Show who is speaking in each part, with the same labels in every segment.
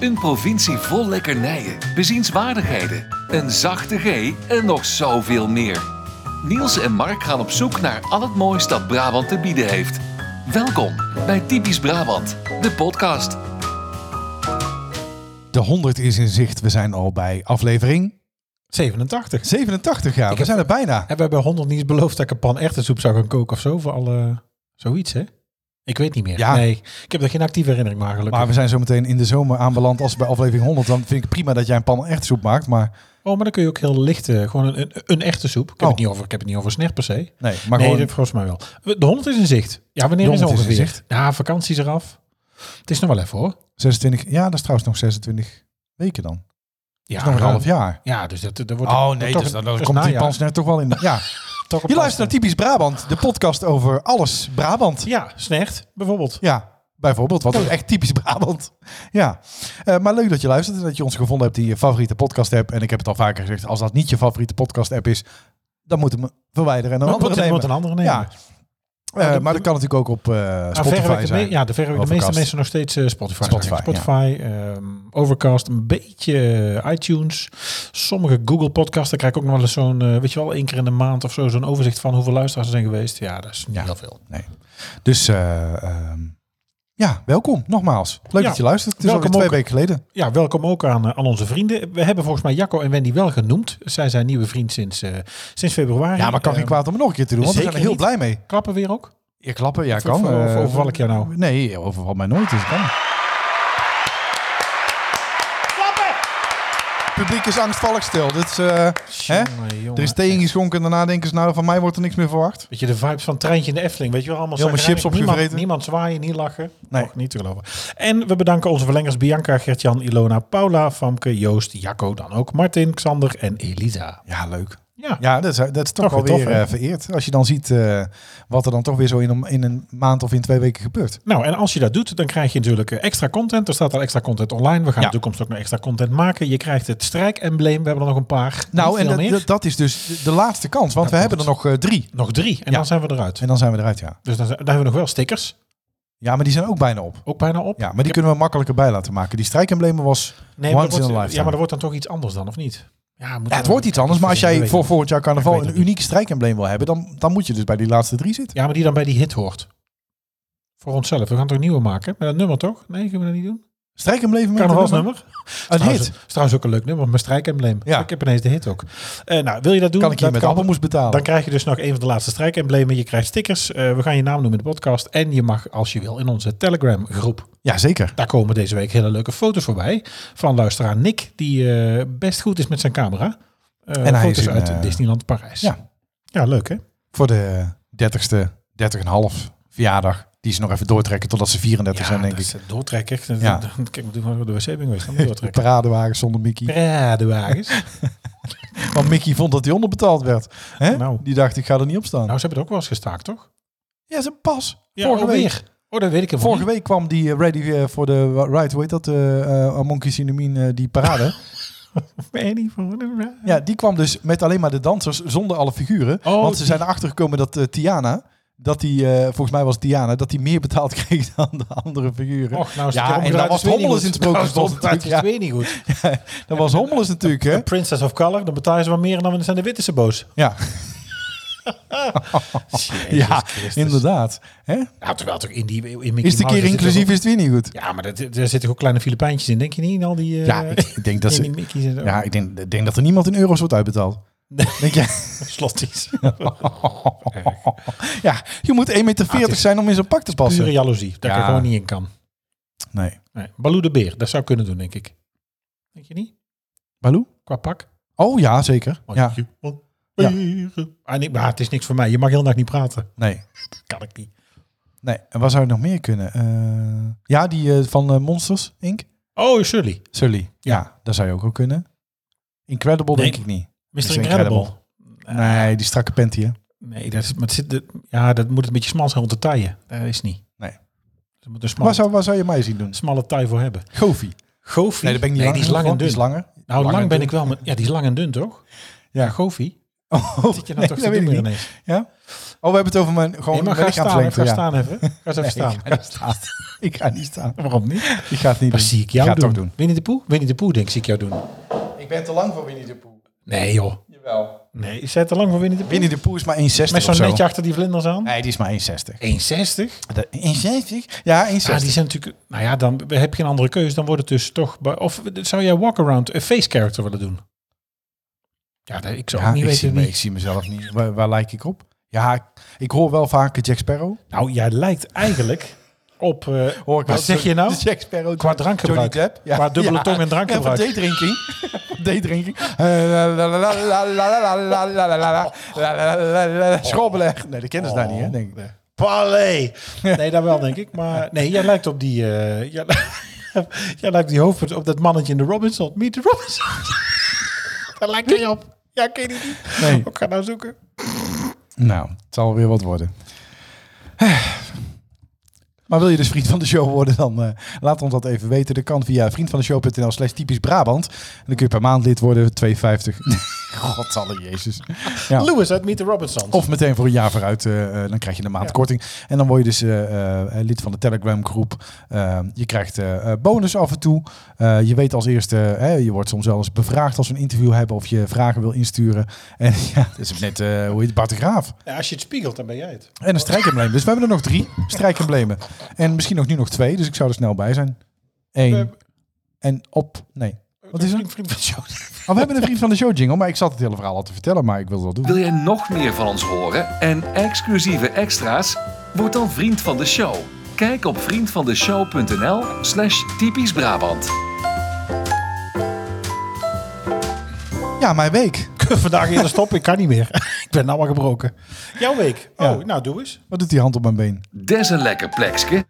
Speaker 1: Een provincie vol lekkernijen, bezienswaardigheden, een zachte G en nog zoveel meer. Niels en Mark gaan op zoek naar al het moois dat Brabant te bieden heeft. Welkom bij Typisch Brabant, de podcast.
Speaker 2: De 100 is in zicht. We zijn al bij aflevering
Speaker 3: 87.
Speaker 2: 87 jaar. We
Speaker 3: heb-
Speaker 2: zijn er bijna.
Speaker 3: En we hebben 100 niet eens beloofd dat ik een pan echte soep zou gaan koken of zo. Voor alle... Zoiets, hè? Ik weet niet meer.
Speaker 2: Ja.
Speaker 3: Nee, ik heb er geen actieve herinnering maar gelukkig.
Speaker 2: Maar we zijn zo meteen in de zomer aanbeland als bij aflevering 100. Dan vind ik prima dat jij een pan echt soep maakt. Maar
Speaker 3: Oh, maar dan kun je ook heel licht, eh, gewoon een, een, een echte soep. Ik heb,
Speaker 2: Oh.
Speaker 3: het niet over, ik heb het niet over snert per se. Maar
Speaker 2: nee, maar
Speaker 3: nee,
Speaker 2: gewoon,
Speaker 3: dat volgens mij wel. De 100 is in zicht. Ja, wanneer
Speaker 2: De
Speaker 3: is
Speaker 2: 100 is in
Speaker 3: ongeveer?
Speaker 2: zicht.
Speaker 3: Ja, vakanties eraf. Het is nog wel even hoor.
Speaker 2: 26. Ja, dat is trouwens nog 26 weken dan.
Speaker 3: Ah, Ja,
Speaker 2: Dat is nog een half jaar.
Speaker 3: Ja, dus dat, dat wordt...
Speaker 2: Oh
Speaker 3: dat
Speaker 2: nee,
Speaker 3: toch
Speaker 2: dus dan,
Speaker 3: een- dat is
Speaker 2: komt die
Speaker 3: najaar.
Speaker 2: pan snert toch wel in. de- Ja.
Speaker 3: Toch een
Speaker 2: Je
Speaker 3: pan
Speaker 2: luistert naar Typisch Brabant, de podcast over alles Brabant.
Speaker 3: Ja, snert bijvoorbeeld.
Speaker 2: Ja, bijvoorbeeld. Wat is echt typisch Brabant. Ja, Eh, maar leuk dat je luistert en dat je ons gevonden hebt die je favoriete podcast app. En ik heb het al vaker gezegd, als dat niet je favoriete podcast app is, dan moeten we hem verwijderen en een
Speaker 3: Dan
Speaker 2: andere
Speaker 3: moet je
Speaker 2: nemen.
Speaker 3: moet een andere nemen.
Speaker 2: Ja, Eh, maar dat kan natuurlijk ook op eh,
Speaker 3: Ja, Nou, verreweg
Speaker 2: Spotify
Speaker 3: de
Speaker 2: zijn.
Speaker 3: me- ja, de verreweg de meeste
Speaker 2: Overcast.
Speaker 3: mensen nog steeds eh, Spotify.
Speaker 2: Spotify,
Speaker 3: zeggen. Spotify ehm, Overcast, een beetje eh, iTunes. Sommige Google podcasts, daar krijg ik ook nog wel eens zo'n, eh, weet je wel, één keer in de maand of zo, zo'n overzicht van hoeveel luisteraars er zijn geweest. Ja, dat is niet
Speaker 2: Ja.
Speaker 3: heel veel.
Speaker 2: Dus eh, ehm, ja, welkom nogmaals. Leuk
Speaker 3: Ja,
Speaker 2: dat je luistert. Het is
Speaker 3: welkom
Speaker 2: alweer twee
Speaker 3: ook.
Speaker 2: weken geleden.
Speaker 3: Ja, welkom ook aan, eh, aan onze vrienden. We hebben volgens mij Jacco en Wendy wel genoemd. Zij zijn nieuwe vriend sinds, eh, sinds februari.
Speaker 2: Ja, maar kan geen
Speaker 3: Ehm,
Speaker 2: kwaad om het nog een keer te doen, want we zijn
Speaker 3: zeker
Speaker 2: er heel
Speaker 3: niet.
Speaker 2: blij mee.
Speaker 3: Klappen weer ook?
Speaker 2: Je klappen, ja
Speaker 3: Of-
Speaker 2: kan.
Speaker 3: of- of
Speaker 2: Eh,
Speaker 3: overval ik jou nou?
Speaker 2: Nee, overval mij nooit. Dus kan. Klappen! Publiek is angstvallig stil. Dit is, eh, hè?
Speaker 3: Jongen, jongen.
Speaker 2: Er is thee ingeschonken en daarna denken ze, nou, van mij wordt er niks meer verwacht.
Speaker 3: Weet je, de vibes van Treintje in de Efteling. Weet je wel, allemaal
Speaker 2: Helemaal
Speaker 3: chagrijnig.
Speaker 2: chips
Speaker 3: niemand,
Speaker 2: opgevreten.
Speaker 3: niemand zwaaien, niet lachen.
Speaker 2: Nee.
Speaker 3: Och, niet te geloven. En we bedanken onze verlengers Bianca, Gertjan, Ilona, Paula, Famke, Joost, Jacco, dan ook Martin, Xander en Elisa.
Speaker 2: Ja, leuk.
Speaker 3: Ja,
Speaker 2: Ja, dat is, dat is toch
Speaker 3: Toch
Speaker 2: wel
Speaker 3: weer tof,
Speaker 2: weer
Speaker 3: hè?
Speaker 2: eh, vereerd. Als je dan ziet eh, wat er dan toch weer zo in een, in een maand of in twee weken gebeurt.
Speaker 3: nou en als je dat doet, dan krijg je natuurlijk eh, extra content. Er staat al extra content online. We gaan in de toekomst ook nog extra content maken. Je krijgt het strijkembleem. We hebben er nog een paar.
Speaker 2: Nou,
Speaker 3: Niet
Speaker 2: en
Speaker 3: veel
Speaker 2: dat-
Speaker 3: meer.
Speaker 2: dat, dat is dus de- de laatste kans, want we hebben er nog eh, drie.
Speaker 3: nog drie en
Speaker 2: Ja.
Speaker 3: dan zijn we eruit.
Speaker 2: En dan zijn we eruit, ja.
Speaker 3: Dus dan, zijn- dan hebben we nog wel stickers.
Speaker 2: Ja, maar die zijn ook bijna op.
Speaker 3: Ook bijna op.
Speaker 2: Ja, maar die kunnen we makkelijker bij laten maken. Die strijkemblemen was...
Speaker 3: Nee, maar
Speaker 2: Once
Speaker 3: dat wordt-
Speaker 2: in a lifetime.
Speaker 3: ja, maar dat wordt dan toch iets anders dan, of niet? Ja, moet
Speaker 2: Ja, het wordt iets anders, maar als
Speaker 3: Ik
Speaker 2: jij
Speaker 3: weet
Speaker 2: voor
Speaker 3: het.
Speaker 2: volgend jaar
Speaker 3: Ik
Speaker 2: carnaval
Speaker 3: weet het
Speaker 2: een uniek strijkembleem wil hebben, dan, dan moet je dus bij die laatste drie zitten.
Speaker 3: Ja, maar die dan bij die hit hoort. Voor onszelf. We gaan toch nieuwe maken? Met dat nummer toch? Nee, kunnen we dat niet doen?
Speaker 2: Strijkembleem met
Speaker 3: Carnavalsnummer?
Speaker 2: Een
Speaker 3: Trouwens,
Speaker 2: hit.
Speaker 3: is trouwens ook een leuk nummer. Mijn strijkembleem.
Speaker 2: Ja.
Speaker 3: Ik heb ineens de hit ook. Eh, nou, wil je dat doen?
Speaker 2: Kan ik hier
Speaker 3: Dat
Speaker 2: met appelmoes betalen?
Speaker 3: Dan krijg je dus nog een van de laatste strijkemblemen. Je krijgt stickers. Eh, we gaan je naam noemen in de podcast. En je mag, als je wil, in onze Telegram groep.
Speaker 2: Ja, zeker.
Speaker 3: Daar komen deze week hele leuke foto's voorbij. Van luisteraar Nick, die eh, best goed is met zijn camera. Eh,
Speaker 2: En hij is
Speaker 3: foto's
Speaker 2: in,
Speaker 3: uit
Speaker 2: eh,
Speaker 3: Disneyland Parijs.
Speaker 2: ja.
Speaker 3: ja, leuk hè?
Speaker 2: Voor de 30ste, 30,5 verjaardag. Die ze nog even doortrekken totdat ze 34 zijn, denk
Speaker 3: dat
Speaker 2: ik.
Speaker 3: is doortrekken.
Speaker 2: Ja.
Speaker 3: Kijk, we doen gewoon de wc ben geweest. Gaan we
Speaker 2: De
Speaker 3: doortrekken. Nou,
Speaker 2: paradewagen zonder Mickey.
Speaker 3: Paradewagens.
Speaker 2: Want Mickey vond dat hij onderbetaald werd. Hè?
Speaker 3: Nou.
Speaker 2: Die dacht, ik ga er niet op staan.
Speaker 3: nou, ze hebben het ook wel eens gestaakt, toch?
Speaker 2: ja, ze pas.
Speaker 3: Ja,
Speaker 2: Vorige
Speaker 3: alweer.
Speaker 2: week.
Speaker 3: Oh, dat weet ik helemaal
Speaker 2: Vorige week kwam die eh, Ready eh, for the Ride, hoe heet dat? eh eh Monkey Cinnamon, eh, die parade.
Speaker 3: niet. Annie van de-
Speaker 2: ja, die kwam dus met alleen maar de dansers, zonder alle figuren.
Speaker 3: Oh,
Speaker 2: want ze
Speaker 3: die-
Speaker 2: zijn erachter gekomen dat eh, Tiana, dat die, eh, volgens mij was het Tiana, dat die meer betaald kreeg dan de andere figuren.
Speaker 3: Och, nou is
Speaker 2: Ja,
Speaker 3: het
Speaker 2: en dan was Hommelus in het sprookjesbos
Speaker 3: Dat Nou, is
Speaker 2: natuurlijk,
Speaker 3: twee niet goed.
Speaker 2: Dat was Hommelus natuurlijk, hè?
Speaker 3: De Princess of Color, dan betalen ze wel meer dan zijn de witte ze boos. Oh,
Speaker 2: Ja, ja inderdaad. Hè?
Speaker 3: Nou, terwijl toch in die in Mickey
Speaker 2: Is de
Speaker 3: Mouse
Speaker 2: keer
Speaker 3: zit
Speaker 2: inclusief,
Speaker 3: er
Speaker 2: is het weer niet goed.
Speaker 3: ook- Ja, maar dat, daar zitten ook kleine Filipijntjes in, denk je niet? In al die. eh,
Speaker 2: Ja, ik- ik denk dat
Speaker 3: in
Speaker 2: ze-
Speaker 3: die Mickey's en zo.
Speaker 2: Ja, ik denk, ik denk dat er niemand in euro's wordt uitbetaald. Denk jij?
Speaker 3: slotties.
Speaker 2: ja, je moet 1,40 meter
Speaker 3: Ah, het is
Speaker 2: zijn om in zo'n pak te passen.
Speaker 3: Pure jaloezie, dat ik
Speaker 2: Ja.
Speaker 3: er gewoon niet in kan.
Speaker 2: Nee.
Speaker 3: Nee. Baloo de Beer, dat zou kunnen doen, denk ik. Denk je niet?
Speaker 2: Baloo?
Speaker 3: Qua pak?
Speaker 2: Oh ja, zeker. Ja. Ja.
Speaker 3: Ja. Ah, nee, maar het is niks voor mij. Je mag heel dag niet praten.
Speaker 2: Nee.
Speaker 3: Dat kan ik niet.
Speaker 2: Nee. En wat zou er nog meer kunnen? Eh, ja, die eh, van eh, Monsters, Inc.
Speaker 3: Oh, Sully.
Speaker 2: Sully. Ja. dat zou je ook wel kunnen. Incredible
Speaker 3: Nee. Eh,
Speaker 2: denk ik niet.
Speaker 3: Mr.
Speaker 2: Mr.
Speaker 3: Incredible.
Speaker 2: Incredible. Nee, die strakke panty, hè?
Speaker 3: Nee, dat, is, maar het zit, dat- ja, dat moet een beetje smal zijn rond de taaien. Dat is niet.
Speaker 2: Nee.
Speaker 3: Er moet een smalle,
Speaker 2: Waar zou, waar zou je mij zien doen?
Speaker 3: smalle taai voor hebben.
Speaker 2: Goofy.
Speaker 3: Goofy.
Speaker 2: Nee, dat ben ik niet
Speaker 3: die is lang en
Speaker 2: genoeg voor.
Speaker 3: dun.
Speaker 2: Die is langer.
Speaker 3: nou,
Speaker 2: lang
Speaker 3: lang
Speaker 2: en
Speaker 3: ben
Speaker 2: dun.
Speaker 3: ik wel. Met, ja, die is lang en dun, toch?
Speaker 2: Ja.
Speaker 3: Goofy.
Speaker 2: Oh,
Speaker 3: Wat zit je
Speaker 2: nee,
Speaker 3: nou toch
Speaker 2: dat
Speaker 3: te
Speaker 2: weet
Speaker 3: doen
Speaker 2: ik
Speaker 3: weer
Speaker 2: niet.
Speaker 3: ineens?
Speaker 2: Ja? Oh, we hebben het over mijn gewoon
Speaker 3: Nee, maar ga staan,
Speaker 2: lichaamslengte.
Speaker 3: ga
Speaker 2: ja.
Speaker 3: staan even. Ga eens even
Speaker 2: Nee,
Speaker 3: staan.
Speaker 2: ik ga staan. Ik ga niet staan.
Speaker 3: Waarom niet?
Speaker 2: Ik ga het niet
Speaker 3: Dat
Speaker 2: doen.
Speaker 3: zie ik
Speaker 2: ik
Speaker 3: jou
Speaker 2: ga
Speaker 3: doen.
Speaker 2: Het toch doen.
Speaker 3: Winnie de Poe? Winnie de Poe, denk ik, zie ik jou doen.
Speaker 2: Ik ben te lang voor Winnie de Pooh.
Speaker 3: Nee, joh.
Speaker 2: Jawel.
Speaker 3: Nee, is zij te lang voor Winnie de Poe?
Speaker 2: Winnie de Pooh is maar 1,60
Speaker 3: Met
Speaker 2: of
Speaker 3: zo'n
Speaker 2: zo.
Speaker 3: netje achter die vlinders aan?
Speaker 2: Nee, die is maar 1,60.
Speaker 3: 1,60?
Speaker 2: De- 1,70? Ja, 1,60.
Speaker 3: Ja, die zijn natuurlijk... Nou ja, dan heb je een andere keuze. Dan wordt het dus toch... bij- Of zou jij walk-around, een face character willen doen? Ja, dat- ik zou
Speaker 2: Ja,
Speaker 3: ook niet
Speaker 2: ik, zie
Speaker 3: weten
Speaker 2: me-
Speaker 3: wie.
Speaker 2: ik zie mezelf niet. Waar, waar lijk ik op? Ja, ik, ik hoor wel vaker Jack Sparrow.
Speaker 3: Nou, jij lijkt eigenlijk op... eh,
Speaker 2: Hoor ik
Speaker 3: wat
Speaker 2: wel.
Speaker 3: zeg je nou?
Speaker 2: Jack Sparrow.
Speaker 3: Qua drankgebruik.
Speaker 2: Johnny Depp. Ja.
Speaker 3: Qua dubbele tong en drankgebruik.
Speaker 2: Ja, voor theedrinking. Voor theedrinking. Eh, la, la, la, la, la, la, la, la, la, la, la, la, la, la, la, la, la. Schrobbelen. Nee, dat kennen ze daar niet, hè, denk ik.
Speaker 3: Palais. Nee, daar wel denk ik. Maar nee, jij lijkt op die. eh, jij, jij lijkt die hoofd op dat mannetje in de Robinson. Meet the Robinson. daar lijkt hij op. Ja, ken je die niet?
Speaker 2: Nee.
Speaker 3: Ik ga nou zoeken.
Speaker 2: Nou, het zal weer wat worden. Maar wil je dus vriend van de show worden, dan eh, laat ons dat even weten. Dat kan via vriendvandeshow.nl slash typisch Brabant. En dan kun je per maand lid worden, 2,50. Godzalle jezus. Ja.
Speaker 3: Lewis uit Meet the Robinson.
Speaker 2: Of meteen voor een jaar vooruit, eh, eh, dan krijg je een maand
Speaker 3: Ja.
Speaker 2: korting. En dan word je dus eh, eh, lid van de Telegram groep. Eh, je krijgt eh, eh, bonus af en toe. Eh, je weet als eerste, hè, je wordt soms wel eens bevraagd als we een interview hebben of je vragen wil insturen. En ja, dat is net, eh, hoe heet het, Bart de Graaf.
Speaker 3: Ja, als je het spiegelt, dan ben jij het.
Speaker 2: En een strijkembleem. Dus we hebben er nog drie strijkemblemen. En misschien ook nu nog twee, dus ik zou er snel bij zijn. Eén.
Speaker 3: Eh,
Speaker 2: En op. Nee. Wat is er?
Speaker 3: Vriend, vriend van de show.
Speaker 2: Oh, we hebben een vriend van de show jingle, maar ik zat het hele verhaal al te vertellen, maar ik wilde dat doen.
Speaker 1: Wil jij nog meer van ons horen en exclusieve extra's? Word dan vriend van de show. Kijk op vriendvandeshow.nl slash typisch Brabant.
Speaker 2: Ja, mijn week.
Speaker 3: Vandaag eerder stoppen, ik kan niet meer. ik ben nou al gebroken. Jouw week. Oh,
Speaker 2: Ja.
Speaker 3: nou doe eens.
Speaker 2: Wat doet die hand op mijn been?
Speaker 1: Des een lekker plekske.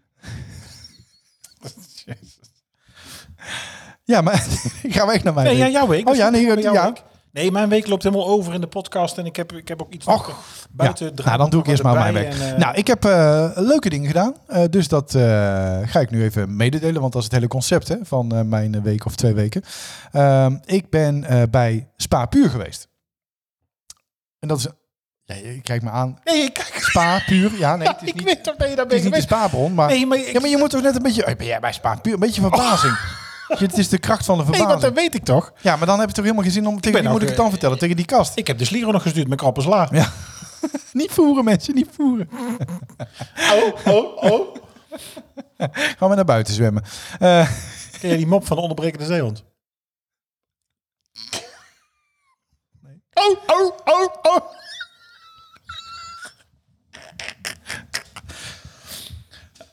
Speaker 2: Ja, maar ik ga weg naar mijn
Speaker 3: Nee, ja,
Speaker 2: week.
Speaker 3: jouw week.
Speaker 2: Oh ja, nee,
Speaker 3: Jouw
Speaker 2: ja.
Speaker 3: week. Nee, mijn week loopt helemaal over in de podcast en ik heb, ik heb ook iets
Speaker 2: Och,
Speaker 3: nog, eh, buiten
Speaker 2: ja.
Speaker 3: het
Speaker 2: Nou, dan doe ik eerst maar mijn
Speaker 3: erbij
Speaker 2: werk.
Speaker 3: en, eh,
Speaker 2: nou, ik heb eh, leuke dingen gedaan. Eh, dus dat eh, ga ik nu even mededelen. Want dat is het hele concept hè, van eh, mijn week of twee weken. Ehm, ik ben eh, bij Spa Puur geweest. En dat is... Ja, je kijkt me aan.
Speaker 3: Nee, ik kijk.
Speaker 2: Spa Puur. Ja, nee,
Speaker 3: Ja,
Speaker 2: het is
Speaker 3: ik
Speaker 2: niet,
Speaker 3: weet toch dat je daar
Speaker 2: het is
Speaker 3: bezig
Speaker 2: niet de
Speaker 3: bent.
Speaker 2: spaarbron. Maar,
Speaker 3: Nee, maar ik-
Speaker 2: ja, maar je moet toch net een beetje... Oh, ben jij bij Spa Puur? Een beetje verbazing. Het is de kracht van de
Speaker 3: Nee,
Speaker 2: verbazing.
Speaker 3: want dat weet ik toch.
Speaker 2: Ja, maar dan heb je toch helemaal geen zin om... Tegen
Speaker 3: ben
Speaker 2: wie
Speaker 3: ook, eh,
Speaker 2: moet ik het dan vertellen? Tegen die kast.
Speaker 3: Ik heb de sliero nog gestuurd met krappensla.
Speaker 2: Ja. Niet voeren, mensen, niet voeren.
Speaker 3: Oh, oh, oh.
Speaker 2: Gaan we naar buiten zwemmen. Eh,
Speaker 3: Ken je die mop van de onderbrekende zeehond? Oh, oh, oh, oh.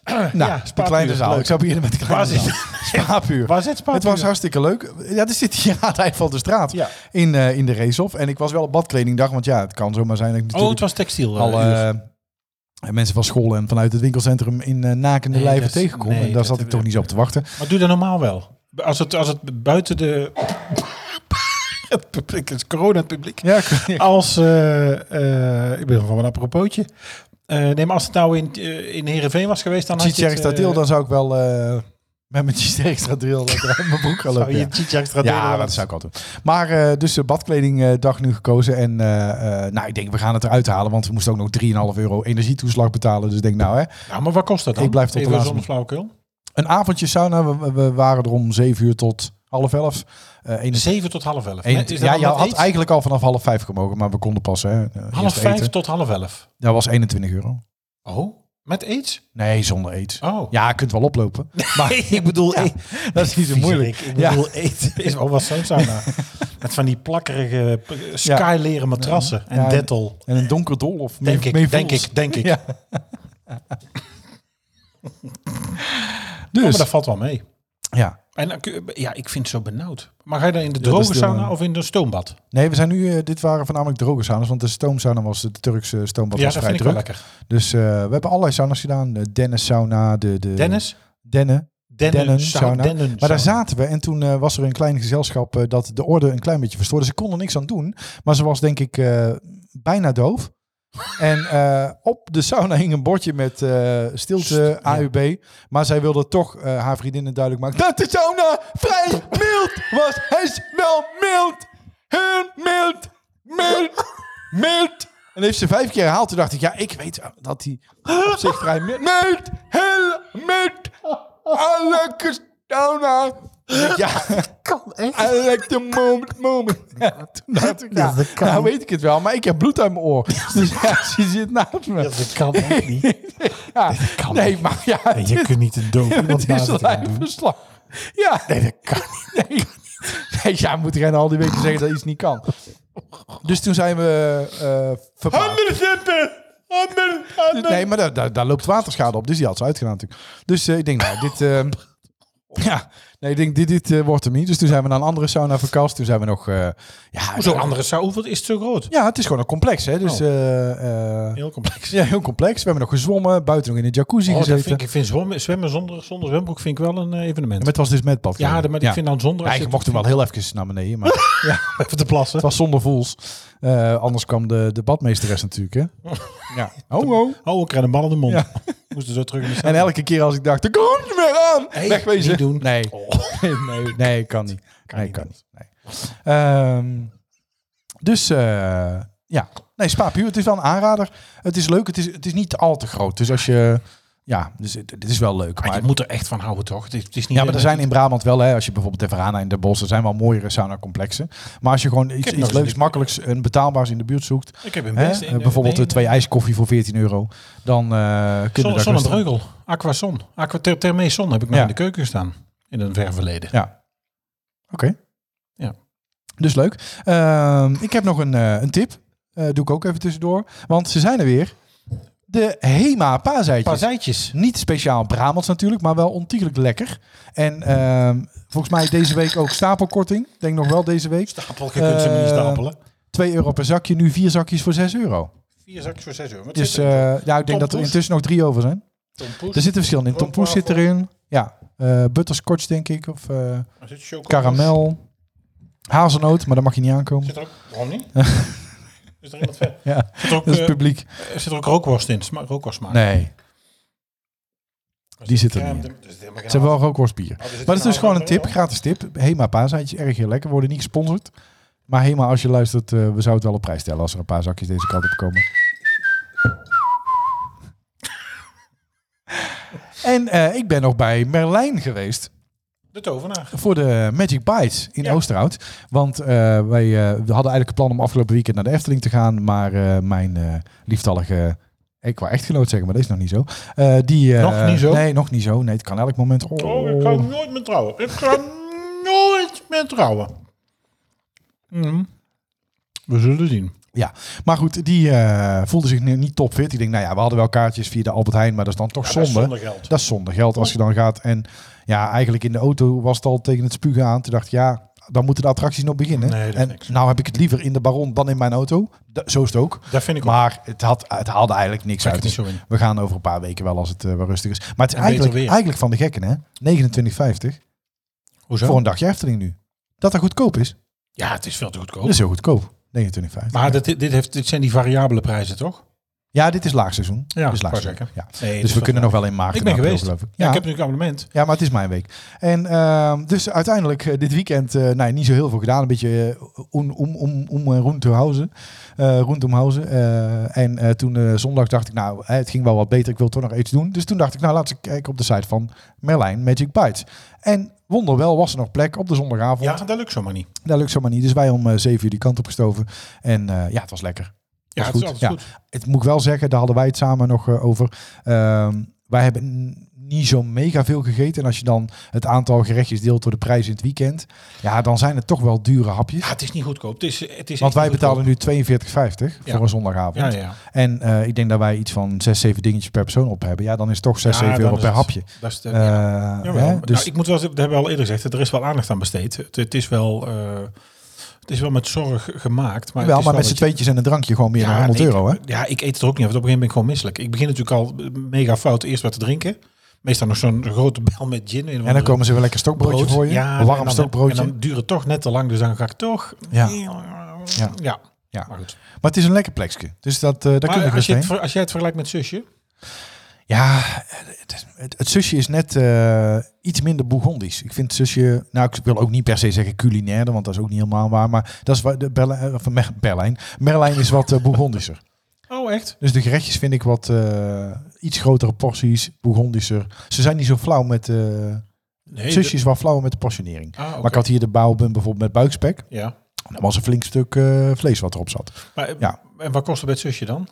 Speaker 2: nou,
Speaker 3: Ja,
Speaker 2: de
Speaker 3: Spaarpuur,
Speaker 2: kleine zaal.
Speaker 3: leuk.
Speaker 2: Ik zou beginnen met de kleine
Speaker 3: Waar zit-
Speaker 2: zaal. Spaarpuur.
Speaker 3: Waar zit Spaarpuur?
Speaker 2: Het was hartstikke leuk. Ja, er zit hier aan het eind van de straat
Speaker 3: Ja.
Speaker 2: in, eh, in de racehof. En ik was wel op badkledingdag, want ja, het kan zomaar zijn dat ik
Speaker 3: Oh, het
Speaker 2: natuurlijk
Speaker 3: was textiel. eh,
Speaker 2: al
Speaker 3: uur.
Speaker 2: eh, mensen van school en vanuit het winkelcentrum in eh, nakende
Speaker 3: Nee,
Speaker 2: lijven
Speaker 3: dat is-
Speaker 2: tegenkom.
Speaker 3: nee,
Speaker 2: en daar
Speaker 3: dat
Speaker 2: zat ik
Speaker 3: heb-
Speaker 2: toch niet zo op te wachten.
Speaker 3: Maar doe dat normaal wel. Als het, als het buiten de... het publiek, het is corona het publiek.
Speaker 2: Ja,
Speaker 3: Als, eh, eh, ik ben nog wel een apropootje. Eh nee, maar als het nou in, eh, in Heerenveen was geweest, dan had je het,
Speaker 2: Chichester
Speaker 3: eh,
Speaker 2: Deel, dan zou ik wel eh, met mijn Chichester Deel uit mijn broek gaan
Speaker 3: zou
Speaker 2: lopen.
Speaker 3: je
Speaker 2: ja.
Speaker 3: Chichester Deel
Speaker 2: Ja,
Speaker 3: wel-
Speaker 2: dat zou ik al doen. Maar eh, dus de badkledingdag nu gekozen. En eh, eh, nou, ik denk, we gaan het eruit halen. Want we moesten ook nog 3,5 euro energietoeslag betalen. Dus ik denk, nou hè,
Speaker 3: Ja, maar wat kost dat dan?
Speaker 2: Ik blijf tot de
Speaker 3: Even
Speaker 2: laatste
Speaker 3: zonder
Speaker 2: minuut.
Speaker 3: flauwekul.
Speaker 2: een avondje sauna. We- We, we waren er om 7 uur tot half 11. Eh, energie-
Speaker 3: 7 tot half 11.
Speaker 2: en- ja, je had eigenlijk al vanaf half 5 gemogen. Maar we konden pas hè, eh,
Speaker 3: half
Speaker 2: eerst
Speaker 3: 5
Speaker 2: eten.
Speaker 3: tot half 11.
Speaker 2: Dat was 21 euro.
Speaker 3: Oh, met aids?
Speaker 2: Nee, zonder aids.
Speaker 3: Oh.
Speaker 2: Ja, je kunt wel oplopen. Maar ik bedoel, eh, dat is niet zo moeilijk.
Speaker 3: Ik
Speaker 2: Ja.
Speaker 3: bedoel, eten is wel wat zo'n sauna. Met van die plakkerige eh, skyleren matrassen en
Speaker 2: Ja, en-
Speaker 3: dettel.
Speaker 2: En een donker dol of
Speaker 3: Denk
Speaker 2: mee-
Speaker 3: ik,
Speaker 2: mee
Speaker 3: denk
Speaker 2: voels.
Speaker 3: ik, denk ik.
Speaker 2: Ja.
Speaker 3: Oh, maar
Speaker 2: Dus,
Speaker 3: dat valt wel mee.
Speaker 2: ja.
Speaker 3: En dan kun je- ja, ik vind het zo benauwd. Maar ga je dan in de
Speaker 2: dat is
Speaker 3: droge
Speaker 2: de-
Speaker 3: sauna of in de stoombad?
Speaker 2: Nee, we zijn nu, eh, dit waren voornamelijk droge saunas, want de stoomsauna was, de Turkse stoombad
Speaker 3: ja,
Speaker 2: was
Speaker 3: dat vind
Speaker 2: vrij
Speaker 3: ik wel
Speaker 2: druk.
Speaker 3: lekker.
Speaker 2: Dus eh, we hebben allerlei saunas gedaan. De Dennis sauna, de... de
Speaker 3: Dennis?
Speaker 2: Dennen.
Speaker 3: Dennen,
Speaker 2: Dennen
Speaker 3: sau-
Speaker 2: sauna.
Speaker 3: Dennen
Speaker 2: Maar daar
Speaker 3: sauna.
Speaker 2: zaten we en toen eh, was er een klein gezelschap eh, dat de orde een klein beetje verstoorde. Ze kon er niks aan doen, maar ze was denk ik eh, bijna doof. en eh, op de sauna hing een bordje met eh, stilte, AUB. Maar zij wilde toch eh, haar vriendinnen duidelijk maken dat de sauna vrij mild was. Hij is wel mild. Heel mild. Mild.
Speaker 3: Milt!
Speaker 2: En heeft ze vijf keer herhaald. Toen dacht ik, ja, ik weet dat hij op zich vrij... mi- Met, heel, met, alle kastana. nou. Ja,
Speaker 3: Kan echt.
Speaker 2: I de moment, moment. Ja, toen dacht ik, ja,
Speaker 3: Ja, dat kan.
Speaker 2: nou weet ik het wel, maar ik heb bloed uit mijn oor. Dus ja, ze zit naast me.
Speaker 3: Dat kan echt niet.
Speaker 2: Ja,
Speaker 3: kan
Speaker 2: nee,
Speaker 3: niet.
Speaker 2: maar ja,
Speaker 3: Nee,
Speaker 2: het
Speaker 3: je
Speaker 2: is-
Speaker 3: kunt niet een doof iemand
Speaker 2: het is
Speaker 3: naast elkaar doen.
Speaker 2: lijfverslag. Ja,
Speaker 3: Nee, dat kan niet.
Speaker 2: nee. Nee, ja, moet er al die weken zeggen dat iets niet kan. Dus toen zijn we eh verbaasd.
Speaker 3: zippen! Handen,
Speaker 2: Nee, maar daar, daar, daar loopt waterschade op. Dus die had ze uitgedaan natuurlijk. Dus eh, ik denk, nou, dit... ehm, ja, nee, ik denk, dit, dit eh, wordt hem niet. Dus toen zijn we naar een andere sauna verkast. Toen zijn we nog... eh, ja,
Speaker 3: Hoezo andere zou? Hoeveel is het zo groot?
Speaker 2: ja, het is gewoon een complex, hè. Dus...
Speaker 3: Oh.
Speaker 2: eh, eh,
Speaker 3: Heel complex.
Speaker 2: ja, heel complex. We hebben nog gezwommen, buiten nog in de jacuzzi
Speaker 3: Oh, dat
Speaker 2: gezeten.
Speaker 3: vind ik, ik vind zwemmen, zwemmen zonder, zonder zwembroek vind ik wel een eh, evenement.
Speaker 2: Maar het was dus met badkamer.
Speaker 3: ja, maar ik vind dan zonder...
Speaker 2: Ja,
Speaker 3: als
Speaker 2: ik
Speaker 3: je-
Speaker 2: mocht hem wel heel even naar beneden, maar
Speaker 3: Even te plassen.
Speaker 2: het was zonder voels. Eh, anders kwam de, de badmeesteres natuurlijk, hè. Ja. Oh, oh.
Speaker 3: Oh, ik krijg een bal in de mond.
Speaker 2: Ja.
Speaker 3: Moesten zo terug in de
Speaker 2: En
Speaker 3: zaal.
Speaker 2: elke keer als ik dacht, er komt je weer aan.
Speaker 3: Hey,
Speaker 2: Wegwezen.
Speaker 3: niet doen.
Speaker 2: Nee.
Speaker 3: Oh,
Speaker 2: nee, nee, nee, kan niet.
Speaker 3: Kan
Speaker 2: nee,
Speaker 3: niet
Speaker 2: kan
Speaker 3: anders.
Speaker 2: niet. Nee. Ehm, dus eh, ja, nee, Spa Puur, het is wel een aanrader. Het is leuk, het is, het is niet al te groot. Dus als je, ja, dus het, het is wel leuk.
Speaker 3: Maar
Speaker 2: Maar,
Speaker 3: je moet er echt van houden, toch? Het is, het is niet
Speaker 2: ja, maar er zijn in Brabant wel, hè, als je bijvoorbeeld de Verana in de Bos, er zijn wel mooiere sauna-complexen. Maar als je gewoon iets,
Speaker 3: heb
Speaker 2: iets
Speaker 3: nog eens
Speaker 2: leuks,
Speaker 3: een-
Speaker 2: makkelijks en betaalbaars in de buurt zoekt,
Speaker 3: Ik heb een
Speaker 2: hè,
Speaker 3: best in, eh,
Speaker 2: bijvoorbeeld
Speaker 3: nee,
Speaker 2: de twee ijskoffie voor 14 euro, dan eh kunnen
Speaker 3: Zon,
Speaker 2: we
Speaker 3: zon en
Speaker 2: daar rustig-
Speaker 3: dreugel. Aquason. Aqua ther- Thermee Son heb ik nog
Speaker 2: Ja.
Speaker 3: in de keuken staan. In een ver verleden.
Speaker 2: Ja. Oké.
Speaker 3: Ja.
Speaker 2: Dus leuk. Ehm, ik heb nog een, eh, een tip. Eh, doe ik ook even tussendoor. Want ze zijn er weer. De Hema paaseitjes.
Speaker 3: Pazijtjes.
Speaker 2: Niet speciaal Brabants natuurlijk, maar wel ontiegelijk lekker. En ehm, volgens mij deze week ook stapelkorting. Ik Denk nog wel deze week.
Speaker 3: Stapel, je kunt ze maar niet
Speaker 2: Eh,
Speaker 3: stapelen.
Speaker 2: 2 euro per zakje, nu vier zakjes voor 6 euro.
Speaker 3: Vier zakjes voor zes euro. Wat
Speaker 2: Dus
Speaker 3: zit er in?
Speaker 2: eh, ja, ik denk dat er
Speaker 3: Tompoes?
Speaker 2: intussen nog drie over zijn.
Speaker 3: Tom Poes.
Speaker 2: Er zit een verschil in.
Speaker 3: Rookwaffel.
Speaker 2: Tompoes zit erin. Ja, eh, butterscotch denk ik. Of eh,
Speaker 3: Er zit chocola.
Speaker 2: karamel. Hazelnoot, maar daar mag je niet aankomen.
Speaker 3: Zit er ook... Waarom niet? is er iemand ver?
Speaker 2: Ja,
Speaker 3: Zit er ook,
Speaker 2: dat is
Speaker 3: eh,
Speaker 2: publiek.
Speaker 3: zit er ook rookworst in? Sma rookworst maken.
Speaker 2: Nee, die zit er niet
Speaker 3: dus
Speaker 2: ze hebben wel rookworstbier.
Speaker 3: Oh,
Speaker 2: Maar het is dus
Speaker 3: nou
Speaker 2: gewoon een tip, gratis tip. Hema paaseitjes, erg heel lekker. Worden niet gesponsord. Maar Hema, als je luistert, eh, we zouden het wel op prijs stellen als er een paar zakjes deze kant op komen. En eh, ik ben nog bij Merlijn geweest
Speaker 3: De tovenaar.
Speaker 2: voor de Magic Bites in
Speaker 3: Ja.
Speaker 2: Oosterhout. Want eh, wij eh, we hadden eigenlijk het plan om afgelopen weekend naar de Efteling te gaan. Maar eh, mijn eh, lieftallige, ik wou echtgenoot zeggen, maar dat is nog niet zo. Eh, die, eh,
Speaker 3: Nog niet zo?
Speaker 2: Nee, nog niet zo. Nee, het kan elk moment. Oh,
Speaker 3: Oh, ik ga nooit meer trouwen. Ik ga nooit meer trouwen. Mhm. We zullen zien.
Speaker 2: Ja, maar goed, die eh, voelde zich nu niet topfit. Ik denk, nou ja, we hadden wel kaartjes via de Albert Heijn, maar dat is dan toch
Speaker 3: Ja, dat
Speaker 2: zonde.
Speaker 3: is zonder geld.
Speaker 2: Dat is zonde geld als je dan gaat. En ja, eigenlijk in de auto was het al tegen het spugen aan. Toen dacht ik, ja, dan moeten de attracties nog beginnen.
Speaker 3: Nee, dat is
Speaker 2: en
Speaker 3: niks.
Speaker 2: nou heb ik het liever in de Baron dan in mijn auto. Da- zo is het ook.
Speaker 3: Daar vind ik ook.
Speaker 2: Maar het, had, het haalde eigenlijk niks
Speaker 3: Zag
Speaker 2: uit.
Speaker 3: ik het niet zo in.
Speaker 2: We gaan over een paar weken wel als het eh, wel rustig is. Maar het is
Speaker 3: En beter
Speaker 2: eigenlijk,
Speaker 3: weer.
Speaker 2: eigenlijk van de gekken, hè? 29,50
Speaker 3: Hoezo?
Speaker 2: voor een dagje Efteling nu. Dat dat goedkoop is.
Speaker 3: Ja, het is veel te goedkoop.
Speaker 2: Dat is heel goedkoop. 29,50.
Speaker 3: Oh. maar dit, dit, heeft, dit zijn die variabele prijzen, toch?
Speaker 2: Ja, dit is laagseizoen.
Speaker 3: Ja,
Speaker 2: Dit is
Speaker 3: wou
Speaker 2: laagseizoen.
Speaker 3: zeggen.
Speaker 2: Ja.
Speaker 3: Nee,
Speaker 2: Dus
Speaker 3: dit is
Speaker 2: we
Speaker 3: wel-
Speaker 2: kunnen nog wel in maart.
Speaker 3: Ik ben
Speaker 2: en april,
Speaker 3: geweest.
Speaker 2: geloof ik.
Speaker 3: Ja,
Speaker 2: Ja,
Speaker 3: ik heb nu een abonnement.
Speaker 2: ja, maar het is mijn week. En ehm, dus uiteindelijk eh, dit weekend eh, nee, niet zo heel veel gedaan. Een beetje eh, om om om om eh, rond te houden. Eh, rond om houden. Eh, en eh, toen eh, zondag dacht ik, nou, eh, het ging wel wat beter. Ik wil toch nog iets doen. Dus toen dacht ik, nou, laten we kijken op de site van Merlijn Magic Bites. En wonderwel was er nog plek op de zondagavond.
Speaker 3: Ja, dat lukt zomaar niet.
Speaker 2: Dat lukt zomaar niet. Dus wij om eh, zeven uur die kant op gestoven. En eh, ja, het was lekker.
Speaker 3: Ja,
Speaker 2: Was
Speaker 3: het is
Speaker 2: goed.
Speaker 3: altijd
Speaker 2: Ja.
Speaker 3: goed.
Speaker 2: Het moet ik wel zeggen, daar hadden wij het samen nog eh, over. Ehm, wij hebben n- niet zo mega veel gegeten. En als je dan het aantal gerechtjes deelt door de prijs in het weekend, ja, dan zijn het toch wel dure hapjes.
Speaker 3: Ja, het is niet goedkoop. Het is, het is
Speaker 2: Want
Speaker 3: echt
Speaker 2: wij
Speaker 3: niet
Speaker 2: betalen
Speaker 3: goedkoop.
Speaker 2: nu 42,50
Speaker 3: Ja.
Speaker 2: voor een zondagavond.
Speaker 3: Ja, ja.
Speaker 2: En eh, ik denk dat wij iets van 6, 7 dingetjes per persoon op hebben. Ja, dan is het toch 6,
Speaker 3: Ja,
Speaker 2: 7
Speaker 3: dan
Speaker 2: euro
Speaker 3: is
Speaker 2: per
Speaker 3: het-
Speaker 2: hapje.
Speaker 3: Dat is de,
Speaker 2: Eh,
Speaker 3: Jawel.
Speaker 2: hè,
Speaker 3: Nou,
Speaker 2: dus
Speaker 3: ik moet wel, zeggen, dat hebben we al eerder gezegd, er is wel aandacht aan besteed. Het, het is wel, eh, het is wel met zorg gemaakt. Maar
Speaker 2: wel,
Speaker 3: het is
Speaker 2: maar met
Speaker 3: dat
Speaker 2: z'n
Speaker 3: je-
Speaker 2: tweetjes en een drankje gewoon meer dan 100
Speaker 3: nee,
Speaker 2: euro, hè?
Speaker 3: ik- Ja, ik eet het er ook niet, want op een gegeven moment ben ik gewoon misselijk. Ik begin natuurlijk al eh, mega fout eerst wat te drinken. Meestal nog zo'n grote bel met gin.
Speaker 2: En dan komen ze wel lekker
Speaker 3: brood.
Speaker 2: stokbroodje voor je.
Speaker 3: Ja,
Speaker 2: een
Speaker 3: en
Speaker 2: warm
Speaker 3: dan-
Speaker 2: stokbroodje.
Speaker 3: En dan duurt het toch net te lang, dus dan ga ik toch...
Speaker 2: Ja.
Speaker 3: ja.
Speaker 2: Ja.
Speaker 3: Ja.
Speaker 2: Ja.
Speaker 3: Maar goed.
Speaker 2: Maar het is een lekker plekje. Dus dat, eh daar kun
Speaker 3: Maar
Speaker 2: je
Speaker 3: als,
Speaker 2: rust
Speaker 3: je
Speaker 2: heen.
Speaker 3: het, ver- als jij het vergelijkt met zusje,
Speaker 2: Ja, het, het, het zusje is net eh, iets minder Bourgondisch. Ik vind het zusje, nou ik wil ook niet per se zeggen culinaire, want dat is ook niet helemaal waar. Maar dat is waar de Berlijn, eh, of Mer- Berlijn. Merlijn is wat eh, Bourgondischer.
Speaker 3: Oh, echt?
Speaker 2: Dus de gerechtjes vind ik wat eh, iets grotere porties, Bourgondischer. Ze zijn niet zo flauw met, eh
Speaker 3: Nee.
Speaker 2: zusje is wel flauw met de portionering.
Speaker 3: Ah, oké.
Speaker 2: Maar ik had hier de bouwbun bijvoorbeeld met buikspek. Oh,
Speaker 3: Ja.
Speaker 2: Dat was een flink stuk eh, vlees wat erop zat.
Speaker 3: Maar, eh,
Speaker 2: Ja.
Speaker 3: En wat kost het bij het zusje dan?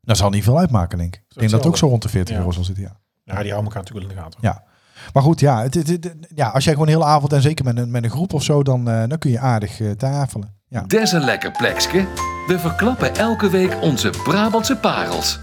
Speaker 2: Dat zal niet veel uitmaken, denk ik. Ik denk dat het ook zo rond de 40
Speaker 3: Ja.
Speaker 2: euro zal zitten, ja.
Speaker 3: Nou, die houden elkaar natuurlijk in de gaten.
Speaker 2: Ja. Maar goed, ja, het, het- het- ja, als jij gewoon heel avond en zeker met een, met een groep of zo, dan, eh, dan kun je aardig eh, tafelen. Ja.
Speaker 1: Des een lekker plekske. We verklappen elke week onze Brabantse parels.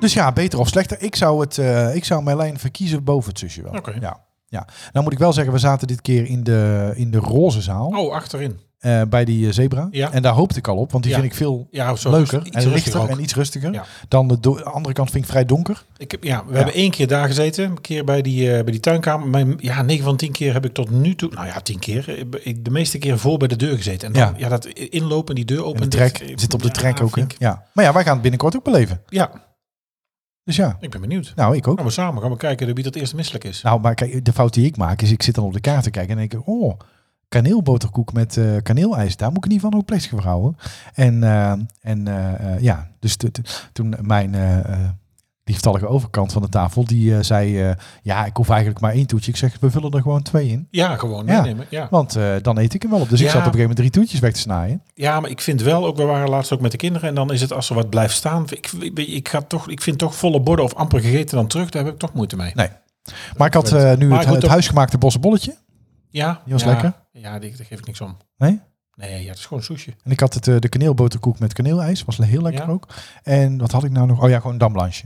Speaker 2: Dus ja, beter of slechter. Ik zou, het, eh, ik zou Merlijn verkiezen boven het zusje wel.
Speaker 3: Oké.
Speaker 2: Ja. Ja. Nou moet ik wel zeggen, we zaten dit keer in de, in de roze zaal
Speaker 3: Oh, achterin.
Speaker 2: eh, bij die eh, zebra.
Speaker 3: Ja.
Speaker 2: En daar hoopte ik al op, want die
Speaker 3: Ja.
Speaker 2: vind ik veel
Speaker 3: Ja, zo dus
Speaker 2: leuker
Speaker 3: iets
Speaker 2: en
Speaker 3: rustiger
Speaker 2: lichter
Speaker 3: ook.
Speaker 2: en iets rustiger.
Speaker 3: Ja.
Speaker 2: Dan de do- andere kant vind ik vrij donker.
Speaker 3: Ik heb, ja, we hebben één keer daar gezeten. Een keer bij die, eh, bij die tuinkamer. Mijn, ja, 9 van 10 keer heb ik tot nu toe... Nou ja, 10 keer. eh, be- Ik, de meeste keren voor bij de deur gezeten. En dan,
Speaker 2: Ja.
Speaker 3: ja. dat inlopen, die deur open.
Speaker 2: En de
Speaker 3: dicht,
Speaker 2: trek
Speaker 3: eh,
Speaker 2: zit op de
Speaker 3: ja,
Speaker 2: trek ook. hè.
Speaker 3: vind ik-
Speaker 2: Ja. Maar ja, wij gaan het binnenkort ook beleven.
Speaker 3: Ja,
Speaker 2: Dus ja,
Speaker 3: ik ben benieuwd.
Speaker 2: nou ik ook.
Speaker 3: Nou, we samen gaan we kijken wie dat eerst misselijk is.
Speaker 2: Nou, maar kijk, de fout die ik maak is, ik zit dan op de kaart te kijken en denk ik, oh, kaneelboterkoek met eh kaneelijs, daar moet ik niet van ook plekje voor houden. En, eh, en eh, eh, ja, dus t- t- toen mijn, eh, eh, die vertallige overkant van de tafel, die eh, zei, eh, ja, ik hoef eigenlijk maar één toetje. Ik zeg, we vullen er gewoon twee in.
Speaker 3: Ja, gewoon
Speaker 2: Ja.
Speaker 3: meenemen. Ja.
Speaker 2: Want eh, dan eet ik hem wel op. Dus ik
Speaker 3: Ja.
Speaker 2: zat op een gegeven moment drie toetjes weg te snijden.
Speaker 3: ja, maar ik vind wel ook... We waren laatst ook met de kinderen. En dan is het als er wat blijft staan. Ik, ik, ik ga toch, ik vind toch volle borden of amper gegeten dan terug. Daar heb ik toch moeite mee.
Speaker 2: Nee. Maar ik had eh, nu
Speaker 3: Maar
Speaker 2: het,
Speaker 3: ik moet
Speaker 2: het
Speaker 3: ook-
Speaker 2: huisgemaakte bossenbolletje.
Speaker 3: Ja.
Speaker 2: Die was
Speaker 3: ja,
Speaker 2: lekker.
Speaker 3: Ja, die, daar geef ik niks om.
Speaker 2: Nee?
Speaker 3: Nee, ja, het is gewoon sushi.
Speaker 2: En ik had het, eh, de kaneelboterkoek met kaneelijs. Was heel lekker
Speaker 3: Ja.
Speaker 2: ook. En wat had ik nou nog? Oh ja, gewoon een damblansje.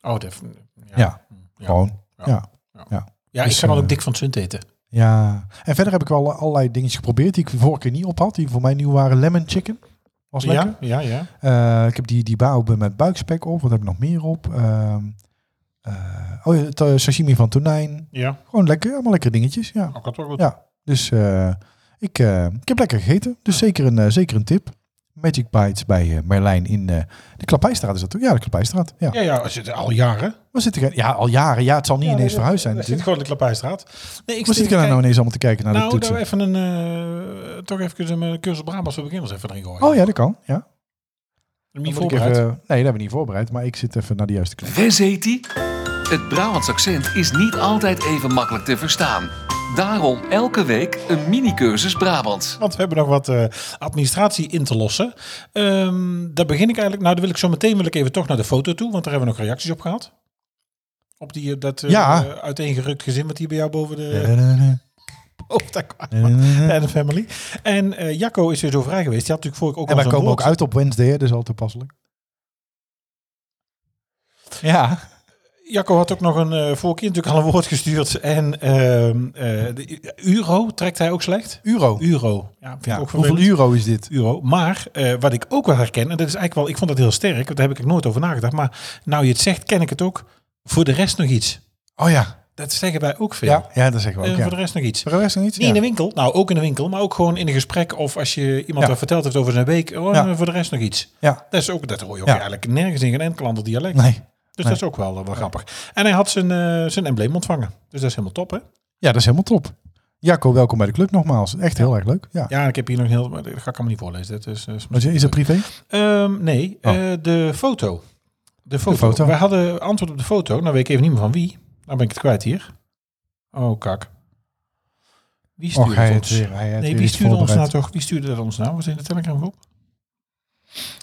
Speaker 3: Oh, dat... Ja. Hm,
Speaker 2: Ja.
Speaker 3: Ja.
Speaker 2: Gewoon. ja.
Speaker 3: Ja,
Speaker 2: Dus,
Speaker 3: ik ga dan
Speaker 2: eh,
Speaker 3: ook dik van het zund eten.
Speaker 2: Ja, en verder heb ik wel allerlei dingetjes geprobeerd die ik de vorige keer niet op had. Die voor mij nieuw waren. Lemon chicken was lekker.
Speaker 3: Ja, ja, ja.
Speaker 2: Eh, ik heb die, die baobab met buikspek op. Wat heb ik nog meer op? Ehm, eh, oh ja, het, eh, sashimi van tonijn.
Speaker 3: Ja,
Speaker 2: Gewoon lekker, allemaal lekkere dingetjes. Ja,
Speaker 3: ook Oh, had ook wat.
Speaker 2: Ja. dus eh, ik, eh, ik heb lekker gegeten. Dus zeker, een, eh, zeker een tip. Magic Bites bij eh, Merlijn in eh, de Klapijstraat is dat toch? Ja, de Klapijstraat. Ja.
Speaker 3: Ja, ja, als je het al jaren.
Speaker 2: We zitten, ge- ja, al jaren. Ja, het zal niet ineens verhuisd zijn
Speaker 3: Dat zit
Speaker 2: natuurlijk.
Speaker 3: gewoon in de Klapijstraat. Nee, ik
Speaker 2: Wat zit
Speaker 3: zit
Speaker 2: ik nou
Speaker 3: nou
Speaker 2: nou ineens allemaal te kijken naar de
Speaker 3: Nou, daar
Speaker 2: toetsen?
Speaker 3: even een, eh, toch even een cursus Brabants voor beginners even erin gooien.
Speaker 2: Oh ja, dat kan. Ja.
Speaker 3: Dan ben je
Speaker 2: Dan moet ik
Speaker 3: voorbereid.
Speaker 2: even- nee, dat hebben we niet voorbereid, maar ik zit even naar de juiste knop.
Speaker 1: Wes heet die? Het Brabants accent is niet altijd even makkelijk te verstaan. Daarom elke week een mini-cursus Brabants.
Speaker 3: Want we hebben nog wat eh, administratie in te lossen. Ehm, daar begin ik eigenlijk. Nou, dan wil ik zo meteen wil ik even toch naar de foto toe, want daar hebben we nog reacties op gehad. Op die, eh, dat eh,
Speaker 2: Ja.
Speaker 3: uiteengerukt gezin wat hier bij jou boven de,
Speaker 2: Ja,
Speaker 3: boven de kwam. En de family. En eh, Jacco is weer zo vrij geweest. Die had natuurlijk vorige ook
Speaker 2: En
Speaker 3: al
Speaker 2: wij
Speaker 3: zo'n
Speaker 2: komen ook
Speaker 3: woord.
Speaker 2: uit op Wednesday, hè, dus al toepasselijk. Ja.
Speaker 3: Jacco had ook nog een eh vorige keer natuurlijk al een woord gestuurd. En ehm, eh, de euro trekt hij ook slecht.
Speaker 2: Euro.
Speaker 3: Euro. Ja, vind
Speaker 2: Ja.
Speaker 3: ik ook
Speaker 2: Hoeveel
Speaker 3: vervelend.
Speaker 2: euro is dit?
Speaker 3: euro. Maar eh, wat ik ook wel herken, en dat is eigenlijk wel, ik vond dat heel sterk, want daar heb ik nooit over nagedacht. Maar nou je het zegt, ken ik het ook. Voor de rest nog iets.
Speaker 2: Oh ja.
Speaker 3: Dat zeggen wij ook veel.
Speaker 2: Ja, ja dat zeggen we
Speaker 3: Eh,
Speaker 2: ook. Ja.
Speaker 3: Voor de rest nog iets.
Speaker 2: Voor de rest nog iets?
Speaker 3: Niet
Speaker 2: Ja.
Speaker 3: in de winkel, nou ook in de winkel, maar ook gewoon in een gesprek. Of als je iemand
Speaker 2: Ja.
Speaker 3: daar verteld heeft over zijn week, oh,
Speaker 2: Ja.
Speaker 3: eh, voor de rest nog iets.
Speaker 2: Ja.
Speaker 3: Dat, is ook, dat hoor je ook
Speaker 2: Ja.
Speaker 3: eigenlijk nergens in geen enkel ander dialect.
Speaker 2: Nee.
Speaker 3: Dus
Speaker 2: Nee.
Speaker 3: dat is ook wel, eh, wel grappig. En hij had zijn, eh, zijn embleem ontvangen. Dus dat is helemaal top, hè?
Speaker 2: Ja, dat is helemaal top. Jacco, welkom bij de club nogmaals. Echt heel erg leuk. Ja.
Speaker 3: Ja, ik heb hier nog een heel... Maar dat ga ik allemaal niet voorlezen. Dat is, eh, is
Speaker 2: Wat is- Is dat privé?
Speaker 3: Ehm, nee,
Speaker 2: Oh.
Speaker 3: eh, de foto. De foto.
Speaker 2: foto.
Speaker 3: We hadden antwoord op de foto. Nou weet ik even niet meer van wie. Nou ben ik het kwijt hier. Oh, kak. Wie
Speaker 2: Och,
Speaker 3: stuurde
Speaker 2: hij
Speaker 3: het
Speaker 2: heeft
Speaker 3: ons?
Speaker 2: weer, hij heeft
Speaker 3: nee,
Speaker 2: weer
Speaker 3: wie
Speaker 2: iets
Speaker 3: stuurde ons nou
Speaker 2: voorbereid.
Speaker 3: toch? Wie stuurde dat ons nou? Was het in de Telegram groep?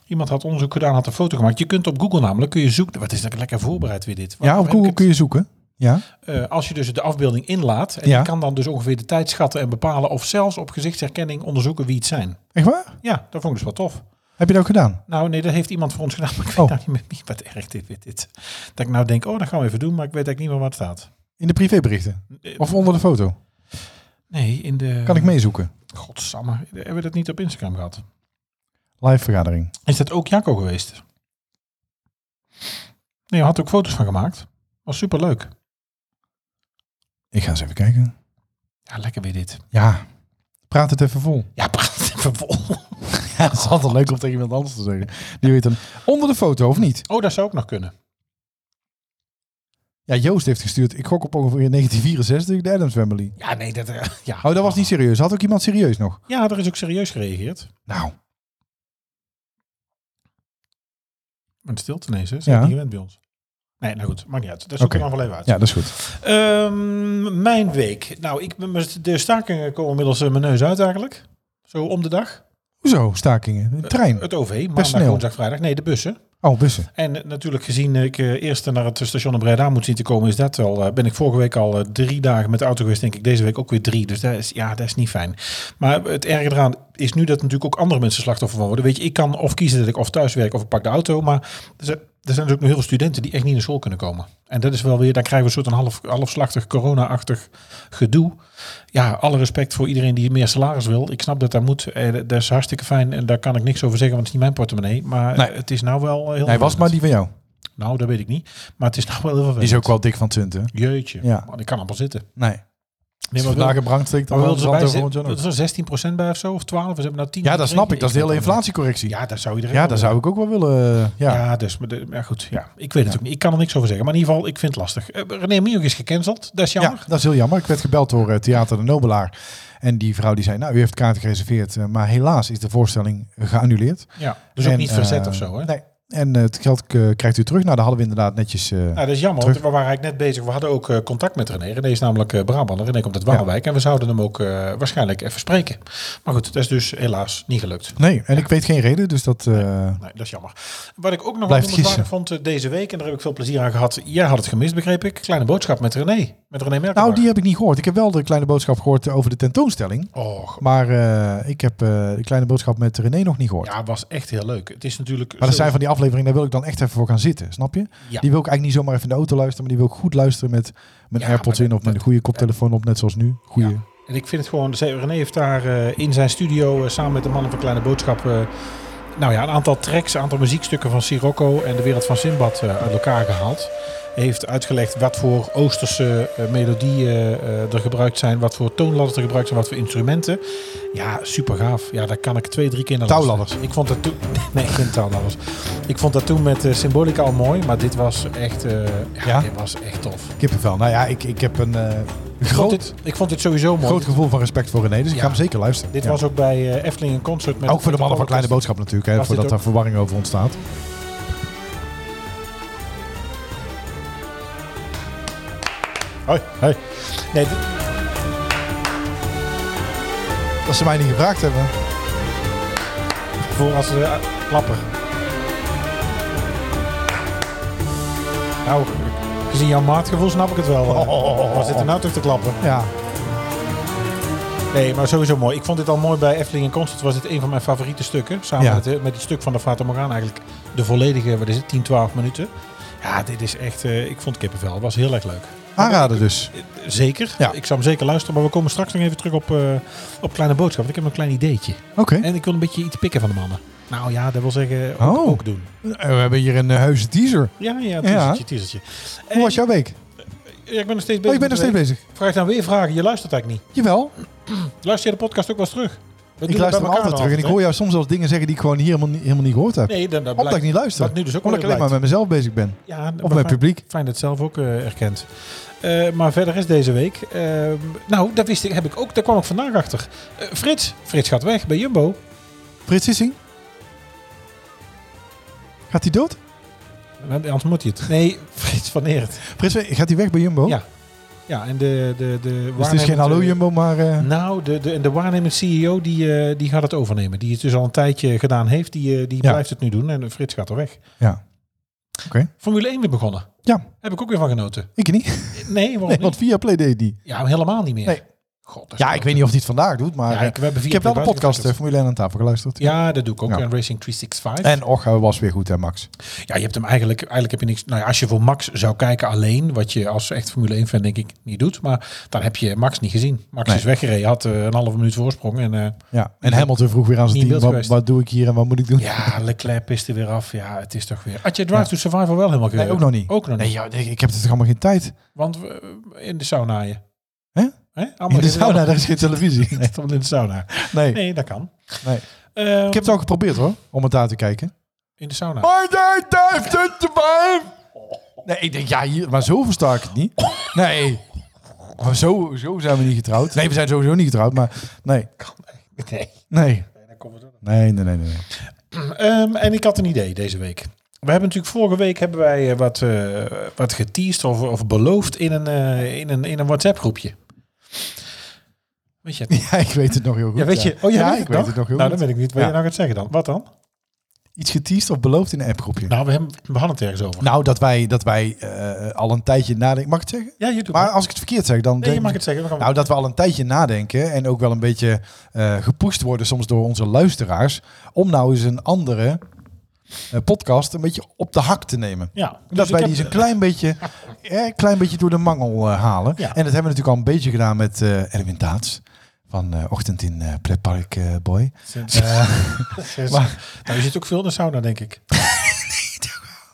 Speaker 3: Iemand had onderzoek gedaan, had een foto gemaakt. Je kunt op Google namelijk, kun je zoeken. Wat is dat lekker voorbereid weer dit?
Speaker 2: Ja, op
Speaker 3: Waar heb ik
Speaker 2: Google
Speaker 3: het?
Speaker 2: kun je zoeken. Ja.
Speaker 3: Eh, als je dus de afbeelding inlaat, en
Speaker 2: Ja.
Speaker 3: je kan dan dus ongeveer de tijd schatten en bepalen of zelfs op gezichtsherkenning onderzoeken wie het zijn.
Speaker 2: Echt waar?
Speaker 3: Ja, dat vond ik dus wel tof.
Speaker 2: Heb je dat ook gedaan?
Speaker 3: Nou, nee, dat heeft iemand voor ons gedaan. Maar ik weet
Speaker 2: Oh.
Speaker 3: nou niet meer wie- wat erg dit dit- dit. Dat ik nou denk, oh, dat gaan we even doen, maar ik weet eigenlijk niet meer wat staat.
Speaker 2: In de privéberichten?
Speaker 3: Eh,
Speaker 2: Of onder de foto?
Speaker 3: Nee, in de.
Speaker 2: Kan ik meezoeken?
Speaker 3: Godsamme, hebben we dat niet op Instagram gehad?
Speaker 2: Live vergadering.
Speaker 3: Is dat ook Jacco geweest? Nee, we had ook foto's van gemaakt. Was superleuk.
Speaker 2: Ik ga eens even kijken.
Speaker 3: Ja, lekker weer dit.
Speaker 2: Ja, praat het even vol.
Speaker 3: Ja, praat even vol.
Speaker 2: Ja, dat is altijd leuk om tegen iemand anders te zeggen. Die weet dan, onder de foto of niet?
Speaker 3: Oh, dat zou ook nog kunnen.
Speaker 2: Ja, Joost heeft gestuurd. Ik gok op ongeveer 1964 de Adams Family.
Speaker 3: Ja, nee, dat... eh, Ja.
Speaker 2: Oh, dat was niet serieus. Had ook iemand serieus nog?
Speaker 3: Ja, er is ook serieus gereageerd.
Speaker 2: Nou,
Speaker 3: Een stilte ineens, hè? Zijn
Speaker 2: Ja.
Speaker 3: niet gewend bij ons. Nee, nou goed, maakt niet uit. Dat zoek ik
Speaker 2: Oké.
Speaker 3: dan wel even uit.
Speaker 2: ja, dat is goed.
Speaker 3: Ehm, mijn week. Nou, ik, ben- de stakingen komen inmiddels eh, mijn neus uit eigenlijk. Zo om de dag.
Speaker 2: Hoezo, stakingen?
Speaker 3: Eh,
Speaker 2: De trein?
Speaker 3: Het OV, maandag,
Speaker 2: Personeel.
Speaker 3: woensdag, vrijdag. Nee, de bussen.
Speaker 2: Oh, bussen.
Speaker 3: En eh, natuurlijk gezien ik eh, eerst naar het station in Breda moet zien te komen, is dat wel. eh, ben ik vorige week al eh, drie dagen met de auto geweest, denk ik deze week ook weer drie. Dus dat is, ja, dat is niet fijn. Maar het erge eraan is nu dat natuurlijk ook andere mensen slachtoffer van worden. Weet je, ik kan of kiezen dat ik of thuis werk of ik pak de auto, maar er zijn, er zijn dus ook nog heel veel studenten die echt niet naar school kunnen komen. En dat is wel weer, dan krijgen we een soort een half, halfslachtig corona-achtig gedoe. Ja, alle respect voor iedereen die meer salaris wil. Ik snap dat dat moet. Eh, dat is hartstikke fijn en daar kan ik niks over zeggen, want het is niet mijn portemonnee. Maar
Speaker 2: Nee.
Speaker 3: eh, het is nou wel eh, heel
Speaker 2: Hij was
Speaker 3: vervelend.
Speaker 2: maar die van jou.
Speaker 3: Nou, dat weet ik niet. Maar het is nou wel heel
Speaker 2: Die
Speaker 3: vervelend.
Speaker 2: is ook wel dik van 20.
Speaker 3: Jeutje.
Speaker 2: Ja.
Speaker 3: Man, ik kan allemaal zitten.
Speaker 2: Nee.
Speaker 3: Nee, maar
Speaker 2: vandaag
Speaker 3: wel,
Speaker 2: een brandsteek dan
Speaker 3: maar
Speaker 2: wel
Speaker 3: wilden
Speaker 2: de
Speaker 3: ze
Speaker 2: zand
Speaker 3: bij,
Speaker 2: over
Speaker 3: ze- dat is er 16% bij of zo? Of 12? Ze hebben nou 10
Speaker 2: Ja, dat snap ik. Dat is de hele
Speaker 3: weet het niet.
Speaker 2: inflatiecorrectie. Ja,
Speaker 3: Ja, dat zou iedereen
Speaker 2: dat
Speaker 3: wel
Speaker 2: zou ik ook wel willen. eh, Ja.
Speaker 3: willen. Ja, dus, maar de- maar goed. Ja, ik weet het ook niet. Ik kan er niks over zeggen. Maar in ieder geval, ik vind het lastig. Eh, René Mioch is gecanceld. Dat is jammer.
Speaker 2: Ja, dat is heel jammer. Ik werd gebeld door eh, Theater de Nobelaar. En die vrouw die zei, nou, u heeft kaarten gereserveerd. eh, Maar helaas is de voorstelling geannuleerd.
Speaker 3: Ja. Dus ook
Speaker 2: En,
Speaker 3: niet verzet
Speaker 2: eh,
Speaker 3: of zo, hè?
Speaker 2: Nee. En eh, het geld eh, krijgt u terug. Nou, daar hadden we inderdaad netjes... eh,
Speaker 3: Nou, dat is jammer,
Speaker 2: Terug.
Speaker 3: want we waren eigenlijk net bezig. We hadden ook eh, contact met René. René is namelijk eh Brabander. René komt uit Waalwijk. En we zouden hem ook eh, waarschijnlijk even spreken. Maar goed, dat is dus helaas niet gelukt.
Speaker 2: Nee, en ik weet geen reden, dus dat... eh,
Speaker 3: Nee, dat is jammer. Wat ik ook nog wel
Speaker 2: Blijft
Speaker 3: noemenswaardig
Speaker 2: kiezen.
Speaker 3: vond eh, deze week, en daar heb ik veel plezier aan gehad. Jij had het gemist, begreep ik. Kleine boodschap met René. Met René Merkel.
Speaker 2: Nou, die heb ik niet gehoord. Ik heb wel de kleine boodschap gehoord eh, over de tentoonstelling.
Speaker 3: Och,
Speaker 2: Maar eh, ik heb eh, de kleine boodschap met René nog niet gehoord.
Speaker 3: ja, was echt heel leuk. Het is natuurlijk...
Speaker 2: Maar dat
Speaker 3: zo-
Speaker 2: zijn van die afleveringen, daar wil ik dan echt even voor gaan zitten, snap je?
Speaker 3: Ja.
Speaker 2: Die wil ik eigenlijk niet zomaar even in de auto luisteren, maar die wil ik goed luisteren met mijn
Speaker 3: Ja,
Speaker 2: AirPods
Speaker 3: maar
Speaker 2: in of met een goede koptelefoon op, net zoals nu. Goeie.
Speaker 3: Ja. En ik vind het gewoon... René heeft daar eh, in zijn studio eh, samen met de mannen van Kleine Boodschap... eh, nou ja, een aantal tracks, een aantal muziekstukken van Sirocco en de wereld van Simbad eh, uit elkaar gehaald. Hij heeft uitgelegd wat voor Oosterse eh, melodieën eh, er gebruikt zijn, wat voor toonladders er gebruikt zijn, wat voor instrumenten. Ja, super gaaf. Ja, daar kan ik twee, drie keer naar luisteren.
Speaker 2: Touwladders.
Speaker 3: Ik vond dat toen. Nee, geen touwladders. Ik vond dat toen met eh, Symbolica al mooi, maar dit was echt. eh, ja,
Speaker 2: Ja?
Speaker 3: dit was echt tof.
Speaker 2: Kippenvel. Nou ja, ik, ik heb een eh,
Speaker 3: Ik vond,
Speaker 2: groot,
Speaker 3: dit, ik vond dit sowieso mooi.
Speaker 2: groot gevoel van respect voor René, dus ik
Speaker 3: Ja.
Speaker 2: ga hem zeker luisteren.
Speaker 3: Dit
Speaker 2: Ja.
Speaker 3: was ook bij eh, Efteling een concert met.
Speaker 2: ook voor de mannen van Kleine Boodschap natuurlijk, hè,
Speaker 3: Was dit
Speaker 2: voordat daar verwarring over ontstaat.
Speaker 3: Hoi, hoi. Nee, dit-
Speaker 2: Dat ze mij niet gevraagd hebben.
Speaker 3: Voor als eh, klapper. Nou, gezien jouw maatgevoel snap ik het wel. eh.
Speaker 2: Oh.
Speaker 3: Wat zit er nou toch te klappen?
Speaker 2: Ja,
Speaker 3: Nee, maar sowieso mooi. Ik vond dit al mooi bij Efteling in Concert. Was dit een van mijn favoriete stukken. Samen
Speaker 2: Ja.
Speaker 3: met, eh, met het stuk van de Fata Morgana eigenlijk. De volledige, wat is het, 10, 12 minuten. Ja, dit is echt... eh, ik vond kippenvel. Was heel erg leuk.
Speaker 2: aanraden dus.
Speaker 3: Eh, Zeker.
Speaker 2: Ja.
Speaker 3: Ik zou hem zeker luisteren. Maar we komen straks nog even terug op, eh, op Kleine Boodschap. Want ik heb een klein ideetje.
Speaker 2: Oké.
Speaker 3: En ik wil een beetje iets pikken van de mannen. Nou ja, dat wil zeggen ook,
Speaker 2: Oh.
Speaker 3: ook doen.
Speaker 2: Eh, We hebben hier een eh, heuse teaser.
Speaker 3: Ja, ja,
Speaker 2: Ja.
Speaker 3: teasertje, teasertje. En-
Speaker 2: Hoe was jouw week?
Speaker 3: Ja, ik ben nog steeds bezig.
Speaker 2: Oh, je bent nog steeds bezig.
Speaker 3: bezig. Vraag dan weer vragen. Je luistert eigenlijk niet.
Speaker 2: Jawel,
Speaker 3: Luister je de podcast ook wel eens terug? We
Speaker 2: ik luister hem altijd terug. En ik hoor jou soms zelfs dingen zeggen die ik gewoon hier helemaal niet, helemaal niet gehoord heb.
Speaker 3: Nee, dan, dat
Speaker 2: Omdat ik
Speaker 3: blijkt.
Speaker 2: niet luister.
Speaker 3: Wat nu dus ook
Speaker 2: Omdat ik
Speaker 3: wel
Speaker 2: alleen maar met mezelf bezig ben.
Speaker 3: Ja, maar
Speaker 2: Of met
Speaker 3: fijn-
Speaker 2: publiek.
Speaker 3: Fijn dat het zelf ook eh, erkent. Eh, maar verder is deze week. ehm, nou, dat wist ik, heb ik ook. Daar kwam ik vandaag achter. Eh, Frits. Frits gaat weg bij Jumbo.
Speaker 2: Frits Sissing? Gaat hij dood?
Speaker 3: Nou, Anders moet hij het. Nee, Frits van Eert.
Speaker 2: Frits, gaat hij weg bij Jumbo?
Speaker 3: Ja. Ja, en de... de, de
Speaker 2: Dus het is geen
Speaker 3: waarnemend,
Speaker 2: hallo
Speaker 3: eh,
Speaker 2: Jumbo, maar... eh,
Speaker 3: Nou, de, de, de waarnemend CEO die, eh, die gaat het overnemen. Die het dus al een tijdje gedaan heeft. Die, eh, die
Speaker 2: Ja.
Speaker 3: blijft het nu doen. En Frits gaat er weg.
Speaker 2: Ja.
Speaker 3: Formule 1 weer begonnen.
Speaker 2: Ja.
Speaker 3: Heb ik ook weer van genoten.
Speaker 2: Ik niet.
Speaker 3: Nee, waarom
Speaker 2: Nee,
Speaker 3: niet?
Speaker 2: want via Play deed die.
Speaker 3: Ja, helemaal niet meer.
Speaker 2: Nee.
Speaker 3: God, dat is
Speaker 2: Ja, ik weet niet of hij het vandaag doet, maar...
Speaker 3: Ja,
Speaker 2: eh,
Speaker 3: ik, we hebben
Speaker 2: ik heb wel de podcast eh, Formule 1 aan tafel geluisterd.
Speaker 3: Ja, dat doe ik ook.
Speaker 2: Ja.
Speaker 3: En Racing 365.
Speaker 2: En Och hij was weer goed, hè Max?
Speaker 3: Ja, je hebt hem eigenlijk, eigenlijk heb je niks. Nou ja, als je voor Max zou kijken alleen, wat je als echt Formule 1 fan denk ik niet doet, maar dan heb je Max niet gezien. Max
Speaker 2: Nee.
Speaker 3: is weggereden, had eh, een halve minuut voorsprong en eh,
Speaker 2: Ja. En Hamilton vroeg weer aan
Speaker 3: Niet
Speaker 2: zijn
Speaker 3: in
Speaker 2: team, wat,
Speaker 3: beeld geweest.
Speaker 2: wat doe ik hier en wat moet ik doen?
Speaker 3: ja, Leclerc piste weer af. Ja, het is toch weer. Had je Drive to Survival wel helemaal gereden?
Speaker 2: Nee, ook nog niet.
Speaker 3: Ook nog
Speaker 2: Nee,
Speaker 3: niet.
Speaker 2: ja, nee, ik heb er toch allemaal geen tijd.
Speaker 3: Want we- eh, in de sauna je.
Speaker 2: Hè? In
Speaker 3: Allemaal
Speaker 2: de
Speaker 3: gereden.
Speaker 2: sauna, daar is geen televisie. Nee.
Speaker 3: Allemaal in de sauna.
Speaker 2: nee.
Speaker 3: Nee, dat kan.
Speaker 2: Nee.
Speaker 3: Ehm,
Speaker 2: Ik heb Oh, het al geprobeerd hoor, om het daar te kijken.
Speaker 3: In de sauna.
Speaker 2: Maar daar duift het erbij. Nee, ik denk, ja, hier, maar zo versta ik het niet. Nee. Maar zo, zo zijn we niet getrouwd. Nee, we zijn sowieso niet getrouwd, maar nee.
Speaker 3: Nee,
Speaker 2: Nee.
Speaker 3: daar komt het ook.
Speaker 2: Nee, nee, nee. nee.
Speaker 3: Ehm, en ik had een idee deze week. We hebben natuurlijk vorige week hebben wij eh, wat, eh, wat geteased of, of beloofd in een, eh, in een, in een WhatsApp groepje. Weet je het?
Speaker 2: Ja, ik weet het nog heel goed.
Speaker 3: Ja, weet je. Oh, jij
Speaker 2: ja,
Speaker 3: weet
Speaker 2: ik weet het nog heel
Speaker 3: Nou,
Speaker 2: goed.
Speaker 3: dan weet ik niet wat
Speaker 2: Ja.
Speaker 3: je nou gaat zeggen dan. Wat dan?
Speaker 2: Iets geteased of beloofd in een appgroepje. Nou,
Speaker 3: Nou, we, hebben, we hadden het ergens over.
Speaker 2: dat wij, dat wij eh, al een tijdje nadenken. Mag ik het zeggen?
Speaker 3: ja, je doet
Speaker 2: Maar
Speaker 3: het.
Speaker 2: als ik het verkeerd zeg, dan...
Speaker 3: Nee, je
Speaker 2: denk-
Speaker 3: mag het zeggen. we gaan-
Speaker 2: Nou, dat we al een tijdje nadenken en ook wel een beetje eh gepusht worden soms door onze luisteraars. Om nou eens een andere eh, podcast een beetje op de hak te nemen.
Speaker 3: ja, dus
Speaker 2: dat
Speaker 3: ik
Speaker 2: wij die
Speaker 3: heb-
Speaker 2: eens een klein beetje, eh, klein beetje door de mangel eh, halen.
Speaker 3: Ja.
Speaker 2: En dat hebben we natuurlijk al een beetje gedaan met eh, Erwin Taats. Van eh, Ochtend in eh Pretpark eh, Boy.
Speaker 3: Sinds- Eh, sinds- nou, je zit ook veel in de sauna, denk ik.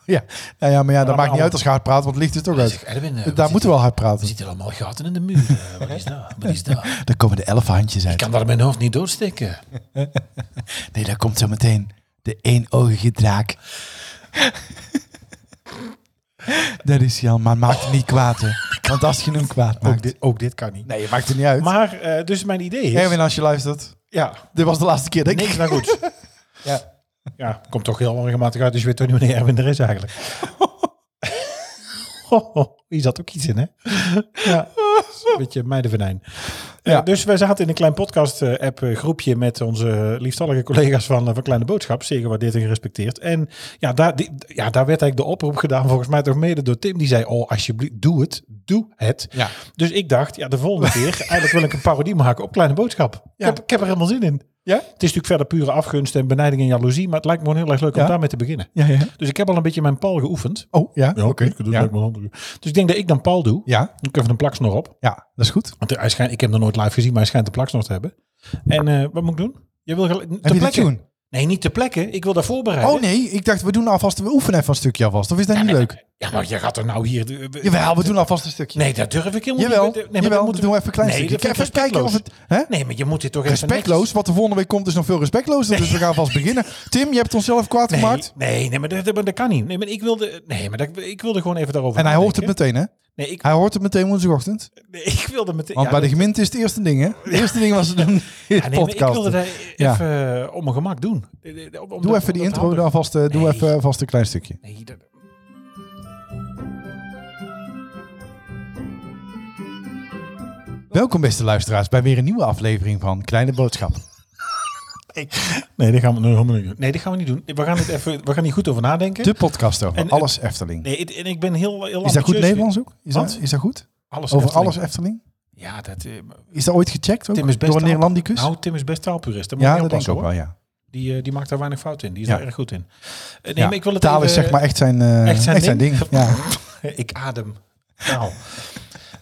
Speaker 2: Ja, nou ja maar ja, dat maakt
Speaker 3: Maar
Speaker 2: niet
Speaker 3: alle-
Speaker 2: uit als je hard praat, want het licht is toch
Speaker 3: dus eh,
Speaker 2: uit. Daar moeten we wel hard
Speaker 4: Er
Speaker 2: praten.
Speaker 4: eh, zitten allemaal gaten in de muur. Eh, Wat is dat? Wat is dat?
Speaker 2: Daar komen de elfhandjes
Speaker 4: Ik
Speaker 2: uit.
Speaker 4: kan daar mijn hoofd niet doorsteken.
Speaker 2: Nee, daar komt zo meteen de eenogige draak. dat is hij al, maar maakt het niet kwaad. hè. Want als je hem kwaad
Speaker 3: Ook
Speaker 2: maakt...
Speaker 3: dit, ook dit kan niet.
Speaker 2: Nee, je maakt het niet uit.
Speaker 3: Maar, eh, dus mijn idee is...
Speaker 2: Erwin, als je luistert,
Speaker 3: ja,
Speaker 2: dit was de laatste keer, denk ik.
Speaker 3: niks nou goed.
Speaker 2: Ja.
Speaker 3: ja, komt toch heel regelmatig uit, dus je weet toch niet wanneer Erwin er is eigenlijk. Hier zat ook iets in, hè? Ja, is een beetje meidenvenijn. Ja.
Speaker 2: Ja.
Speaker 3: dus wij zaten in een klein podcast-app-groepje met onze liefstallige collega's van, eh, van Kleine Boodschap. Zeer gewaardeerd en gerespecteerd. En ja daar, die- ja, daar werd eigenlijk de oproep gedaan, volgens mij toch mede door Tim. Die zei, oh, alsjeblieft, doe het. Doe het.
Speaker 2: Ja.
Speaker 3: Dus ik dacht, ja, de volgende keer, eigenlijk wil ik een parodie maken op Kleine Boodschap. Ik,
Speaker 2: Ja.
Speaker 3: heb, ik heb er helemaal zin in.
Speaker 2: Ja?
Speaker 3: Het is natuurlijk verder pure afgunst en benijding en jaloezie, maar het lijkt me gewoon heel erg leuk
Speaker 2: Ja.
Speaker 3: om daarmee te beginnen.
Speaker 2: Ja, ja.
Speaker 3: Dus ik heb al een beetje mijn Paul geoefend.
Speaker 2: Oh, ja, oké. ja.
Speaker 3: Dus ik denk dat ik dan Paul doe.
Speaker 2: ja,
Speaker 3: Doe ik even een plaksnor op.
Speaker 2: ja, dat is goed.
Speaker 3: Want hij schijnt, ik heb hem nog nooit live gezien, maar hij schijnt een plaksnor te hebben. En eh, wat moet ik doen? Je wil gelijk-
Speaker 2: Heb
Speaker 3: te
Speaker 2: je de
Speaker 3: plekken.
Speaker 2: tune?
Speaker 3: Nee, niet te plekken. Ik wil daar voorbereiden.
Speaker 2: Oh nee, ik dacht we doen alvast, we oefenen even een stukje alvast. Of is dat niet leuk?
Speaker 3: Ja, maar je gaat er nou hier...
Speaker 2: Jawel, we doen alvast een stukje.
Speaker 3: Nee, dat durf ik helemaal
Speaker 2: jawel,
Speaker 3: niet. Nee, maar
Speaker 2: jawel,
Speaker 3: dat
Speaker 2: dan
Speaker 3: moeten
Speaker 2: doen we even een klein
Speaker 3: Nee,
Speaker 2: stukje.
Speaker 3: dat vind
Speaker 2: Even
Speaker 3: ik
Speaker 2: kijken of het... Hè?
Speaker 3: Nee, maar je moet dit toch even
Speaker 2: Respectloos, wat er volgende week komt is nog veel respectlozer. Dus we gaan vast beginnen. Tim, je hebt onszelf kwaad
Speaker 3: Nee,
Speaker 2: gemaakt.
Speaker 3: nee, nee, maar dat, dat, dat kan niet. Nee, maar ik wilde, nee, maar dat, ik wilde gewoon even daarover
Speaker 2: En hij hoort het
Speaker 3: nadenken.
Speaker 2: meteen, hè?
Speaker 3: Nee, ik,
Speaker 2: Hij hoort het meteen woensdagochtend.
Speaker 3: nee, ik wilde meteen...
Speaker 2: Want
Speaker 3: ja,
Speaker 2: bij de gemeente is het eerste ding, hè? Het eerste ding was ze doen
Speaker 3: ja, nee, maar ik wilde
Speaker 2: podcast.
Speaker 3: dat
Speaker 2: Ja.
Speaker 3: even eh, op mijn gemak doen. Om- om- om
Speaker 2: Doe
Speaker 3: dat-
Speaker 2: even die
Speaker 3: om dat
Speaker 2: intro
Speaker 3: handig-
Speaker 2: dan vast, eh, doe
Speaker 3: Nee.
Speaker 2: even eh, vast een klein stukje.
Speaker 3: Nee, dat-
Speaker 2: Welkom beste luisteraars bij weer een nieuwe aflevering van Kleine Boodschap.
Speaker 3: nee, dat gaan we nu helemaal niet doen. Nee, dat gaan we niet doen. We gaan, het even, we gaan hier goed over nadenken.
Speaker 2: De podcast over
Speaker 3: En-
Speaker 2: alles Efteling.
Speaker 3: Nee, het- en ik ben heel, heel
Speaker 2: Is dat goed
Speaker 3: ambitieus.
Speaker 2: Nederlands ook? Is dat,
Speaker 3: Wat?
Speaker 2: is dat goed?
Speaker 3: Alles
Speaker 2: Over
Speaker 3: Efteling.
Speaker 2: alles Efteling?
Speaker 3: Ja, dat... eh,
Speaker 2: Is dat ooit gecheckt ook?
Speaker 3: Tim is best
Speaker 2: Door een
Speaker 3: taal-
Speaker 2: Nederlandicus?
Speaker 3: Nou, Tim is best taalpurist. Daar moet
Speaker 2: ja,
Speaker 3: je
Speaker 2: dat denk ik
Speaker 3: oppassen,
Speaker 2: ook wel, ja.
Speaker 3: hoor. Die, eh, die maakt daar weinig fout in. Die is
Speaker 2: Ja.
Speaker 3: daar erg goed in. Eh, nee,
Speaker 2: Ja.
Speaker 3: maar ik wil het
Speaker 2: Taal is
Speaker 3: even-
Speaker 2: zeg maar echt zijn, eh, echt zijn, ding. Ja.
Speaker 3: ik adem. Nou.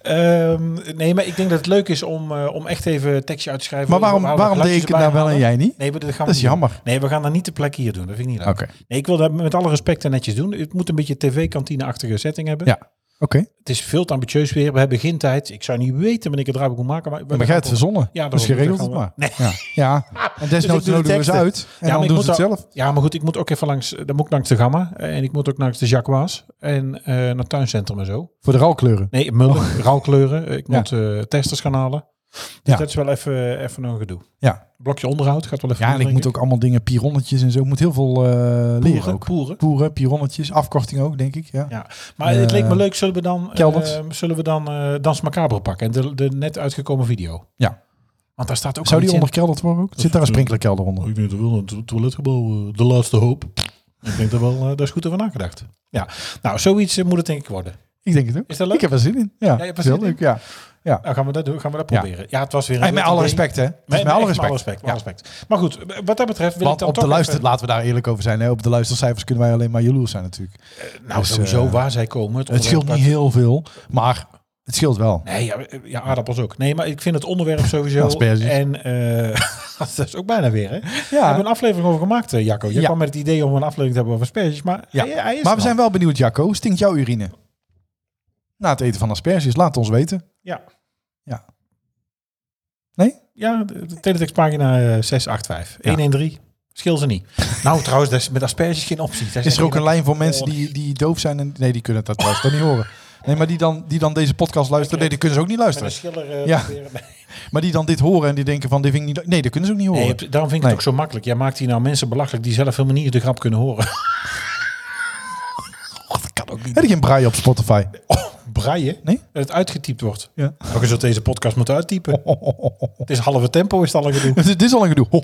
Speaker 3: Ehm, nee, maar ik denk dat het leuk is om, eh, om echt even een tekstje uit te schrijven.
Speaker 2: Maar waarom,
Speaker 3: Überhaupt
Speaker 2: waarom deed ik
Speaker 3: geluidjes
Speaker 2: het nou wel
Speaker 3: erbij
Speaker 2: en
Speaker 3: halen.
Speaker 2: jij niet?
Speaker 3: Nee, maar dat gaan we
Speaker 2: Dat is
Speaker 3: niet doen.
Speaker 2: jammer.
Speaker 3: Nee, we gaan dat niet de plek hier doen. Dat vind ik niet leuk.
Speaker 2: Oké,
Speaker 3: Nee, ik wil dat met alle respect en netjes doen. Het moet een beetje tv-kantine-achtige setting hebben.
Speaker 2: Ja. oké.
Speaker 3: Het is veel te ambitieus weer. We hebben geen tijd. Ik zou niet weten wanneer ik het draai moet maken. Maar,
Speaker 2: Maar jij hebt verzonnen.
Speaker 3: Ja,
Speaker 2: dus
Speaker 3: daarom.
Speaker 2: je regelt het
Speaker 3: Dat gaan
Speaker 2: maar. Ja. ja, en desnoods
Speaker 3: doe de
Speaker 2: nodigen we ze
Speaker 3: teksten.
Speaker 2: uit. En
Speaker 3: Ja, maar
Speaker 2: dan
Speaker 3: ik
Speaker 2: doen
Speaker 3: moet
Speaker 2: ze het
Speaker 3: wel-
Speaker 2: zelf.
Speaker 3: Ja, maar goed, ik moet ook even langs. Dan moet ik langs de Gamma. eh, En ik moet ook langs de Jacques en eh naar het tuincentrum en zo.
Speaker 2: Voor de ralkleuren.
Speaker 3: Nee, mullen, rauwkleuren. Ik
Speaker 2: Oh. Ja.
Speaker 3: moet eh, testers gaan halen. Dus
Speaker 2: Ja.
Speaker 3: dat is wel even, even een gedoe.
Speaker 2: Ja.
Speaker 3: Blokje onderhoud gaat wel even.
Speaker 2: Ja, en ik moet ook allemaal dingen, pironnetjes en zo. Ik moet heel veel eh, leren ook.
Speaker 3: Poeren.
Speaker 2: Poeren, pironnetjes, afkorting ook, denk ik. Ja.
Speaker 3: Ja. Maar het leek me
Speaker 2: Eh,
Speaker 3: leuk. Zullen we dan, eh,
Speaker 2: kelders.
Speaker 3: zullen we dan eh, Dans Macabre pakken? En de, de net uitgekomen video.
Speaker 2: Ja.
Speaker 3: Want daar staat ook
Speaker 2: Zou die
Speaker 3: al iets in.
Speaker 2: onderkelderd worden ook? Zit daar een sprinklerkelder onder? Oh,
Speaker 3: Ik denk dat wel een toiletgebouw,
Speaker 2: eh,
Speaker 3: de laatste hoop. Ik denk dat wel, daar is goed over nagedacht. Ja, nou, zoiets moet het denk ik worden.
Speaker 2: Ik denk het ook.
Speaker 3: Is dat leuk?
Speaker 2: Ik heb er zin in. Ja,
Speaker 3: je hebt
Speaker 2: is
Speaker 3: er
Speaker 2: heel
Speaker 3: zin in?
Speaker 2: leuk. Ja.
Speaker 3: Nou, gaan we dat doen? Gaan we dat
Speaker 2: Ja.
Speaker 3: proberen? Ja, het was weer een
Speaker 2: En met
Speaker 3: leuk
Speaker 2: alle
Speaker 3: idee.
Speaker 2: respect, hè? Het is
Speaker 3: Nee,
Speaker 2: met alle
Speaker 3: echt
Speaker 2: respect.
Speaker 3: Met alle respect, met
Speaker 2: Ja.
Speaker 3: alle respect. Maar goed, wat dat betreft wil ik
Speaker 2: Want
Speaker 3: dan
Speaker 2: op
Speaker 3: toch
Speaker 2: de luister,
Speaker 3: even-
Speaker 2: laten we daar eerlijk over zijn. Hè? Op de luistercijfers kunnen wij alleen maar jaloers zijn natuurlijk.
Speaker 3: Nou,
Speaker 2: Dus,
Speaker 3: sowieso
Speaker 2: eh,
Speaker 3: waar zij komen.
Speaker 2: Het scheelt niet
Speaker 3: onderwerp-
Speaker 2: heel veel, maar het scheelt wel.
Speaker 3: Nee, ja, eh, ja, aardappels ook. Nee, maar ik vind het onderwerp sowieso...
Speaker 2: Asperges.
Speaker 3: En eh, dat is ook bijna weer, hè? We hebben een aflevering over gemaakt, eh, Jacco. Je
Speaker 2: Ja.
Speaker 3: kwam met het idee om een aflevering te hebben over asperges, maar
Speaker 2: Ja.
Speaker 3: hij, hij is
Speaker 2: Maar
Speaker 3: er
Speaker 2: we
Speaker 3: al.
Speaker 2: zijn wel benieuwd, Jacco. Stinkt jouw urine? Na het eten van asperges, laat het ons weten.
Speaker 3: Ja.
Speaker 2: Ja. Nee?
Speaker 3: Ja, de, de Teletext pagina eh, 685.
Speaker 2: Ja.
Speaker 3: 113. Schil ze niet. Nou, trouwens, dat is met asperges geen optie. Daar
Speaker 2: Is
Speaker 3: zijn
Speaker 2: er ook een
Speaker 3: geen-
Speaker 2: lijn voor mensen
Speaker 3: Oh,
Speaker 2: die, die doof zijn en... Nee, die kunnen dat trouwens dan niet horen. Nee, maar die dan, die dan deze podcast luisteren. Nee, die kunnen ze ook niet
Speaker 3: Met een
Speaker 2: luisteren.
Speaker 3: schiller eh,
Speaker 2: Ja.
Speaker 3: proberen-
Speaker 2: Maar die dan dit horen en die denken van, dit vind ik niet... Nee, dat kunnen ze ook niet horen.
Speaker 3: Nee, het- daarom vind ik
Speaker 2: Nee.
Speaker 3: het ook zo makkelijk. Jij maakt hier nou mensen belachelijk die zelf helemaal niet de grap kunnen horen.
Speaker 2: dat kan ook niet. Heb je geen braai op Spotify?
Speaker 3: Braaien?
Speaker 2: Nee?
Speaker 3: Dat het uitgetypt wordt.
Speaker 2: Ja.
Speaker 3: Ook eens dat deze podcast moet uittypen. Het is halve tempo, is het al een gedoe.
Speaker 2: Dit is al een gedoe.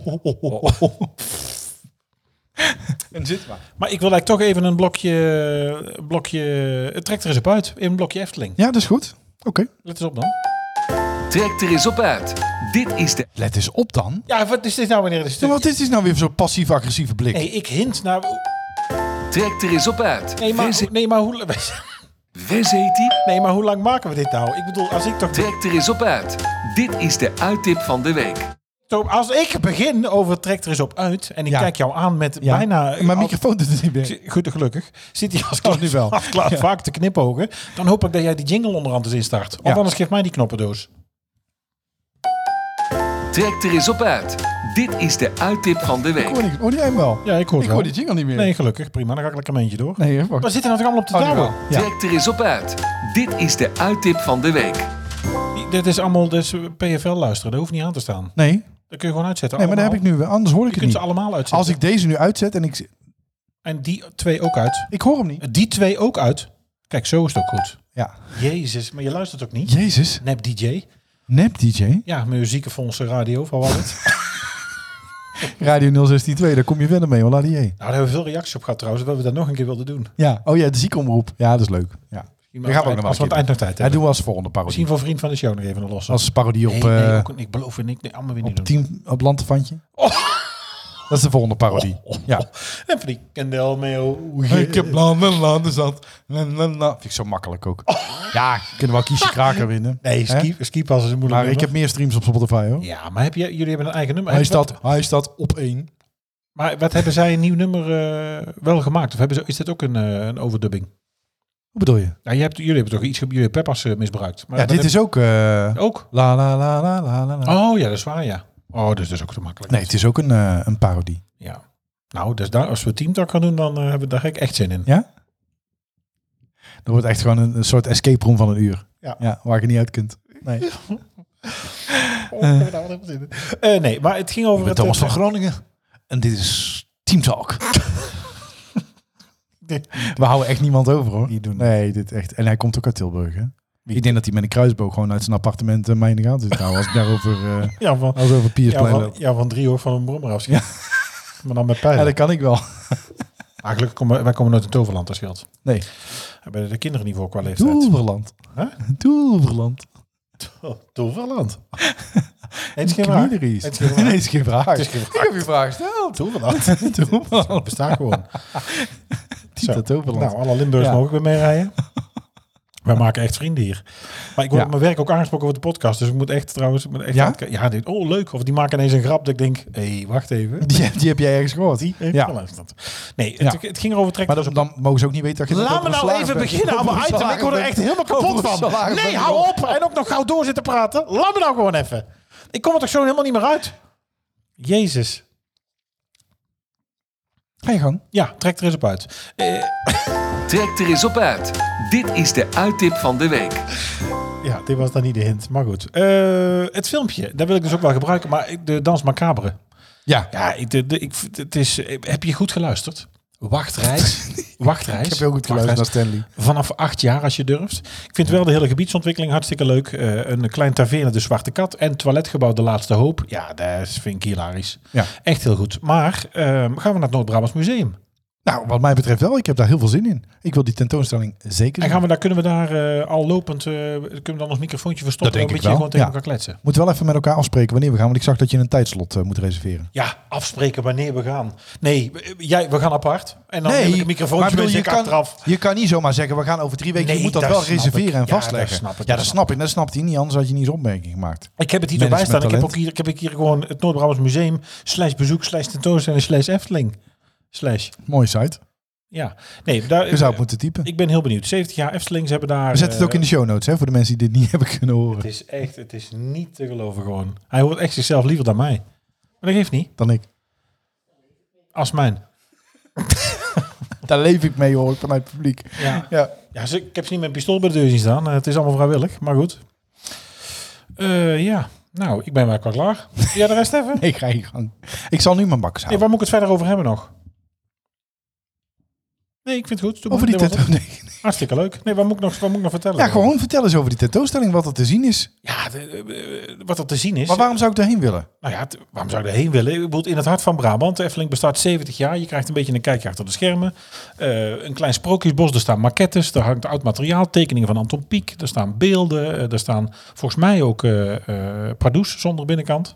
Speaker 2: En zit maar.
Speaker 3: Maar ik wil eigenlijk toch even een blokje... blokje het trekt er eens op uit. In een blokje Efteling.
Speaker 2: Ja, dat is goed. Oké.
Speaker 3: Let eens op dan.
Speaker 1: Trek er eens op uit. Dit is de
Speaker 2: Let eens op dan.
Speaker 3: Ja, wat is dit nou wanneer het is?
Speaker 2: Ja, wat is dit nou weer zo'n passief-agressieve blik?
Speaker 3: Nee, ik hint naar...
Speaker 1: Trek er eens op uit.
Speaker 3: Nee, maar,
Speaker 1: Waar
Speaker 3: hoe-
Speaker 1: zit-
Speaker 3: nee, maar hoe...
Speaker 1: waar zit die?
Speaker 3: Nee, maar hoe lang maken we dit nou? Ik bedoel, als ik toch...
Speaker 1: Trek er eens op uit. Dit is de uittip van de week.
Speaker 3: Toon, Als ik begin over trek er eens op uit... en ik
Speaker 2: Ja.
Speaker 3: kijk jou aan met
Speaker 2: Ja.
Speaker 3: bijna...
Speaker 2: Mijn microfoon doet het niet meer.
Speaker 3: Goed, gelukkig. Zit hij als
Speaker 2: Oh,
Speaker 3: Klaas,
Speaker 2: nu wel.
Speaker 3: als Klaas
Speaker 2: Ja.
Speaker 3: vaak te knipogen. Dan hoop ik dat jij die jingle onderhand eens instart. Want
Speaker 2: Ja.
Speaker 3: anders geef mij die knoppendoos.
Speaker 1: Trek er eens op uit. Dit is de uittip van de
Speaker 2: Ik
Speaker 1: week.
Speaker 2: hoor niks. Hoor jij hem wel?
Speaker 3: Ja, ik hoor
Speaker 2: Ik hoor die jingle niet meer.
Speaker 3: Nee, gelukkig. Prima, dan ga ik lekker een eentje door.
Speaker 2: Nee, hè, wacht.
Speaker 3: Wat zitten nou toch allemaal op de
Speaker 2: Oh, nu
Speaker 3: tafel?
Speaker 2: wel. Ja.
Speaker 1: Trek er eens op uit. Dit is de uittip van de week.
Speaker 3: Die- Dit is allemaal dus eh, PFL luisteren. Dat hoeft niet aan te staan.
Speaker 2: Nee,
Speaker 3: Dat kun je gewoon uitzetten.
Speaker 2: nee maar dat heb
Speaker 3: allemaal.
Speaker 2: ik nu. wel. Anders hoor ik
Speaker 3: Je
Speaker 2: het
Speaker 3: kunt ze
Speaker 2: niet.
Speaker 3: allemaal uitzetten.
Speaker 2: Als ik deze nu uitzet en ik...
Speaker 3: En die twee ook uit.
Speaker 2: Ik hoor hem niet.
Speaker 3: Die twee ook uit. Kijk, zo is het ook goed.
Speaker 2: Ja.
Speaker 3: Jezus, maar je luistert ook niet.
Speaker 2: Jezus.
Speaker 3: Nep DJ.
Speaker 2: Nep DJ.
Speaker 3: Ja, muziekenfondsen radio, van wat Nou, het.
Speaker 2: Radio 0162, daar kom je verder mee hoor, Ladier.
Speaker 3: nou, daar hebben we veel reacties op gehad trouwens. Dat we dat nog een keer wilden doen.
Speaker 2: Ja. Oh ja, de ziekenomroep. Ja, dat is leuk. Ja.
Speaker 3: Misschien
Speaker 2: gaan we ook nog wel
Speaker 3: Als we
Speaker 2: een keer
Speaker 3: aan het eind nog tijd
Speaker 2: Ja,
Speaker 3: hebben.
Speaker 2: doen we als volgende parodie.
Speaker 3: Misschien voor vriend van de show nog even een losse.
Speaker 2: Als parodie op,
Speaker 3: nee,
Speaker 2: eh
Speaker 3: nee, ook- ik beloof het niet. Nee, allemaal weer niet Oh.
Speaker 2: op,
Speaker 3: doen.
Speaker 2: team, op Lantefantje. Dat is de volgende parodie.
Speaker 3: Oh.
Speaker 2: Ja.
Speaker 3: En van die kandel mee. oh, yeah.
Speaker 2: Ik heb landen, landen zat. Na, na, na. Vind ik zo makkelijk ook. Ja, kunnen we wel kiesje kraker winnen.
Speaker 3: Oh. Nee,
Speaker 2: Hè?
Speaker 3: ski, skipas is een moeilijk
Speaker 2: Maar ik heb meer streams op Spotify hoor.
Speaker 3: Ja, maar heb je, jullie hebben een eigen nummer.
Speaker 2: Hij
Speaker 3: En wat-
Speaker 2: staat, hij staat op één.
Speaker 3: Maar wat hebben zij een nieuw nummer eh, wel gemaakt? Of hebben ze, is dit ook een, eh, een overdubbing?
Speaker 2: Wat bedoel je?
Speaker 3: Nou, je hebt, jullie hebben toch iets jullie hebben Peppas eh, misbruikt. Maar
Speaker 2: Ja,
Speaker 3: dat
Speaker 2: dit is ook... eh,
Speaker 3: hebben- ook.
Speaker 2: La la la la la la. la.
Speaker 3: Oh ja, dat is waar, ja. Oh, dus dat is ook te makkelijk.
Speaker 2: Nee, het is ook een, eh, een parodie.
Speaker 3: Ja. Nou, dus daar, als we teamtalk gaan doen, dan eh, hebben we daar gek echt zin in.
Speaker 2: Ja? Er wordt echt gewoon een, een soort escape room van een uur.
Speaker 3: Ja.
Speaker 2: waar je niet uit kunt. Nee.
Speaker 3: Oh, daar hebben we helemaal zin in. Eh, nee, maar het ging over...
Speaker 2: Ik ben Eh.
Speaker 3: het- eh,
Speaker 2: Thomas van Groningen. En dit is Team Talk. We houden echt niemand over hoor.
Speaker 3: Die doen
Speaker 2: Nee, dit echt. En hij komt ook uit Tilburg. Hè? Ik denk dat hij met een kruisboog gewoon uit zijn appartement eh, mij in de gaten zit. Nou, als ik daarover eh
Speaker 3: Ja, van,
Speaker 2: als over Piers
Speaker 3: ja,
Speaker 2: Plein
Speaker 3: van,
Speaker 2: loop.
Speaker 3: ja, van drie hoor, van een brommer afschieten. Maar dan met pijlen.
Speaker 2: Ja, dat kan ik wel.
Speaker 3: Maar gelukkig komen wij komen nooit in Toverland, dat scheelt.
Speaker 2: Nee.
Speaker 3: Daar ben de kinderen niet voor qua leeftijd.
Speaker 2: Toverland.
Speaker 3: Huh?
Speaker 2: Toverland.
Speaker 3: Oh, Toverland. Nee, het is geen waar. Het
Speaker 2: Knieries.
Speaker 3: is geen waar.
Speaker 2: Nee, is geen vraag.
Speaker 3: Het is geen
Speaker 2: Ik heb je vraag gesteld.
Speaker 3: Toverland.
Speaker 2: Toverland.
Speaker 3: Het bestaat gewoon. Zo.
Speaker 2: Dat Toverland.
Speaker 3: Nou, alle Limburgers
Speaker 2: Ja.
Speaker 3: mogen weer meerijden. Wij maken echt vrienden hier. Maar ik word
Speaker 2: Ja.
Speaker 3: op mijn werk ook aangesproken over de podcast. Dus ik moet echt trouwens... ik Moet echt
Speaker 2: Ja?
Speaker 3: aan het- ja dit, oh leuk. Of die maken ineens een grap dat ik denk... Hé, hey, wacht even.
Speaker 2: die, heb- die heb jij ergens gehoord.
Speaker 3: Even
Speaker 2: ja.
Speaker 3: geluisterd. Nee,
Speaker 2: Ja.
Speaker 3: het, het ging over trekken.
Speaker 2: Maar dan, dan mogen ze ook niet weten dat je... het
Speaker 3: Laat
Speaker 2: over
Speaker 3: me
Speaker 2: een
Speaker 3: nou
Speaker 2: salaris
Speaker 3: even
Speaker 2: bent.
Speaker 3: beginnen aan
Speaker 2: Over
Speaker 3: mijn
Speaker 2: een
Speaker 3: item. Ik word er
Speaker 2: salaris
Speaker 3: echt helemaal kapot
Speaker 2: Over een
Speaker 3: van.
Speaker 2: salaris
Speaker 3: Nee,
Speaker 2: bent.
Speaker 3: hou op. En ook nog gauw door zitten praten. Laat me nou gewoon even. Ik kom er toch zo helemaal niet meer uit. Jezus.
Speaker 2: Ga je gang.
Speaker 3: Ja, trek er eens op uit. Eh,
Speaker 1: Trek er eens op uit. Dit is de uittip van de week.
Speaker 3: ja, dit was dan niet de hint, maar goed. Eh, het filmpje, dat wil ik dus ook wel gebruiken. Maar ik- de Dans Macabre.
Speaker 2: Ja.
Speaker 3: Ja, ik, de, de- ik, het is, eh, heb je goed geluisterd? Wachtreis. Wachtreis.
Speaker 2: Ik heb heel goed geluisterd naar Stanley.
Speaker 3: Vanaf acht jaar als je durft. Ik vind wel de hele gebiedsontwikkeling hartstikke leuk. Eh, een klein taverne, de Zwarte Kat. En toiletgebouw De Laatste Hoop. Ja, dat is- vind ik hilarisch.
Speaker 2: Ja.
Speaker 3: Echt heel goed. Maar ehm, gaan we naar het Noord-Brabants Museum.
Speaker 2: Nou, wat mij betreft wel. Ik heb daar heel veel zin in. Ik wil die tentoonstelling zeker
Speaker 3: En
Speaker 2: zien.
Speaker 3: gaan we daar, kunnen we daar eh, al lopend, eh, kunnen we dan ons microfoontje verstoppen?
Speaker 2: Dat
Speaker 3: en
Speaker 2: denk
Speaker 3: een
Speaker 2: ik
Speaker 3: beetje
Speaker 2: wel,
Speaker 3: gewoon
Speaker 2: ja.
Speaker 3: tegen elkaar kletsen.
Speaker 2: Moeten we wel even met elkaar afspreken wanneer we gaan. Want ik zag dat je een tijdslot eh, moet reserveren.
Speaker 3: Ja, afspreken wanneer we gaan. Nee, w- jij, we gaan apart. En dan heb ik een microfoontje
Speaker 2: bedoel,
Speaker 3: met
Speaker 2: je,
Speaker 3: je
Speaker 2: kan,
Speaker 3: achteraf.
Speaker 2: je kan niet zomaar zeggen, we gaan over drie weken.
Speaker 3: Nee,
Speaker 2: je moet dat,
Speaker 3: dat
Speaker 2: wel
Speaker 3: snap
Speaker 2: reserveren
Speaker 3: ik.
Speaker 2: en
Speaker 3: Ja,
Speaker 2: vastleggen.
Speaker 3: dat snap ik.
Speaker 2: Ja, dat snap ik. Dat snapt hij niet, anders had je niet eens opmerking gemaakt.
Speaker 3: Ik heb het hier zo bij staan. Ik heb, ook hier, ik heb ook hier gewoon het Noord-Brabants Museum. Slash bezoek, slash tentoonstelling, slash Efteling. Slash.
Speaker 2: Mooie site.
Speaker 3: Ja, nee, daar,
Speaker 2: Je zou het moeten typen.
Speaker 3: Eh, ik ben heel benieuwd. 70 jaar Efteling, ze hebben daar... eh,
Speaker 2: We zetten het ook in de show notes, hè, voor de mensen die dit niet hebben kunnen
Speaker 3: Het
Speaker 2: horen.
Speaker 3: is echt, het is niet te geloven gewoon. Hij hoort echt zichzelf liever dan mij. Maar dat geeft niet.
Speaker 2: Dan ik.
Speaker 3: als mijn.
Speaker 2: Daar leef ik mee hoor, vanuit het publiek.
Speaker 3: Ja.
Speaker 2: Ja.
Speaker 3: Ja, ze- ik heb ze niet met een pistool bij de deur zien staan. Eh, het is allemaal vrijwillig, maar goed. Eh, ja, nou, ik ben maar qua klaar. Ja, de rest even.
Speaker 2: Ik ga je gang. Ik zal nu mijn bak
Speaker 3: Nee,
Speaker 2: houden.
Speaker 3: waar moet ik het verder over hebben nog? Nee, ik vind het goed. Doe maar.
Speaker 2: over die
Speaker 3: Dit was het.
Speaker 2: tentoonstelling.
Speaker 3: Hartstikke leuk. Nee, waar moet ik nog, waar moet ik nog vertellen?
Speaker 2: Ja, gewoon vertel eens over die tentoonstelling, wat er te zien is.
Speaker 3: Ja, de- eh, wat er te zien is.
Speaker 2: Maar waarom zou ik daarheen willen?
Speaker 3: Nou ja, het- waarom zou je daarheen willen? Ik bedoel, in het hart van Brabant. De Efteling bestaat 70 jaar. Je krijgt een beetje een kijkje achter de schermen. Eh, een klein sprookjesbos. Er staan maquettes. Er hangt oud materiaal. Tekeningen van Anton Pieck. Er staan beelden. eh, er staan volgens mij ook eh eh, Pardoes zonder binnenkant.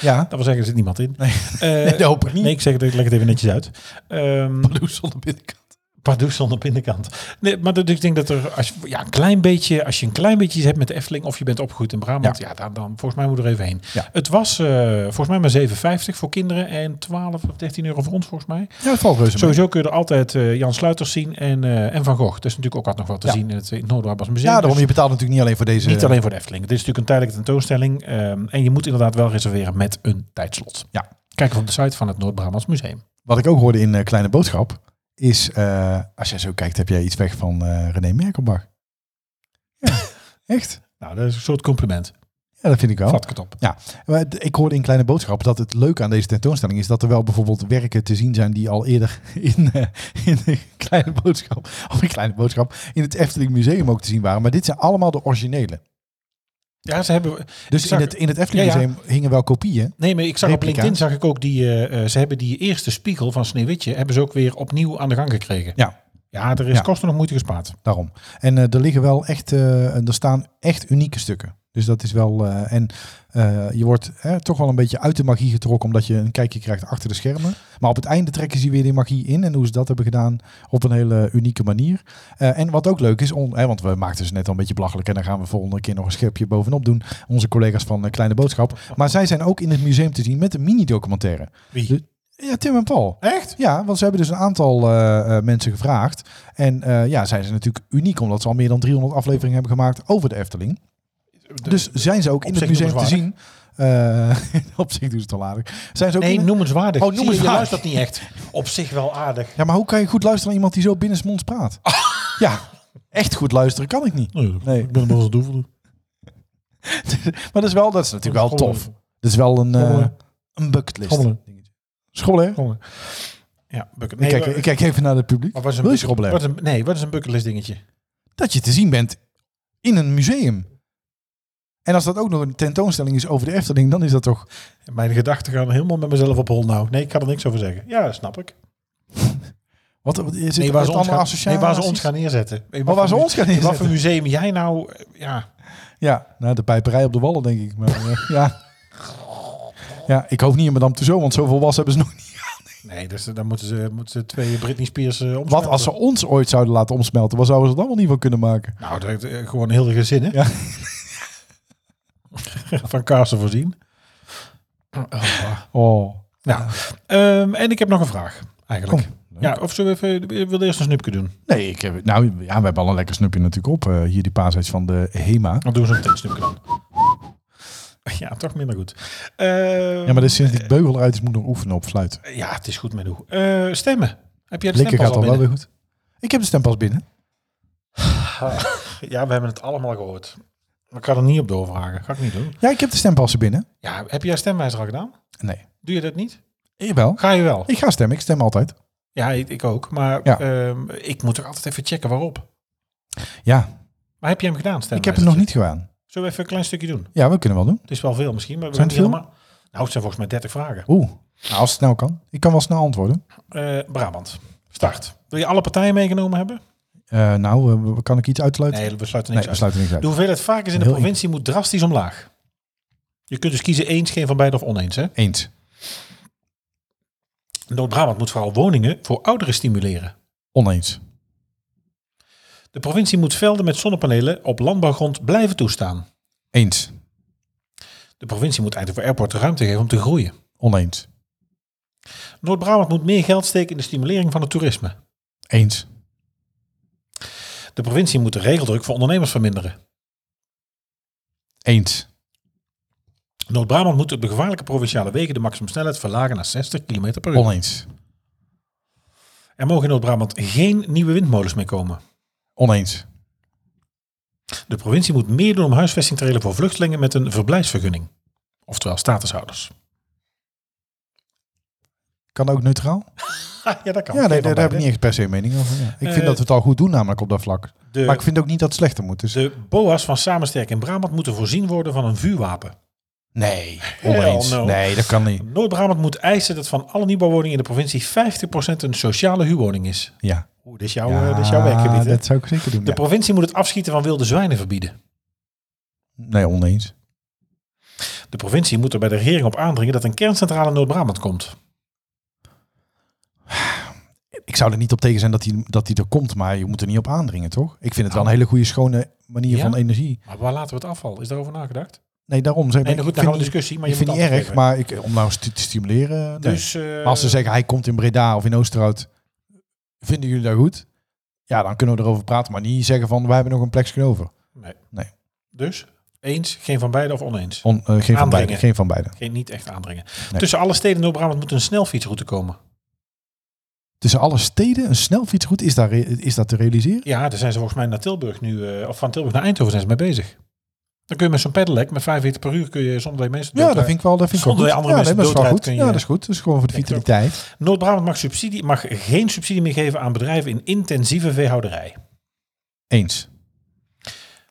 Speaker 2: Ja,
Speaker 3: Dat wil zeggen, er zit niemand in. Nee,
Speaker 2: nee, dat hoop ik niet.
Speaker 3: nee ik zeg het, ik leg het even netjes uit. Ehm
Speaker 2: Pardoes zonder binnenkant.
Speaker 3: Pardoes zonder binnenkant. Nee, maar dat- dus ik denk dat er, als, je- ja, een klein beetje, als je een klein beetje iets hebt met de Efteling of je bent opgegroeid in Brabant, ja, dan, dan volgens mij moet er even heen.
Speaker 2: Ja.
Speaker 3: Het was eh, volgens mij maar 7,50 voor kinderen en 12 of 13 euro voor ons volgens mij.
Speaker 2: Ja, het valt reuze mee.
Speaker 3: Sowieso kun je er altijd eh, Jan Sluiters zien en, eh, en Van Gogh. Dat is natuurlijk ook wat nog wat te
Speaker 2: Ja.
Speaker 3: zien in het, in het Noord-Brabants Museum.
Speaker 2: Ja,
Speaker 3: eh, Dus-
Speaker 2: daarom, je betaalt natuurlijk niet alleen voor deze...
Speaker 3: niet alleen voor de Efteling. Dit is natuurlijk een tijdelijke tentoonstelling. ehm, en je moet inderdaad wel reserveren met een tijdslot.
Speaker 2: Ja.
Speaker 3: Kijk even op de site van het Noord-Brabants Museum.
Speaker 2: Wat ik ook hoorde in eh, Kleine Boodschap, is eh, als jij zo kijkt, heb jij iets weg van eh, René Merkelbach. Ja, echt.
Speaker 3: Nou, dat is een soort compliment.
Speaker 2: Ja, dat vind ik wel.
Speaker 3: Vat ik het op.
Speaker 2: Maar d- Ik hoorde in Kleine Boodschap dat het leuke aan deze tentoonstelling is dat er wel bijvoorbeeld werken te zien zijn die al eerder in, eh, in de Kleine Boodschap, of in Kleine Boodschap, in het Efteling Museum ook te zien waren. Maar dit zijn allemaal de originele.
Speaker 3: Ja, ze hebben,
Speaker 2: Dus
Speaker 3: Ik zag-
Speaker 2: in het, in het Efteling
Speaker 3: Ja, ja.
Speaker 2: Museum hingen wel kopieën.
Speaker 3: Nee, maar ik zag op
Speaker 2: Replica.
Speaker 3: LinkedIn zag ik ook die. eh, eh, ze hebben die eerste spiegel van Sneeuwwitje hebben ze ook weer opnieuw aan de gang gekregen.
Speaker 2: Ja.
Speaker 3: Ja, er is
Speaker 2: Ja.
Speaker 3: kosten nog moeite gespaard.
Speaker 2: Daarom. En eh, er liggen wel echt, eh, er staan echt unieke stukken. Dus dat is wel. eh, en eh, je wordt eh, toch wel een beetje uit de magie getrokken, omdat je een kijkje krijgt achter de schermen. Maar op het einde trekken ze weer die magie in en hoe ze dat hebben gedaan op een hele unieke manier. Eh, en wat ook leuk is, on, hè, want we maakten ze net al een beetje belachelijk en dan gaan we volgende keer nog een schepje bovenop doen. Onze collega's van eh, Kleine Boodschap. Maar zij zijn ook in het museum te zien met een mini-documentaire.
Speaker 3: Wie?
Speaker 2: Dus- Ja, Tim en Paul.
Speaker 3: Echt?
Speaker 2: Ja, want ze hebben dus een aantal eh, eh, mensen gevraagd. En eh, ja, zijn ze natuurlijk uniek, omdat ze al meer dan 300 afleveringen hebben gemaakt over de Efteling. dus zijn ze ook in
Speaker 3: op
Speaker 2: het
Speaker 3: zich
Speaker 2: museum te zien. Eh, op zich doen ze het al aardig. Zijn ze ook
Speaker 3: Nee,
Speaker 2: in-
Speaker 3: noemenswaardig.
Speaker 2: Oh,
Speaker 3: Zie je,
Speaker 2: noemenswaardig.
Speaker 3: Je luistert niet echt. Op zich wel aardig.
Speaker 2: Ja, maar hoe kan je goed luisteren naar iemand die zo binnensmonds praat? ja, echt goed luisteren kan ik niet. Nee.
Speaker 3: Ik ben er wel eens doevel.
Speaker 2: maar dat is wel, dat is natuurlijk wel tof. Dat is wel een, eh
Speaker 3: Schommelen.
Speaker 2: een bucketlist.
Speaker 3: Schommelen.
Speaker 2: Schommelen, hè?
Speaker 3: Ja, bucket.
Speaker 2: ik, kijk,
Speaker 3: wa-
Speaker 2: ik kijk even naar het publiek.
Speaker 3: maar wat is een
Speaker 2: Wil je
Speaker 3: bucket-
Speaker 2: schommelen?
Speaker 3: wat is een- Nee, wat is een bucketlist dingetje?
Speaker 2: dat je te zien bent in een museum. En als dat ook nog een tentoonstelling is over de Efteling, dan is dat toch...
Speaker 3: Mijn gedachten gaan helemaal met mezelf op hol nou. Nee, ik kan er niks over zeggen. Ja, dat snap ik.
Speaker 2: Wat, wat is het
Speaker 3: Nee, waar ze, ons
Speaker 2: allemaal
Speaker 3: gaan,
Speaker 2: associaties?
Speaker 3: nee, waar ze ons gaan neerzetten. Nee,
Speaker 2: Oh,
Speaker 3: wat
Speaker 2: waar ze
Speaker 3: voor mu-
Speaker 2: ons gaan
Speaker 3: Wat voor
Speaker 2: inzetten.
Speaker 3: museum jij nou... eh, Ja,
Speaker 2: Ja, nou, de pijperij op de wallen, denk ik. Maar, eh, ja. ja, ik hoop niet in Madame Tussauds, want zoveel was hebben ze nog niet.
Speaker 3: Nee, dus dan moeten ze, moeten ze twee Britney Spears eh omsmelten.
Speaker 2: Wat als ze ons ooit zouden laten omsmelten? Waar zouden ze het allemaal niet van kunnen maken?
Speaker 3: Nou, dat, eh, gewoon heel de gezinnen.
Speaker 2: Ja.
Speaker 3: Van kaarsen voorzien.
Speaker 2: Oh,
Speaker 3: Nou, ehm, en ik heb nog een vraag, eigenlijk.
Speaker 2: Kom.
Speaker 3: Ja, of zullen we even... We willen eerst een snipje doen.
Speaker 2: Nee, ik heb, nou, ja, we hebben al een lekker snupje natuurlijk op. eh, hier die paasheids van de HEMA.
Speaker 3: Dan doen we zo'n meteen een snipje dan. Ja, toch minder goed. Ehm,
Speaker 2: Ja, maar dus sinds
Speaker 3: Eh.
Speaker 2: die beugel eruit is, moet ik nog oefenen op fluiten.
Speaker 3: ja, het is goed met hoe. Eh, stemmen. Heb jij de
Speaker 2: Likker
Speaker 3: stempas
Speaker 2: gaat
Speaker 3: al
Speaker 2: al wel weer
Speaker 3: binnen?
Speaker 2: goed. Ik heb de stempas binnen.
Speaker 3: Ja, we hebben het allemaal gehoord. Maar ik ga er niet op doorvragen. Ga ik niet doen.
Speaker 2: Ja, ik heb de stempassen binnen.
Speaker 3: Ja, heb jij stemwijzer al gedaan?
Speaker 2: Nee.
Speaker 3: Doe je dat niet?
Speaker 2: Jawel.
Speaker 3: Ga je wel?
Speaker 2: Ik ga stemmen. Ik stem altijd.
Speaker 3: Ja, ik, ik ook. Maar
Speaker 2: Ja.
Speaker 3: ehm, ik moet er altijd even checken waarop.
Speaker 2: Ja,
Speaker 3: Maar heb je hem gedaan, Stan?
Speaker 2: ik heb het nog niet gedaan.
Speaker 3: Zullen we even een klein stukje doen?
Speaker 2: Ja, we kunnen wel doen.
Speaker 3: Het is wel veel misschien, maar we
Speaker 2: Zijn
Speaker 3: doen
Speaker 2: het
Speaker 3: niet helemaal... Nou, het zijn volgens mij 30 vragen.
Speaker 2: Oeh, nou, als het snel kan. Ik kan wel snel antwoorden.
Speaker 3: Eh, Brabant, start. Wil je alle partijen meegenomen hebben?
Speaker 2: Eh, nou, eh, kan ik iets uitsluiten?
Speaker 3: Nee, we sluiten niks
Speaker 2: Nee, we
Speaker 3: uit.
Speaker 2: sluiten niks uit.
Speaker 3: De hoeveelheid varkens in de
Speaker 2: Heel
Speaker 3: provincie moet drastisch omlaag. Je kunt dus kiezen eens, geen van beide of oneens. hè?
Speaker 2: Eens.
Speaker 3: Noord-Brabant moet vooral woningen voor ouderen stimuleren.
Speaker 2: Oneens.
Speaker 3: De provincie moet velden met zonnepanelen op landbouwgrond blijven toestaan.
Speaker 2: Eens.
Speaker 3: De provincie moet Eindhoven Airport de ruimte geven om te groeien.
Speaker 2: Oneens.
Speaker 3: Noord-Brabant moet meer geld steken in de stimulering van het toerisme.
Speaker 2: Eens.
Speaker 3: De provincie moet de regeldruk voor ondernemers verminderen.
Speaker 2: Eens.
Speaker 3: Noord-Brabant moet op de gevaarlijke provinciale wegen de maximumsnelheid verlagen naar 60 km per uur.
Speaker 2: Oneens.
Speaker 3: Er mogen in Noord-Brabant geen nieuwe windmolens meer komen.
Speaker 2: Oneens.
Speaker 3: De provincie moet meer doen om huisvesting te regelen voor vluchtelingen met een verblijfsvergunning. Oftewel statushouders.
Speaker 2: Kan ook neutraal?
Speaker 3: Ah, ja, dat kan.
Speaker 2: ja, nee, daar, daar heb ik niet echt per se een mening over. Ja. Ik vind
Speaker 3: Eh,
Speaker 2: dat we het al goed doen namelijk op dat vlak.
Speaker 3: de,
Speaker 2: maar ik vind ook niet dat het slechter moet. Dus
Speaker 3: de BOA's van Samensterk in Brabant moeten voorzien worden van een vuurwapen.
Speaker 2: nee, oneens.
Speaker 3: no.
Speaker 2: Nee, dat kan niet.
Speaker 3: Noord-Brabant moet eisen dat van alle nieuwbouwwoningen in de provincie 50% een sociale huurwoning is.
Speaker 2: Ja,
Speaker 3: Oeh, dit is jouw,
Speaker 2: ja
Speaker 3: eh, dit is jouw werkgebied. hè?
Speaker 2: dat zou ik zeker doen.
Speaker 3: De
Speaker 2: ja.
Speaker 3: provincie moet het afschieten van wilde zwijnen verbieden.
Speaker 2: Nee, oneens.
Speaker 3: De provincie moet er bij de regering op aandringen dat een kerncentrale in Noord-Brabant komt.
Speaker 2: Ik zou er niet op tegen zijn dat die, dat die er komt, maar je moet er niet op aandringen, toch? Ik vind het wel een hele goede, schone manier
Speaker 3: Nou. Ja?
Speaker 2: van energie.
Speaker 3: Maar waar laten we het afval? Is daarover nagedacht?
Speaker 2: Nee, daarom. Zeg, maar,
Speaker 3: Nee, nou
Speaker 2: ik
Speaker 3: goed, daar
Speaker 2: vind
Speaker 3: gaan
Speaker 2: die-
Speaker 3: we discussie. Maar
Speaker 2: ik
Speaker 3: je
Speaker 2: vind
Speaker 3: moet
Speaker 2: niet erg,
Speaker 3: antwoord geven.
Speaker 2: maar ik, om nou st- te stimuleren. Dus,
Speaker 3: Dus, eh,
Speaker 2: maar als ze zeggen, hij komt in Breda of in Oosterhout, vinden jullie dat goed? Ja, dan kunnen we erover praten, maar niet zeggen van, wij hebben nog een plekje over.
Speaker 3: dus eens, geen van beide of oneens.
Speaker 2: On, eh, geen, van beide,
Speaker 3: Aandringen.
Speaker 2: geen van beide.
Speaker 3: Geen, niet echt aandringen.
Speaker 2: Nee.
Speaker 3: Tussen alle steden in Noord-Brabant moet een snelfietsroute komen.
Speaker 2: Tussen alle steden, een snelfietsroute, is, daar, re- is dat te realiseren?
Speaker 3: Ja, daar zijn ze volgens mij naar Tilburg nu, eh, of van Tilburg naar Eindhoven zijn ze mee bezig. Dan kun je met zo'n pedelec met 45 per uur kun je zonder dat je mensen
Speaker 2: Ja,
Speaker 3: doodrijdt.
Speaker 2: dat vind ik wel, dat vind ik wel
Speaker 3: Zonder
Speaker 2: goed.
Speaker 3: dat je andere
Speaker 2: ja,
Speaker 3: mensen
Speaker 2: dat is wel
Speaker 3: doodrijdt,
Speaker 2: goed.
Speaker 3: kun je-
Speaker 2: Ja, dat is goed. Dat is gewoon voor de
Speaker 3: eh. Ja, toch.
Speaker 2: vitaliteit.
Speaker 3: eh, Noord-Brabant mag, subsidie, mag geen subsidie meer geven aan bedrijven in intensieve veehouderij.
Speaker 2: Eens.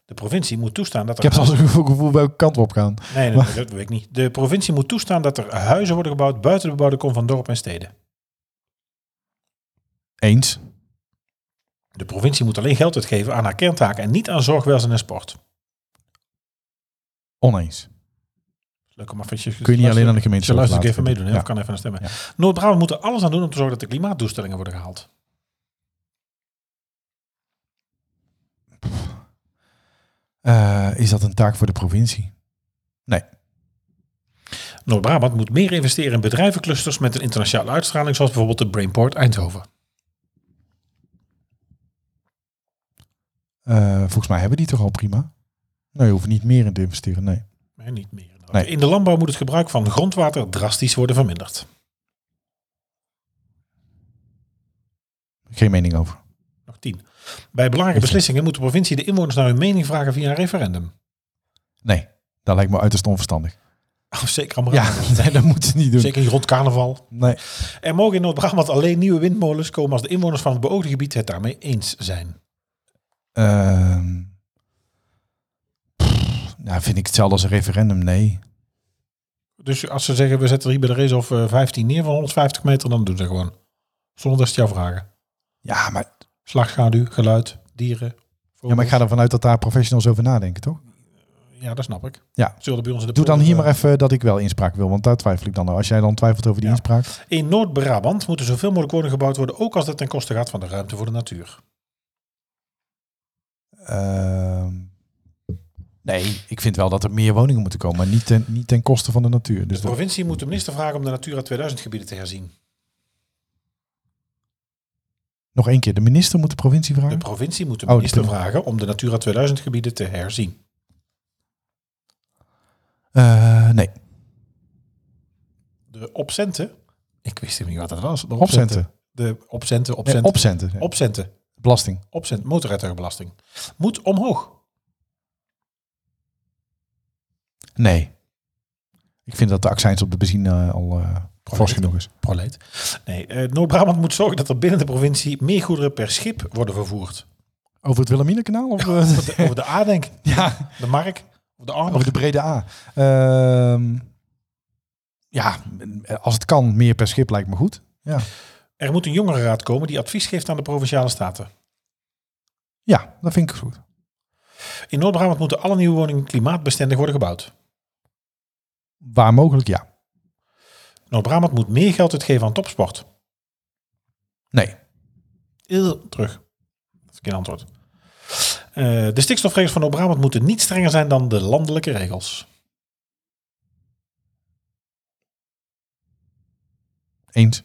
Speaker 3: De provincie moet toestaan dat
Speaker 2: Ik
Speaker 3: er...
Speaker 2: heb zelfs een gevoel, gevoel welke kant we op gaan.
Speaker 3: nee, nee, nee, dat weet ik niet. De provincie moet toestaan dat er huizen worden gebouwd buiten de bebouwde kom van dorpen en steden.
Speaker 2: Eens.
Speaker 3: De provincie moet alleen geld uitgeven aan haar kerntaken en niet aan zorg, welzijn en sport.
Speaker 2: Oneens.
Speaker 3: Leuk om even...
Speaker 2: Kun je niet alleen aan de gemeente
Speaker 3: Ze luistert
Speaker 2: laten
Speaker 3: even meedoen, hè?
Speaker 2: Ja.
Speaker 3: Of kan even naar stemmen.
Speaker 2: Ja.
Speaker 3: Noord-Brabant moet er alles aan doen om te zorgen dat de klimaatdoelstellingen worden gehaald.
Speaker 2: Eh, is dat een taak voor de provincie?
Speaker 3: Noord-Brabant moet meer investeren in bedrijvenclusters met een internationale uitstraling, zoals bijvoorbeeld de Brainport Eindhoven.
Speaker 2: Eh, volgens mij hebben die toch al prima. Nee, je hoeft niet meer in te investeren, nee.
Speaker 3: Nee, niet meer. inderdaad.
Speaker 2: Nee.
Speaker 3: In de landbouw moet het gebruik van grondwater drastisch worden verminderd.
Speaker 2: Geen mening over.
Speaker 3: Nog tien. Bij belangrijke beslissingen moet de provincie de inwoners naar hun mening vragen via een referendum.
Speaker 2: Nee, dat lijkt me uiterst onverstandig.
Speaker 3: Of zeker aan
Speaker 2: Ja,
Speaker 3: Brabant.
Speaker 2: nee, dat moeten ze niet doen.
Speaker 3: Zeker niet rond carnaval.
Speaker 2: Nee.
Speaker 3: Er mogen in Noord-Brabant alleen nieuwe windmolens komen als de inwoners van het beoogde gebied het daarmee eens zijn.
Speaker 2: Ehm, pff, nou, vind ik hetzelfde als een referendum, nee.
Speaker 3: Dus als ze zeggen we zetten er hier bij de race of eh, 15 neer van 150 meter, dan doen ze gewoon. Zonder dat ze het jou vragen.
Speaker 2: Ja maar,
Speaker 3: Slagschaduw, geluid, dieren.
Speaker 2: ja, maar ik ga ervan uit dat daar professionals over nadenken, toch?
Speaker 3: Ja, dat snap ik.
Speaker 2: Ja.
Speaker 3: Zullen bij ons in de
Speaker 2: Doe dan
Speaker 3: polder,
Speaker 2: hier
Speaker 3: eh,
Speaker 2: maar even dat ik wel inspraak wil, want daar twijfel ik dan aan. Als jij dan twijfelt over die
Speaker 3: Ja.
Speaker 2: inspraak.
Speaker 3: In Noord-Brabant moeten zoveel mogelijk woningen gebouwd worden, ook als dat ten koste gaat van de ruimte voor de
Speaker 2: Dus
Speaker 3: natuur.
Speaker 2: ehm, nee, ik vind wel dat er meer woningen moeten komen, maar niet ten, niet ten koste van de natuur. Dus
Speaker 3: De
Speaker 2: dat,
Speaker 3: provincie moet de minister vragen om de Natura 2000 gebieden te herzien.
Speaker 2: nog één keer, de minister moet de provincie
Speaker 3: De
Speaker 2: vragen?
Speaker 3: provincie moet Hm? de
Speaker 2: Oh, die
Speaker 3: minister
Speaker 2: kunnen-
Speaker 3: vragen om de Natura 2000 gebieden te herzien.
Speaker 2: Eh, nee,
Speaker 3: De opcenten, ik wist helemaal niet wat dat was. De
Speaker 2: opcenten.
Speaker 3: De opcenten,
Speaker 2: Nee,
Speaker 3: opcenten,
Speaker 2: opcenten. ja.
Speaker 3: opcenten,
Speaker 2: Belasting.
Speaker 3: opcenten, motorrijtuigenbelasting moet omhoog.
Speaker 2: Nee. Ik vind dat de accijns op de benzine eh, al eh fors genoeg is.
Speaker 3: Proleet. Nee, eh, Noord-Brabant moet zorgen dat er binnen de provincie meer goederen per schip worden vervoerd.
Speaker 2: Over het Wilhelminakanaal? Of, eh,
Speaker 3: Over de, over de A, denk ik.
Speaker 2: ja,
Speaker 3: De Mark, of de Armer.
Speaker 2: over de brede A. Ehm, ja, als het kan, meer per schip lijkt me goed. Ja,
Speaker 3: Er moet een jongerenraad komen die advies geeft aan de provinciale staten.
Speaker 2: ja dat vind ik goed.
Speaker 3: In Noord-Brabant moeten alle nieuwe woningen klimaatbestendig worden gebouwd.
Speaker 2: Waar mogelijk, ja.
Speaker 3: Noord-Brabant moet meer geld uitgeven aan topsport.
Speaker 2: Nee.
Speaker 3: Il terug. Dat is geen antwoord. Eh, de stikstofregels van Noord-Brabant moeten niet strenger zijn dan de landelijke regels.
Speaker 2: Eens.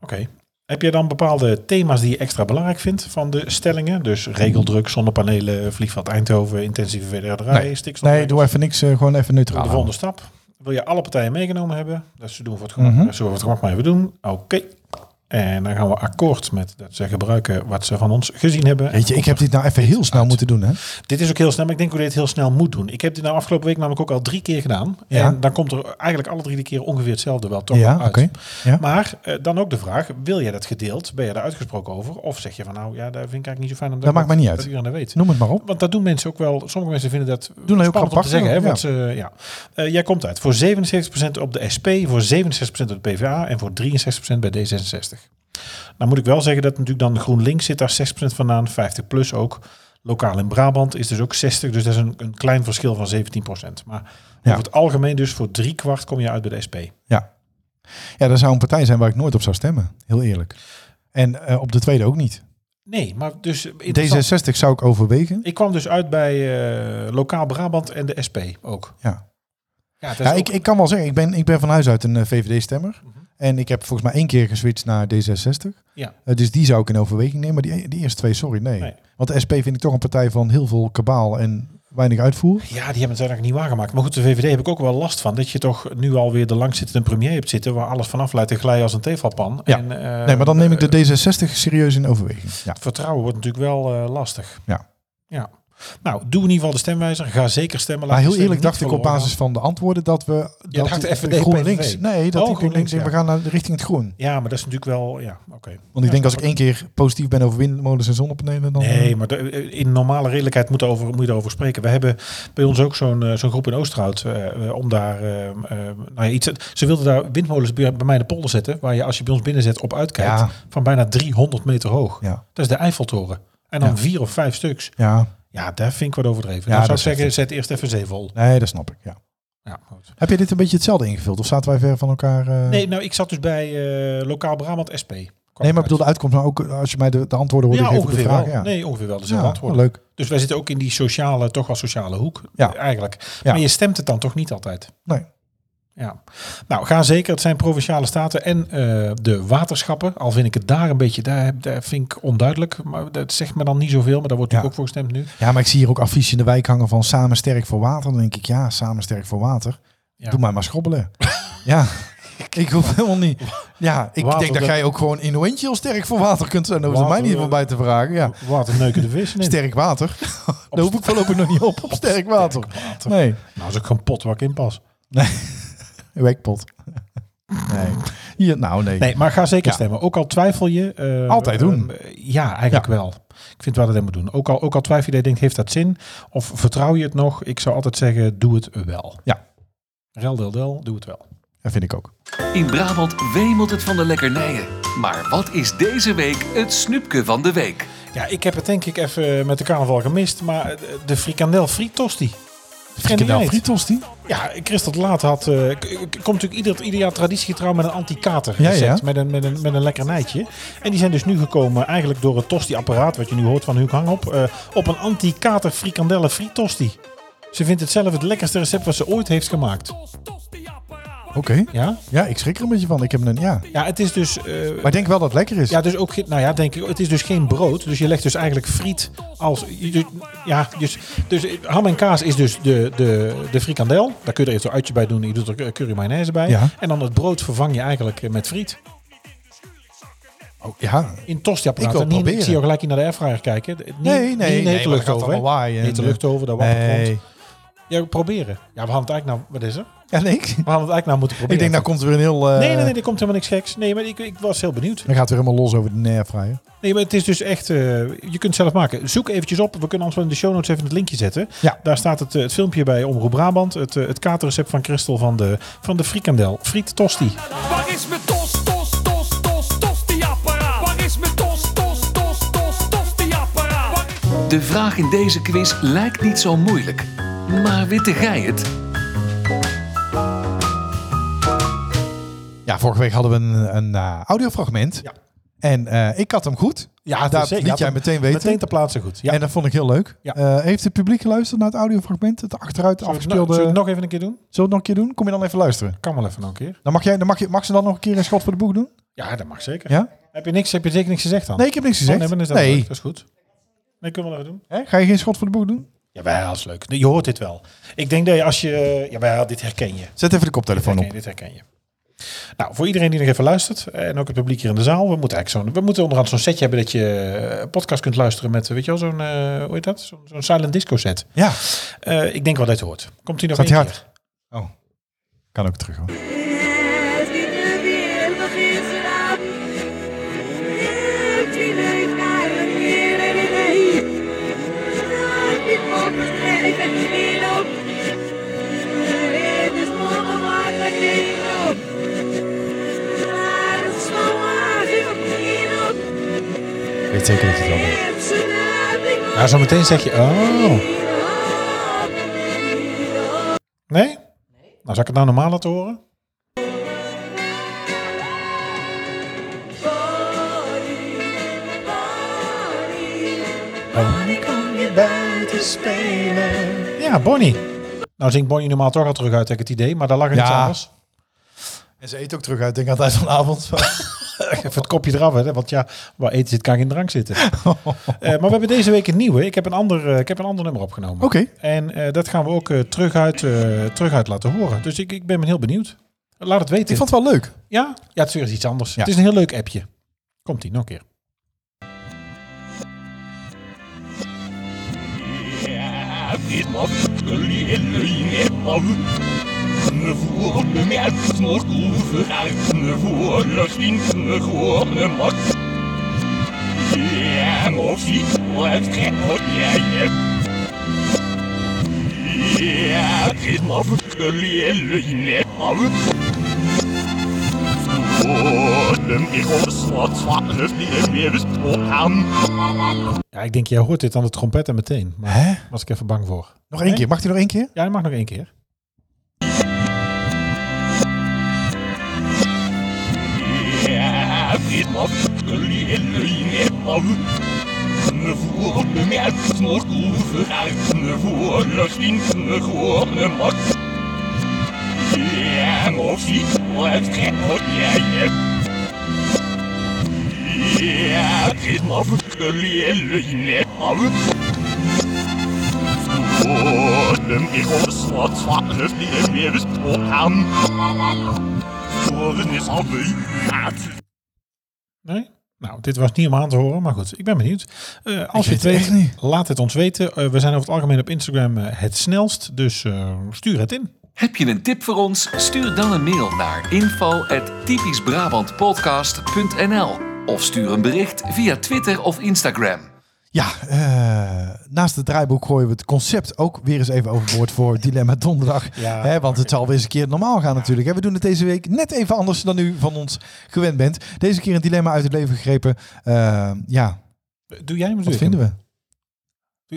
Speaker 3: Oké. Heb je dan bepaalde thema's die je extra belangrijk vindt van de stellingen? Dus regeldruk, zonnepanelen, vliegveld Eindhoven, intensieve verderderij,
Speaker 2: Nee.
Speaker 3: stikstof.
Speaker 2: Nee, doe even niks. eh, gewoon even neutraal.
Speaker 3: de volgende stap. Wil je alle partijen meegenomen hebben? Dat ze doen voor het gemak.
Speaker 2: Mhm.
Speaker 3: Dat zullen we voor het gemak maar even doen. Oké. En dan gaan we akkoord met dat ze gebruiken wat ze van ons gezien hebben.
Speaker 2: Weet je, ik heb dit nou even heel snel moeten doen, hè?
Speaker 3: Dit is ook heel snel, maar ik denk dat je dit heel snel moet doen. Ik heb dit nou afgelopen week namelijk ook al drie keer gedaan.
Speaker 2: Ja.
Speaker 3: En dan komt er eigenlijk alle drie de keren ongeveer hetzelfde wel toch
Speaker 2: Ja,
Speaker 3: wel uit.
Speaker 2: oké. Ja.
Speaker 3: Maar eh, dan ook de vraag, wil je dat gedeeld? Ben je daar uitgesproken over? Of zeg je van nou, ja, daar vind ik eigenlijk niet zo fijn om
Speaker 2: Dat maakt mij niet uit.
Speaker 3: Dat iedereen dat weet.
Speaker 2: Noem het maar op.
Speaker 3: Want dat doen mensen ook wel. Sommige mensen vinden dat
Speaker 2: Doen wij ook
Speaker 3: spannend om
Speaker 2: apart,
Speaker 3: te zeggen. Hè,
Speaker 2: ja.
Speaker 3: want ze, ja. Eh, jij komt uit voor 77% op de SP, voor 67% op de PvdA en voor 63% bij D66. Nou moet ik wel zeggen dat natuurlijk dan GroenLinks zit daar 6% vandaan, 50 plus ook. Lokaal in Brabant is dus ook 60, dus dat is een, een klein verschil van 17%. Maar
Speaker 2: Ja.
Speaker 3: over het algemeen dus voor drie kwart kom je uit bij de SP.
Speaker 2: Ja. Ja, dat zou een partij zijn waar ik nooit op zou stemmen. Heel eerlijk. En eh, op de tweede ook niet.
Speaker 3: Nee, maar dus... interessant.
Speaker 2: D66 zou ik overwegen.
Speaker 3: Ik kwam dus uit bij eh, Lokaal Brabant en de SP ook.
Speaker 2: Ja.
Speaker 3: Ja, dat
Speaker 2: Ja,
Speaker 3: is ook- Mhm.
Speaker 2: ik, ik kan wel zeggen, ik ben, ik ben van huis uit een eh, VVD-stemmer. En ik heb volgens mij één keer geswitcht naar D66.
Speaker 3: Ja.
Speaker 2: Eh, dus die zou ik in overweging nemen. Maar die, die eerste twee, sorry, nee.
Speaker 3: Nee.
Speaker 2: Want de SP vind ik toch een partij van heel veel kabaal en weinig uitvoer.
Speaker 3: Ja, die hebben het eigenlijk niet waargemaakt. Maar goed, de VVD heb ik ook wel last van. Dat je toch nu alweer de langzittende premier hebt zitten... waar alles vanaf leidt te glijden als een tefalpan.
Speaker 2: Ja.
Speaker 3: En, eh,
Speaker 2: nee, maar dan neem ik de D66 serieus in overweging. Ja.
Speaker 3: het vertrouwen wordt natuurlijk wel eh, lastig.
Speaker 2: Ja.
Speaker 3: ja. Nou, doe in ieder geval de stemwijzer. Ga zeker stemmen. Laat
Speaker 2: Maar
Speaker 3: je
Speaker 2: heel
Speaker 3: stem
Speaker 2: eerlijk
Speaker 3: niet
Speaker 2: dacht ik op
Speaker 3: verloren
Speaker 2: basis van de antwoorden dat we...
Speaker 3: Ja, dacht de FVD,
Speaker 2: GroenLinks...
Speaker 3: PVV.
Speaker 2: Nee, dat
Speaker 3: Oh,
Speaker 2: die GroenLinks
Speaker 3: GroenLinks,
Speaker 2: denkt, we gaan naar, richting het groen.
Speaker 3: gaan. Ja, maar dat is natuurlijk wel... Ja, oké.
Speaker 2: Want ik denk als ik één keer positief ben over windmolens en zonnepanelen... Dan, eh,
Speaker 3: Nee, maar de- eh, in normale redelijkheid moet, over, moet je daarover spreken. We hebben bij ons ook zo'n eh, zo'n groep in Oosterhout eh, eh, om daar eh, eh, nou ja, iets. Ze wilden daar windmolens bij, bij mij in de polder zetten, waar je als je bij ons binnenzet op uitkijkt
Speaker 2: Ja.
Speaker 3: van bijna 300 meter hoog.
Speaker 2: Ja,
Speaker 3: Dat is de Eiffeltoren. En dan
Speaker 2: Ja.
Speaker 3: vier of vijf stuks.
Speaker 2: ja.
Speaker 3: Ja, daar vind ik wat overdreven.
Speaker 2: Ja,
Speaker 3: dan zou
Speaker 2: dat
Speaker 3: ik
Speaker 2: is
Speaker 3: zeggen, zet eerst even zee vol.
Speaker 2: nee, dat snap ik, ja.
Speaker 3: Ja, goed.
Speaker 2: Heb je dit een beetje hetzelfde ingevuld? Of zaten wij ver van elkaar? eh?
Speaker 3: Nee, nou, ik zat dus bij eh, Lokaal Brabant SP. Kwam
Speaker 2: nee, maar ik
Speaker 3: uit.
Speaker 2: bedoel de uitkomst, maar ook als je mij de, de antwoorden hoorde
Speaker 3: ja,
Speaker 2: geven op de
Speaker 3: ongeveer
Speaker 2: vraag.
Speaker 3: wel.
Speaker 2: Ja,
Speaker 3: Nee, ongeveer wel. Dus
Speaker 2: ja
Speaker 3: antwoord.
Speaker 2: wel leuk.
Speaker 3: Dus wij zitten ook in die sociale, toch wel sociale hoek
Speaker 2: Ja.
Speaker 3: eigenlijk.
Speaker 2: Ja.
Speaker 3: Maar je stemt het dan toch niet altijd?
Speaker 2: Nee.
Speaker 3: Ja. Nou, ga zeker. Het zijn provinciale staten en eh, de waterschappen. Al vind ik het daar een beetje, daar, daar vind ik onduidelijk. Maar dat zegt me dan niet zoveel, maar daar wordt
Speaker 2: Ja.
Speaker 3: natuurlijk ook voor gestemd nu.
Speaker 2: Ja, maar ik zie hier ook affiches in de wijk hangen van samen sterk voor water. Dan denk ik, ja, samen sterk voor water.
Speaker 3: Ja.
Speaker 2: Doe mij maar schrobbelen. ja, ik hoef helemaal niet. Ja, ik
Speaker 3: Water,
Speaker 2: denk dat
Speaker 3: dat-
Speaker 2: jij ook gewoon innuentieel sterk voor water kunt zijn. Dan hoef je mij
Speaker 3: Water,
Speaker 2: niet
Speaker 3: eh,
Speaker 2: voorbij te vragen. Ja,
Speaker 3: Waterneuken de vis. Nee.
Speaker 2: sterk water. Daar hoef ik voorlopig nog niet op, op sterk water. Nee,
Speaker 3: Nou, is ook een pot waar ik in pas.
Speaker 2: wekpot. Nee. Hier, nou, nee.
Speaker 3: Nee, maar ga zeker
Speaker 2: Ja.
Speaker 3: stemmen. Ook al twijfel je. eh,
Speaker 2: Altijd doen.
Speaker 3: eh, ja, eigenlijk wel. Ik vind wel dat je dat moet doen. Ook al, ook al twijfel je, denkt, heeft dat zin? Of vertrouw je het nog? Ik zou altijd zeggen, doe het wel.
Speaker 2: Ja.
Speaker 3: Rel, del, del, doe het wel.
Speaker 2: Dat vind ik ook.
Speaker 1: In Brabant wemelt het van de lekkernijen. Maar wat is deze week het snoepje van de week?
Speaker 3: Ja, ik heb het denk ik even met de carnaval gemist, maar de frikandel frietosti. Ken je
Speaker 2: Frikandel
Speaker 3: niet?
Speaker 2: frietosti?
Speaker 3: Ja, Christel de Laat had, eh, k- k- komt natuurlijk ieder, ieder jaar traditiegetrouw met een anti-kater
Speaker 2: Ja,
Speaker 3: recept,
Speaker 2: ja.
Speaker 3: Met, een, met, een, met een lekkernijtje. En die zijn dus nu gekomen eigenlijk door het tosti-apparaat, wat je nu hoort van Huub Hangop, eh, op een anti-kater frikandelle frietosti. Ze vindt het zelf het lekkerste recept wat ze ooit heeft gemaakt.
Speaker 2: Oké.
Speaker 3: Ja,
Speaker 2: Ja, ik schrik er een beetje van. Ik heb een, ja.
Speaker 3: ja het is dus... eh,
Speaker 2: Maar ik denk wel dat het lekker is.
Speaker 3: Ja, dus ook, geen- nou ja, denk ik, het is dus geen brood. Dus je legt dus eigenlijk friet als. je- je- Ja, dus, dus ham en kaas is dus de, de, de frikandel. Daar kun je er even een uitje bij doen. Je doet er eh, curry mayonaise bij.
Speaker 2: Ja.
Speaker 3: En dan het brood vervang je eigenlijk eh, met friet.
Speaker 2: Oh, ja.
Speaker 3: In tostiapparaat.
Speaker 2: Ik wil
Speaker 3: En niet-
Speaker 2: proberen.
Speaker 3: Ik zie ook gelijk hier naar de airfryer kijken. Niet-
Speaker 2: Nee, nee,
Speaker 3: niet
Speaker 2: nee,
Speaker 3: Niet
Speaker 2: maar
Speaker 3: de
Speaker 2: dat
Speaker 3: lucht
Speaker 2: gaat
Speaker 3: over.
Speaker 2: allemaal waaien
Speaker 3: hè. Niet de
Speaker 2: en, eh,
Speaker 3: lucht over, dat water komt.
Speaker 2: Nee.
Speaker 3: Ja, we proberen. Ja, we hadden het eigenlijk nou... Wat is er?
Speaker 2: Ja, nee. Ik,
Speaker 3: We hadden het eigenlijk nou moeten proberen.
Speaker 2: ik denk, nou komt er weer een heel... eh,
Speaker 3: Nee, nee, nee, er komt helemaal niks geks. Nee, maar ik, ik was heel benieuwd.
Speaker 2: Dan gaat het weer helemaal los over de nerfvrije.
Speaker 3: Nee, maar het is dus echt... eh, je kunt het zelf maken. Zoek eventjes op. We kunnen ons wel in de show notes even het linkje zetten.
Speaker 2: Ja.
Speaker 3: Daar staat het, eh, het filmpje bij Omroep Brabant. Het, eh, het katerrecept van Christel van de, van de frikandel. Friet tosti.
Speaker 5: Waar is mijn tos, tos, tos, tos, tos, die apparaat? Waar is mijn tos, tos, tos, tos, tos, die apparaat? Waar-
Speaker 1: De vraag in deze quiz lijkt niet zo moeilijk. Maar witte gij het?
Speaker 2: Ja, vorige week hadden we een, een eh, audiofragment.
Speaker 3: Ja.
Speaker 2: En eh, ik had hem goed.
Speaker 3: Ja,
Speaker 2: Daar liet jij meteen weten.
Speaker 3: Meteen ter plaatse goed. Ja.
Speaker 2: En dat vond ik heel leuk.
Speaker 3: Ja.
Speaker 2: Eh, heeft het publiek geluisterd naar het audiofragment? Het achteruit
Speaker 3: Zullen we het nog-
Speaker 2: afgespeelde...
Speaker 3: zullen we
Speaker 2: Zullen
Speaker 3: het nog even een keer doen?
Speaker 2: we het nog een keer doen? Kom je dan even luisteren?
Speaker 3: Kan wel even nog een keer.
Speaker 2: Dan mag, jij, dan mag, je, mag ze dan nog een keer een schot voor de boeg doen?
Speaker 3: Ja, dat mag zeker.
Speaker 2: Ja?
Speaker 3: Eh, Heb je niks, heb je zeker niks gezegd dan?
Speaker 2: Nee, ik heb niks gezegd.
Speaker 3: Oh, nee, maar dan is dat
Speaker 2: nee.
Speaker 3: leuk. Dat is goed. Nee, kunnen we wel even doen.
Speaker 2: Hè? Ga je geen schot voor de boeg doen?
Speaker 3: Jawel, dat is leuk. Je hoort dit wel. Ik denk dat je als je... Jawel, dit herken je.
Speaker 2: Zet even de
Speaker 3: Dit
Speaker 2: koptelefoon
Speaker 3: herken je,
Speaker 2: op.
Speaker 3: dit herken je. Nou, voor iedereen die nog even luistert eh, en ook het publiek hier in de zaal, we moeten eigenlijk zo'n, we moeten onderhand zo'n setje hebben dat je eh, een podcast kunt luisteren met, weet je wel, zo'n, eh, hoe heet dat, zo'n, zo'n silent disco set.
Speaker 2: Ja,
Speaker 3: Eh, ik denk wel dat je het hoort. Komt hij nog
Speaker 2: Staat
Speaker 3: één
Speaker 2: hij
Speaker 3: keer?
Speaker 2: kan ook terug hoor.
Speaker 6: Ah, Het die de wereld is raad. Het die leeft naar een heer en een heer. Staat die op het lijf en die loopt. Het is morgen wat ik niet loop. Maar het is van waar ik niet loop.
Speaker 2: Ik weet zeker dat je het wel
Speaker 6: Ik heb ze naar de
Speaker 3: Nou, zo meteen zeg je, oh, nee? Nou, zal ik het nou normaal laten horen? Bonnie, kom je buiten spelen. Ja, Bonnie. Nou zingt Bonnie normaal toch al terug uit, heb ik het idee, maar daar lag er iets
Speaker 2: Ja.
Speaker 3: anders.
Speaker 2: En ze eet ook terug uit, denk ik, aan het eind van de avond.
Speaker 3: Even het kopje eraf, hè? want ja, waar eten zit kan geen drank zitten. Eh, maar we hebben deze week een nieuwe. Ik heb een ander, eh, ik heb een ander nummer opgenomen.
Speaker 2: Oké.
Speaker 3: En eh, dat gaan we ook eh, terug, uit, eh, terug uit laten horen. Dus ik, ik ben heel benieuwd. Laat het weten.
Speaker 2: Ik vond het wel leuk.
Speaker 3: Ja? ja, het is weer iets anders. Het is een heel leuk appje. Komt ie, nog een keer. Ja, ik denk, jij hoort dit aan de trompet en meteen. Maar
Speaker 2: Hè?
Speaker 3: daar was ik even bang voor.
Speaker 2: Nog één keer. Mag hij nog één keer?
Speaker 3: Ja, dat mag nog één keer. Nee? Nou, dit was niet om aan te horen, maar goed, ik ben benieuwd. Eh, als
Speaker 2: Ik
Speaker 3: je
Speaker 2: weet
Speaker 3: het weet,
Speaker 2: het echt niet.
Speaker 3: laat het ons weten. Eh, we zijn over het algemeen op Instagram eh, het snelst, dus eh, stuur het in.
Speaker 1: Heb je een tip voor ons? Stuur dan een mail naar info.typischbrabantpodcast.nl of stuur een bericht via Twitter of Instagram.
Speaker 2: Ja, eh, naast het draaiboek gooien we het concept ook weer eens even overboord voor Dilemma Donderdag.
Speaker 3: Ja,
Speaker 2: Hè, want het zal weer eens een keer normaal gaan natuurlijk. Hè. We doen het deze week net even anders dan u van ons gewend bent. Deze keer een dilemma uit het leven gegrepen. Eh, ja,
Speaker 3: Doe jij hem?
Speaker 2: wat vinden we?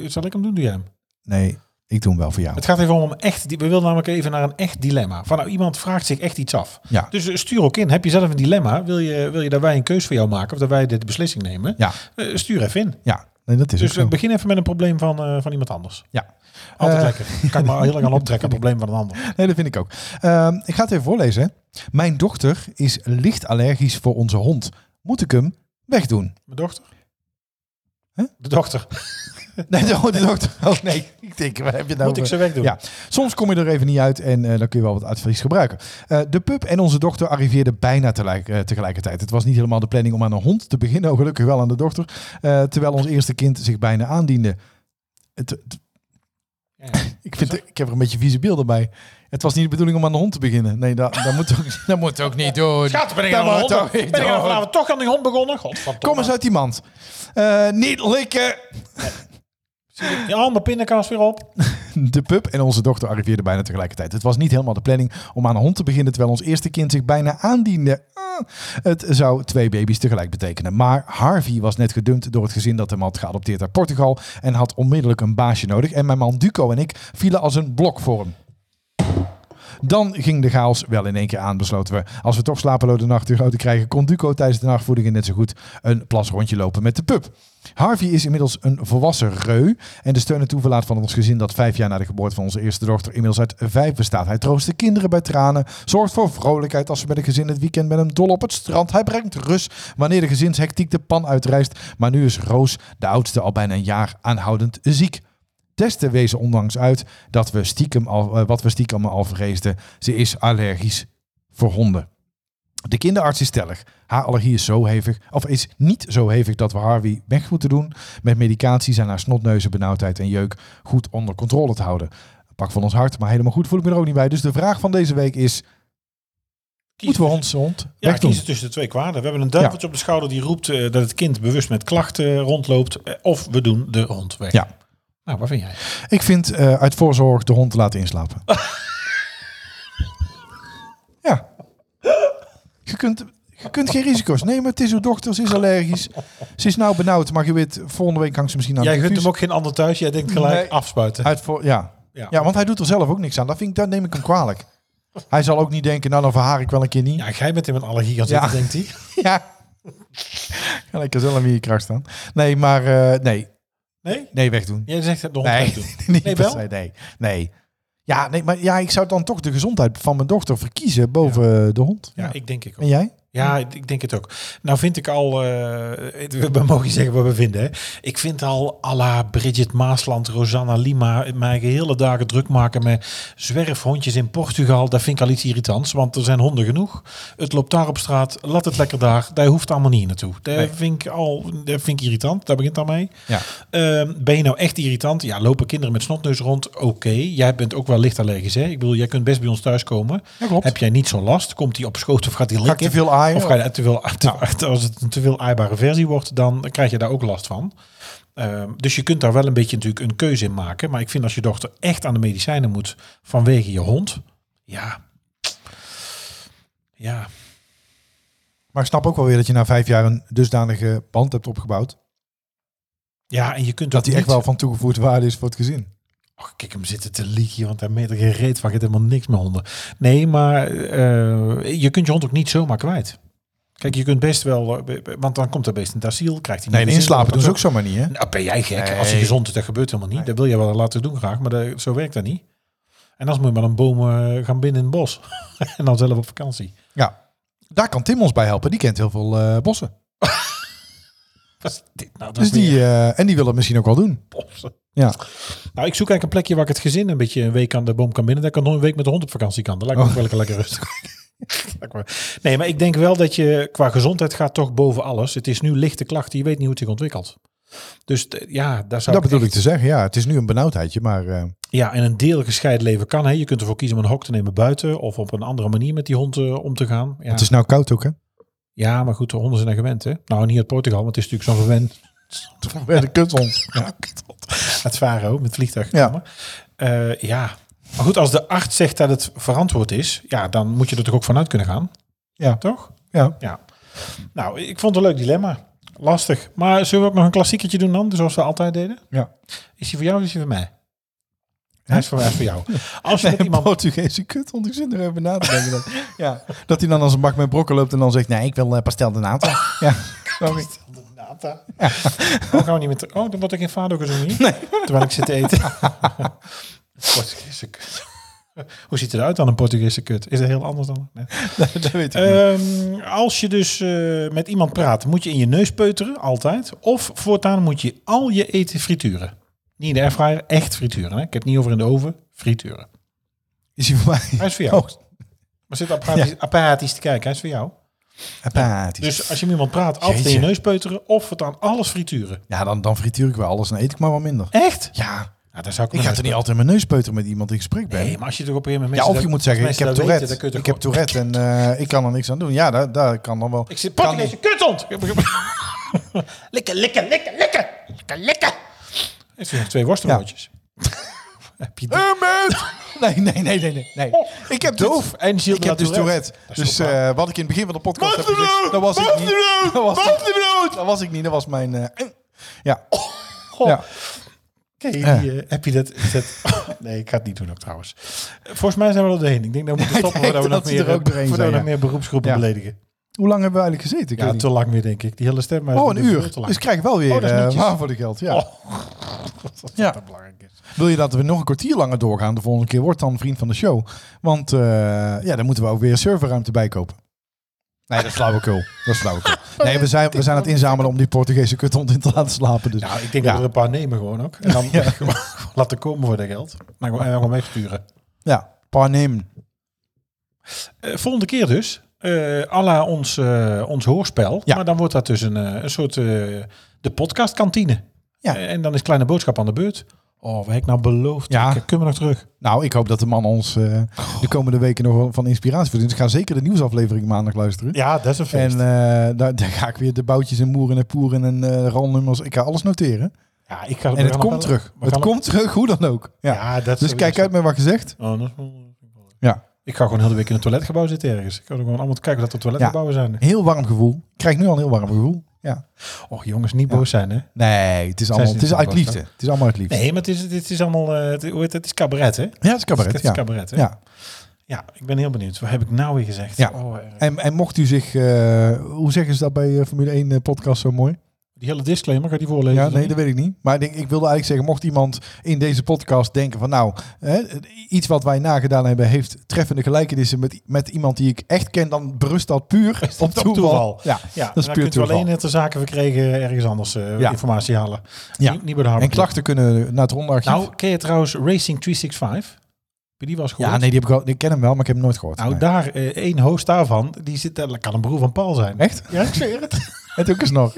Speaker 3: we? Zal ik hem doen? Doe jij hem?
Speaker 2: Nee, ik doe hem wel voor jou.
Speaker 3: Het gaat even om een echt. We willen namelijk even naar een echt dilemma. Van nou, iemand vraagt zich echt iets af.
Speaker 2: Ja.
Speaker 3: Dus eh, stuur ook in. Heb je zelf een dilemma? Wil je, wil je dat wij een keus voor jou maken? Of dat wij de de beslissing nemen?
Speaker 2: Ja,
Speaker 3: Eh, stuur even in.
Speaker 2: ja. Nee, dat is
Speaker 3: Dus
Speaker 2: ook
Speaker 3: we
Speaker 2: zo.
Speaker 3: begin even met een probleem van, eh, van iemand anders.
Speaker 2: Ja.
Speaker 3: Altijd
Speaker 2: Eh,
Speaker 3: lekker. Kan ik maar heel lang aan optrekken, een probleem van een ander.
Speaker 2: Nee, dat vind ik ook. Ehm, ik ga het even voorlezen. hè. Mijn dochter is licht allergisch voor onze hond. Moet ik hem wegdoen?
Speaker 3: Mijn dochter?
Speaker 2: Huh?
Speaker 3: De dochter.
Speaker 2: Nee, de, de dokter. Oh nee, ik denk, waar heb je nou
Speaker 3: Moet ik
Speaker 2: over?
Speaker 3: ze wegdoen?
Speaker 2: Ja, soms kom je er even niet uit en eh, dan kun je wel wat advies gebruiken. Eh, de pub en onze dochter arriveerden bijna tegelijk, eh, tegelijkertijd. Het was niet helemaal de planning om aan een hond te beginnen, oh, gelukkig wel aan de dochter. eh, terwijl ons eerste kind zich bijna aandiende. Het, het-
Speaker 3: Ja, ja.
Speaker 2: ik, vind, ik heb er een beetje vieze beelden bij. Het was niet de bedoeling om aan de hond te beginnen. Nee, dat, dat, moet, ook, dat moet ook niet doen.
Speaker 3: Gaat, ben ik
Speaker 2: Dat
Speaker 3: aan de
Speaker 2: moet
Speaker 3: hond?
Speaker 2: ook
Speaker 3: Ben
Speaker 2: niet
Speaker 3: ik aan-
Speaker 2: doen.
Speaker 3: vanavond toch aan die hond begonnen? Godverdomme.
Speaker 2: Kom eens uit die mand. Eh, niet likken!
Speaker 3: Ja, mijn pindakaas weer op.
Speaker 2: De pub en onze dochter arriveerden bijna tegelijkertijd. Het was niet helemaal de planning om aan een hond te beginnen, terwijl ons eerste kind zich bijna aandiende. Ah, Het zou twee baby's tegelijk betekenen. Maar Harvey was net gedumpt door het gezin dat hem had geadopteerd uit Portugal en had onmiddellijk een baasje nodig. En mijn man Duco en ik vielen als een blok voor hem. Dan ging de chaos wel in één keer aan, besloten we. Als we toch slapeloze nachten grote krijgen, kon Duco tijdens de nachtvoedingen net zo goed een plas rondje lopen met de pup. Harvey is inmiddels een volwassen reu en de steun en toeverlaat van ons gezin dat vijf jaar na de geboorte van onze eerste dochter inmiddels uit vijf bestaat. Hij troost de kinderen bij tranen, zorgt voor vrolijkheid als ze met het gezin het weekend met hem dol op het strand. Hij brengt rust wanneer de gezinshectiek de pan uitrijst, maar nu is Roos, de oudste, al bijna een jaar aanhoudend ziek. Testen wezen ondanks uit dat we stiekem al, eh, wat we stiekem al vreesden. Ze is allergisch voor honden. De kinderarts is stellig. Haar allergie is zo hevig, of is niet zo hevig dat we Harvey weg moeten doen. Met medicatie zijn haar snotneuzen, benauwdheid en jeuk goed onder controle te houden. Een Pak van ons hart, maar helemaal goed voel ik me er ook niet bij. Dus de vraag van deze week is: moeten we ons hond
Speaker 3: Ja,
Speaker 2: wegdoen?
Speaker 3: kiezen tussen de twee kwaden. We hebben een duiveltje op de schouder die roept eh, dat het kind bewust met klachten rondloopt. eh, of we doen de hond weg.
Speaker 2: Ja.
Speaker 3: Nou, wat vind jij?
Speaker 2: Ik vind eh, uit voorzorg de hond te laten inslapen. ja. Je kunt, je kunt geen risico's nemen. Het is uw dochter, ze is allergisch. Ze is nou benauwd, maar je weet, volgende week hangt ze misschien aan
Speaker 3: Jij
Speaker 2: de
Speaker 3: gunt
Speaker 2: infuus.
Speaker 3: hem ook geen ander thuis. Jij denkt gelijk
Speaker 2: Nee.
Speaker 3: afspuiten.
Speaker 2: Uit voor, ja.
Speaker 3: Ja.
Speaker 2: Ja. want hij doet er zelf ook niks aan. Dat, vind ik, dat neem ik hem kwalijk. Hij zal ook niet denken, nou dan verhaar ik wel een keer niet.
Speaker 3: Ja, jij bent in een allergie gaan zitten,
Speaker 2: Ja.
Speaker 3: denkt hij.
Speaker 2: Ja. Ga lekker zelf in je kracht staan. Nee, maar eh, nee.
Speaker 3: Nee?
Speaker 2: Nee, wegdoen.
Speaker 3: Jij zegt dat de hond
Speaker 2: Nee,
Speaker 3: wegdoen.
Speaker 2: niet
Speaker 3: Nee,
Speaker 2: per
Speaker 3: wel?
Speaker 2: se, nee. nee. Ja, nee, maar ja, ik zou dan toch de gezondheid van mijn dochter verkiezen boven eh, de hond.
Speaker 3: Ja,
Speaker 2: Ja.
Speaker 3: ik denk ik ook.
Speaker 2: En jij?
Speaker 3: Ja, ik ik denk het ook. Nou vind ik al, eh, het- we mogen zeggen wat we vinden. Hè? Ik vind al à la Bridget Maasland, Rosanna Lima, mij gehele dagen druk maken met zwerfhondjes in Portugal. Dat vind ik al iets irritants, want er zijn honden genoeg. Het loopt daar op straat, laat het lekker daar. Daar hoeft allemaal niet hier naartoe. Dat vind ik al, dat vind ik irritant. Daar begint al mee.
Speaker 2: Ja.
Speaker 3: Ehm, ben je nou echt irritant? Ja, lopen kinderen met snotneus rond? Oké, jij bent ook wel licht allergisch. Hè? Ik bedoel, jij kunt best bij ons thuiskomen.
Speaker 2: Ja, klopt.
Speaker 3: Heb jij niet zo'n last? Komt die op schoot of gaat die
Speaker 2: Ga ik
Speaker 3: likken?
Speaker 2: te veel aaien? Nou.
Speaker 3: Of ga je daar te veel, te- als het een te veel aaibare versie wordt, dan krijg je daar ook last van. Ehm, dus je kunt daar wel een beetje natuurlijk een keuze in maken. Maar ik vind als je dochter echt aan de medicijnen moet vanwege je hond, ja. Ja,
Speaker 2: Maar ik snap ook wel weer dat je na vijf jaar een dusdanige band hebt opgebouwd.
Speaker 3: ja en je kunt
Speaker 2: Dat
Speaker 3: ook
Speaker 2: die echt
Speaker 3: niet-
Speaker 2: wel van toegevoegde waarde is voor het gezin.
Speaker 3: Och, kijk hem zitten te liegen, want hij meet er geen reet van. Je hebt helemaal niks meer honden. Nee, maar eh, je kunt je hond ook niet zomaar kwijt. Kijk, je kunt best wel, eh, be- be- want dan komt er best een asiel, krijgt hij
Speaker 2: Nee, en
Speaker 3: niet
Speaker 2: inslapen doen ze ook zomaar niet, hè?
Speaker 3: Nou, ben jij gek?
Speaker 2: Nee.
Speaker 3: Als hij gezond is, dat gebeurt helemaal niet. Dat wil je wel laten doen graag, maar dat- zo werkt dat niet. En dan moet je maar een boom eh, gaan binnen in het bos. en dan zelf op vakantie.
Speaker 2: Ja. Daar kan Tim ons bij helpen. Die kent heel veel eh, bossen.
Speaker 3: Wat is dit nou dan
Speaker 2: Dus die,
Speaker 3: weer?
Speaker 2: eh, en die wil het misschien ook wel doen.
Speaker 3: Bossen.
Speaker 2: Ja.
Speaker 3: Nou, ik zoek eigenlijk een plekje waar ik het gezin een beetje een week aan de boom kan binnen. Dat ik nog een week met de hond op vakantie kan. Dat lijkt me ook wel
Speaker 2: Oh.
Speaker 3: lekker, lekker rustig. Lijkt me- nee, maar ik denk wel dat je qua gezondheid gaat toch boven alles. Het is nu lichte klachten. Je weet niet hoe het zich ontwikkelt. Dus t- ja, daar zou
Speaker 2: dat bedoel
Speaker 3: echt-
Speaker 2: ik te zeggen. Ja, het is nu een benauwdheidje, maar eh,
Speaker 3: Ja, en een deel gescheiden leven kan. Hè. Je kunt ervoor kiezen om een hok te nemen buiten of op een andere manier met die hond eh, om te gaan. Ja.
Speaker 2: het is nou koud ook, hè?
Speaker 3: ja, maar goed, de honden zijn er gewend. Hè? Nou, niet uit Portugal, want het is natuurlijk zo'n gewend.
Speaker 2: Bij de kuthond. Ja.
Speaker 3: Het varen ook, met het vliegtuig
Speaker 2: Ja.
Speaker 3: gekomen. Eh, ja. Maar goed, als de arts zegt dat het verantwoord is, ja, dan moet je er toch ook vanuit kunnen gaan.
Speaker 2: Ja.
Speaker 3: Toch?
Speaker 2: ja.
Speaker 3: Ja. Nou, ik vond het een leuk dilemma. Lastig. Maar zullen we ook nog een klassieketje doen dan, zoals we altijd deden?
Speaker 2: Ja.
Speaker 3: Is die voor jou of is die voor mij? Hij is voor, hij is voor jou. Als je met iemand
Speaker 2: Portugese kuthond. Ik zit er even na te denken. Dat, ja. dat hij dan als een bak met brokken loopt en dan zegt... Nee, ik wil eh, pastel de nata. ja. Snap ik.
Speaker 3: Nata. Oh, gaan we niet meer ter- oh, dan word ik in Fado gezongen hier. Terwijl ik zit te eten. Portugese kut. Hoe ziet het eruit dan, een Portugese kut? Is dat heel anders dan? Nee.
Speaker 2: dat weet ik niet.
Speaker 3: Ehm, als je dus eh, met iemand praat, moet je in je neus peuteren, altijd. Of voortaan moet je al je eten frituren. Niet in de airfryer, echt frituren. Hè? Ik heb het niet over in de oven, frituren.
Speaker 2: Is hij voor mij?
Speaker 3: Hij is voor jou.
Speaker 2: Oh,
Speaker 3: Maar zit apathisch, apathisch te kijken, hij is voor jou.
Speaker 2: apathisch.
Speaker 3: Dus als je met iemand praat, altijd in
Speaker 2: Jeetje.
Speaker 3: je neus peuteren of voortaan alles frituren.
Speaker 2: Ja, dan, dan frituur ik wel alles en eet ik maar wat minder.
Speaker 3: Echt?
Speaker 2: Ja,
Speaker 3: Ja, Nou, daar zou ik
Speaker 2: ik ga er niet altijd mijn neus peuteren met iemand in gesprek ben.
Speaker 3: Nee, maar als je er op een gegeven moment...
Speaker 2: ja, of
Speaker 3: mensen
Speaker 2: je
Speaker 3: dat-
Speaker 2: moet zeggen, ik
Speaker 3: mensen
Speaker 2: heb
Speaker 3: dat weten,
Speaker 2: Tourette.
Speaker 3: dan kun je
Speaker 2: ik
Speaker 3: toch
Speaker 2: heb
Speaker 3: gewoon-
Speaker 2: Tourette en eh, ik kan er niks aan doen. Ja, daar, daar kan dan wel.
Speaker 3: Ik zit
Speaker 2: Kan
Speaker 3: Portugese kuthond! likken, likken, likken, likken! Likken, likken! Heeft hij nog twee worstenbroodjes? heb je die? Oh,
Speaker 2: Nee, nee, nee, nee, nee. nee. Oh, ik heb doof.
Speaker 3: Doof en ziel
Speaker 2: ik heb dus Tourette. Dus
Speaker 3: toch
Speaker 2: eh, wat ik in het begin van de podcast heb gezegd, dat was ik niet.
Speaker 3: Oh.
Speaker 2: Dat was, ik, dat was ik niet, dat was mijn... eh, ja. ja.
Speaker 3: Ken je
Speaker 2: Ja.
Speaker 3: die, eh, heb je dat, is dat- Nee, ik ga het niet doen ook trouwens. Eh, Volgens mij zijn we er doorheen. Ik denk dat we moeten
Speaker 2: Ik
Speaker 3: stoppen voordat we
Speaker 2: denk
Speaker 3: nog
Speaker 2: dat ze
Speaker 3: meer,
Speaker 2: er ook doorheen
Speaker 3: eh, voordat we
Speaker 2: zijn,
Speaker 3: nog meer beroepsgroepen
Speaker 2: Ja.
Speaker 3: beledigen.
Speaker 2: Hoe lang hebben we eigenlijk gezeten? Ik
Speaker 3: Ja,
Speaker 2: weet niet.
Speaker 3: te lang meer denk ik. Die hele stem. maar
Speaker 2: Oh,
Speaker 3: het
Speaker 2: een
Speaker 3: is veel
Speaker 2: uur.
Speaker 3: te lang.
Speaker 2: Dus ik krijg wel weer
Speaker 3: Oh, dat is
Speaker 2: eh,
Speaker 3: netjes.
Speaker 2: waar voor de geld. Ja.
Speaker 3: Oh, dat is
Speaker 2: Ja.
Speaker 3: dat belangrijk is.
Speaker 2: Wil je dat we nog een kwartier langer doorgaan de volgende keer? Word dan vriend van de show. Want eh, ja, dan moeten we ook weer serverruimte bij kopen. Nee, dat is flauwekul. Dat is flauwekul. Nee, we zijn, we zijn aan het inzamelen om die Portugese kuthond in te laten slapen. Dus.
Speaker 3: Nou, ik denk
Speaker 2: Ja.
Speaker 3: dat we er een paar nemen gewoon ook. En dan gewoon laten komen voor dat geld. Maar gewoon, en dan gewoon wegsturen.
Speaker 2: Ja, Parnim.
Speaker 3: Eh, volgende keer dus. eh à la ons, eh, ons hoorspel.
Speaker 2: Ja.
Speaker 3: Maar dan wordt dat dus een, eh, een soort eh, de podcastkantine.
Speaker 2: Ja.
Speaker 3: Eh, en dan is Kleine Boodschap aan de beurt. Oh, wat heb ik nou beloofd?
Speaker 2: Ja.
Speaker 3: Ik- Kunnen we nog terug?
Speaker 2: Nou, ik hoop dat de man ons eh,
Speaker 3: Oh.
Speaker 2: de komende weken nog wel van inspiratie voorzien. Dus ik ga zeker de nieuwsaflevering maandag luisteren.
Speaker 3: Ja, dat is een
Speaker 2: En eh, daar, daar ga ik weer de boutjes en moeren en poeren en eh rolnummers. Ik ga alles noteren.
Speaker 3: ja, ik ga, we
Speaker 2: En het
Speaker 3: gaan
Speaker 2: komt
Speaker 3: nog-
Speaker 2: terug.
Speaker 3: we
Speaker 2: Het
Speaker 3: gaan nog-
Speaker 2: komt terug, hoe dan ook. Ja.
Speaker 3: Ja, dat
Speaker 2: dus
Speaker 3: sowieso.
Speaker 2: kijk uit met wat gezegd.
Speaker 3: Oh, dat is wel-
Speaker 2: Ja.
Speaker 3: Ik ga gewoon heel de week in het toiletgebouw zitten ergens. Ik ga gewoon allemaal kijken dat er toiletgebouwen zijn.
Speaker 2: Heel warm gevoel. Ik krijg nu al een heel warm gevoel. Ja.
Speaker 3: Och jongens, niet boos zijn hè.
Speaker 2: Nee, het is
Speaker 3: ze
Speaker 2: allemaal,
Speaker 3: niet
Speaker 2: het is
Speaker 3: zo
Speaker 2: uit
Speaker 3: boos,
Speaker 2: liefde.
Speaker 3: hè?
Speaker 2: Het is allemaal uit liefde.
Speaker 3: Nee, maar het is, dit is allemaal, eh, het, hoe heet het? Het is cabaret hè.
Speaker 2: Ja, het is cabaret.
Speaker 3: Het is
Speaker 2: ja.
Speaker 3: cabaret, hè?
Speaker 2: Ja.
Speaker 3: Ja, ik ben heel benieuwd. Wat heb ik nou weer gezegd?
Speaker 2: Ja.
Speaker 3: Oh, eh,
Speaker 2: En, en mocht u zich, eh, hoe zeggen ze dat bij eh, Formule 1 eh, podcast zo mooi?
Speaker 3: die hele disclaimer, ga je die voorlezen?
Speaker 2: Ja,
Speaker 3: of
Speaker 2: nee,
Speaker 3: niet?
Speaker 2: dat weet ik niet. Maar ik, denk, ik wilde eigenlijk zeggen, mocht iemand in deze podcast denken van nou, hè, iets wat wij nagedaan hebben, heeft treffende gelijkenissen met, met iemand die ik echt ken, dan berust dat puur
Speaker 3: dat
Speaker 2: op
Speaker 3: op
Speaker 2: toeval.
Speaker 3: toeval?
Speaker 2: Ja,
Speaker 3: Ja,
Speaker 2: dat is
Speaker 3: dan
Speaker 2: puur
Speaker 3: kunt u
Speaker 2: toeval.
Speaker 3: alleen het de zaken verkregen ergens anders eh,
Speaker 2: Ja.
Speaker 3: informatie halen.
Speaker 2: Ja.
Speaker 3: Niet, niet bij de Harvard
Speaker 2: En klachten kunnen naar het rondarchief.
Speaker 3: Nou, ken je trouwens Racing 365? Heb je die was gehoord?
Speaker 2: ja, nee, die, heb ik, al, die ken hem wel, maar ik heb hem nooit gehoord.
Speaker 3: Nou,
Speaker 2: Nee.
Speaker 3: daar, eh, één host daarvan, die zit, dat kan een broer van Paul zijn.
Speaker 2: Echt?
Speaker 3: Ja, ik zweer het.
Speaker 2: Het ook eens nog.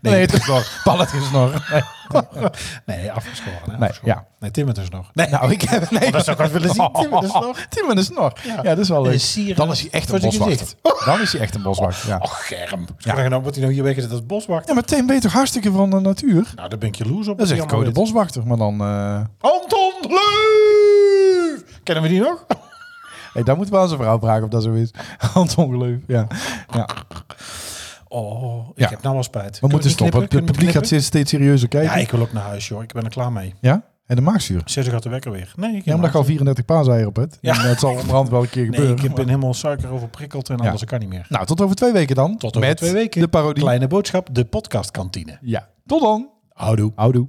Speaker 2: Nee, het is nog. Pallet is nog. Nee,
Speaker 3: Nee, afgeschoren. hè,
Speaker 2: Nee,
Speaker 3: afgeschoren.
Speaker 2: ja.
Speaker 3: nee Timmer dus nog. Nee, Oh,
Speaker 2: nou, ik heb... Nee,
Speaker 3: dat zou ik wel willen zien. Timmer dus nog.
Speaker 2: Timmer is nog. Oh. Ja. dat is wel
Speaker 3: Een
Speaker 2: leuk.
Speaker 3: sieraad
Speaker 2: Dan is hij echt een
Speaker 3: voor zijn
Speaker 2: boswachter. Dan is hij echt een boswachter, Oh, ja.
Speaker 3: Och, germ. Ja. Nou, wordt hij nou hier weggezet als boswacht?
Speaker 2: Ja, maar Tim weet toch hartstikke van de natuur?
Speaker 3: Nou, daar ben ik jaloers op.
Speaker 2: Dat is echt
Speaker 3: Die allemaal
Speaker 2: code
Speaker 3: dit-
Speaker 2: boswachter, maar dan... eh,
Speaker 3: Anton Leuf! Kennen we die nog?
Speaker 2: Hey, daar moeten we aan zijn vrouw vragen of dat zo is. Anton Gleuf, ja. ja.
Speaker 3: Oh, ik
Speaker 2: Ja.
Speaker 3: heb nou al spijt.
Speaker 2: We
Speaker 3: Kunnen
Speaker 2: moeten
Speaker 3: niet
Speaker 2: stoppen.
Speaker 3: knippen?
Speaker 2: Het publiek
Speaker 3: Kunnen
Speaker 2: gaat
Speaker 3: we
Speaker 2: steeds, steeds serieuzer
Speaker 3: knippen?
Speaker 2: kijken.
Speaker 3: Ja,
Speaker 2: Ja,
Speaker 3: ik wil ook naar huis, joh. Ik ben er klaar mee.
Speaker 2: En de maagzuur.
Speaker 3: Zes uur gaat de wekker weer. Nee, ik
Speaker 2: Ja, omdat ik al 34 paaseieren op het.
Speaker 3: Ja.
Speaker 2: En dat zal onderhand wel een keer
Speaker 3: Nee,
Speaker 2: gebeuren.
Speaker 3: ik ben helemaal suiker overprikkeld en alles. Ik kan niet meer.
Speaker 2: Nou, tot over twee weken dan.
Speaker 3: Tot over
Speaker 2: Met
Speaker 3: twee weken.
Speaker 2: de parodie.
Speaker 3: Kleine boodschap, de podcastkantine.
Speaker 2: Ja. Tot dan. Houdoe. Houdoe.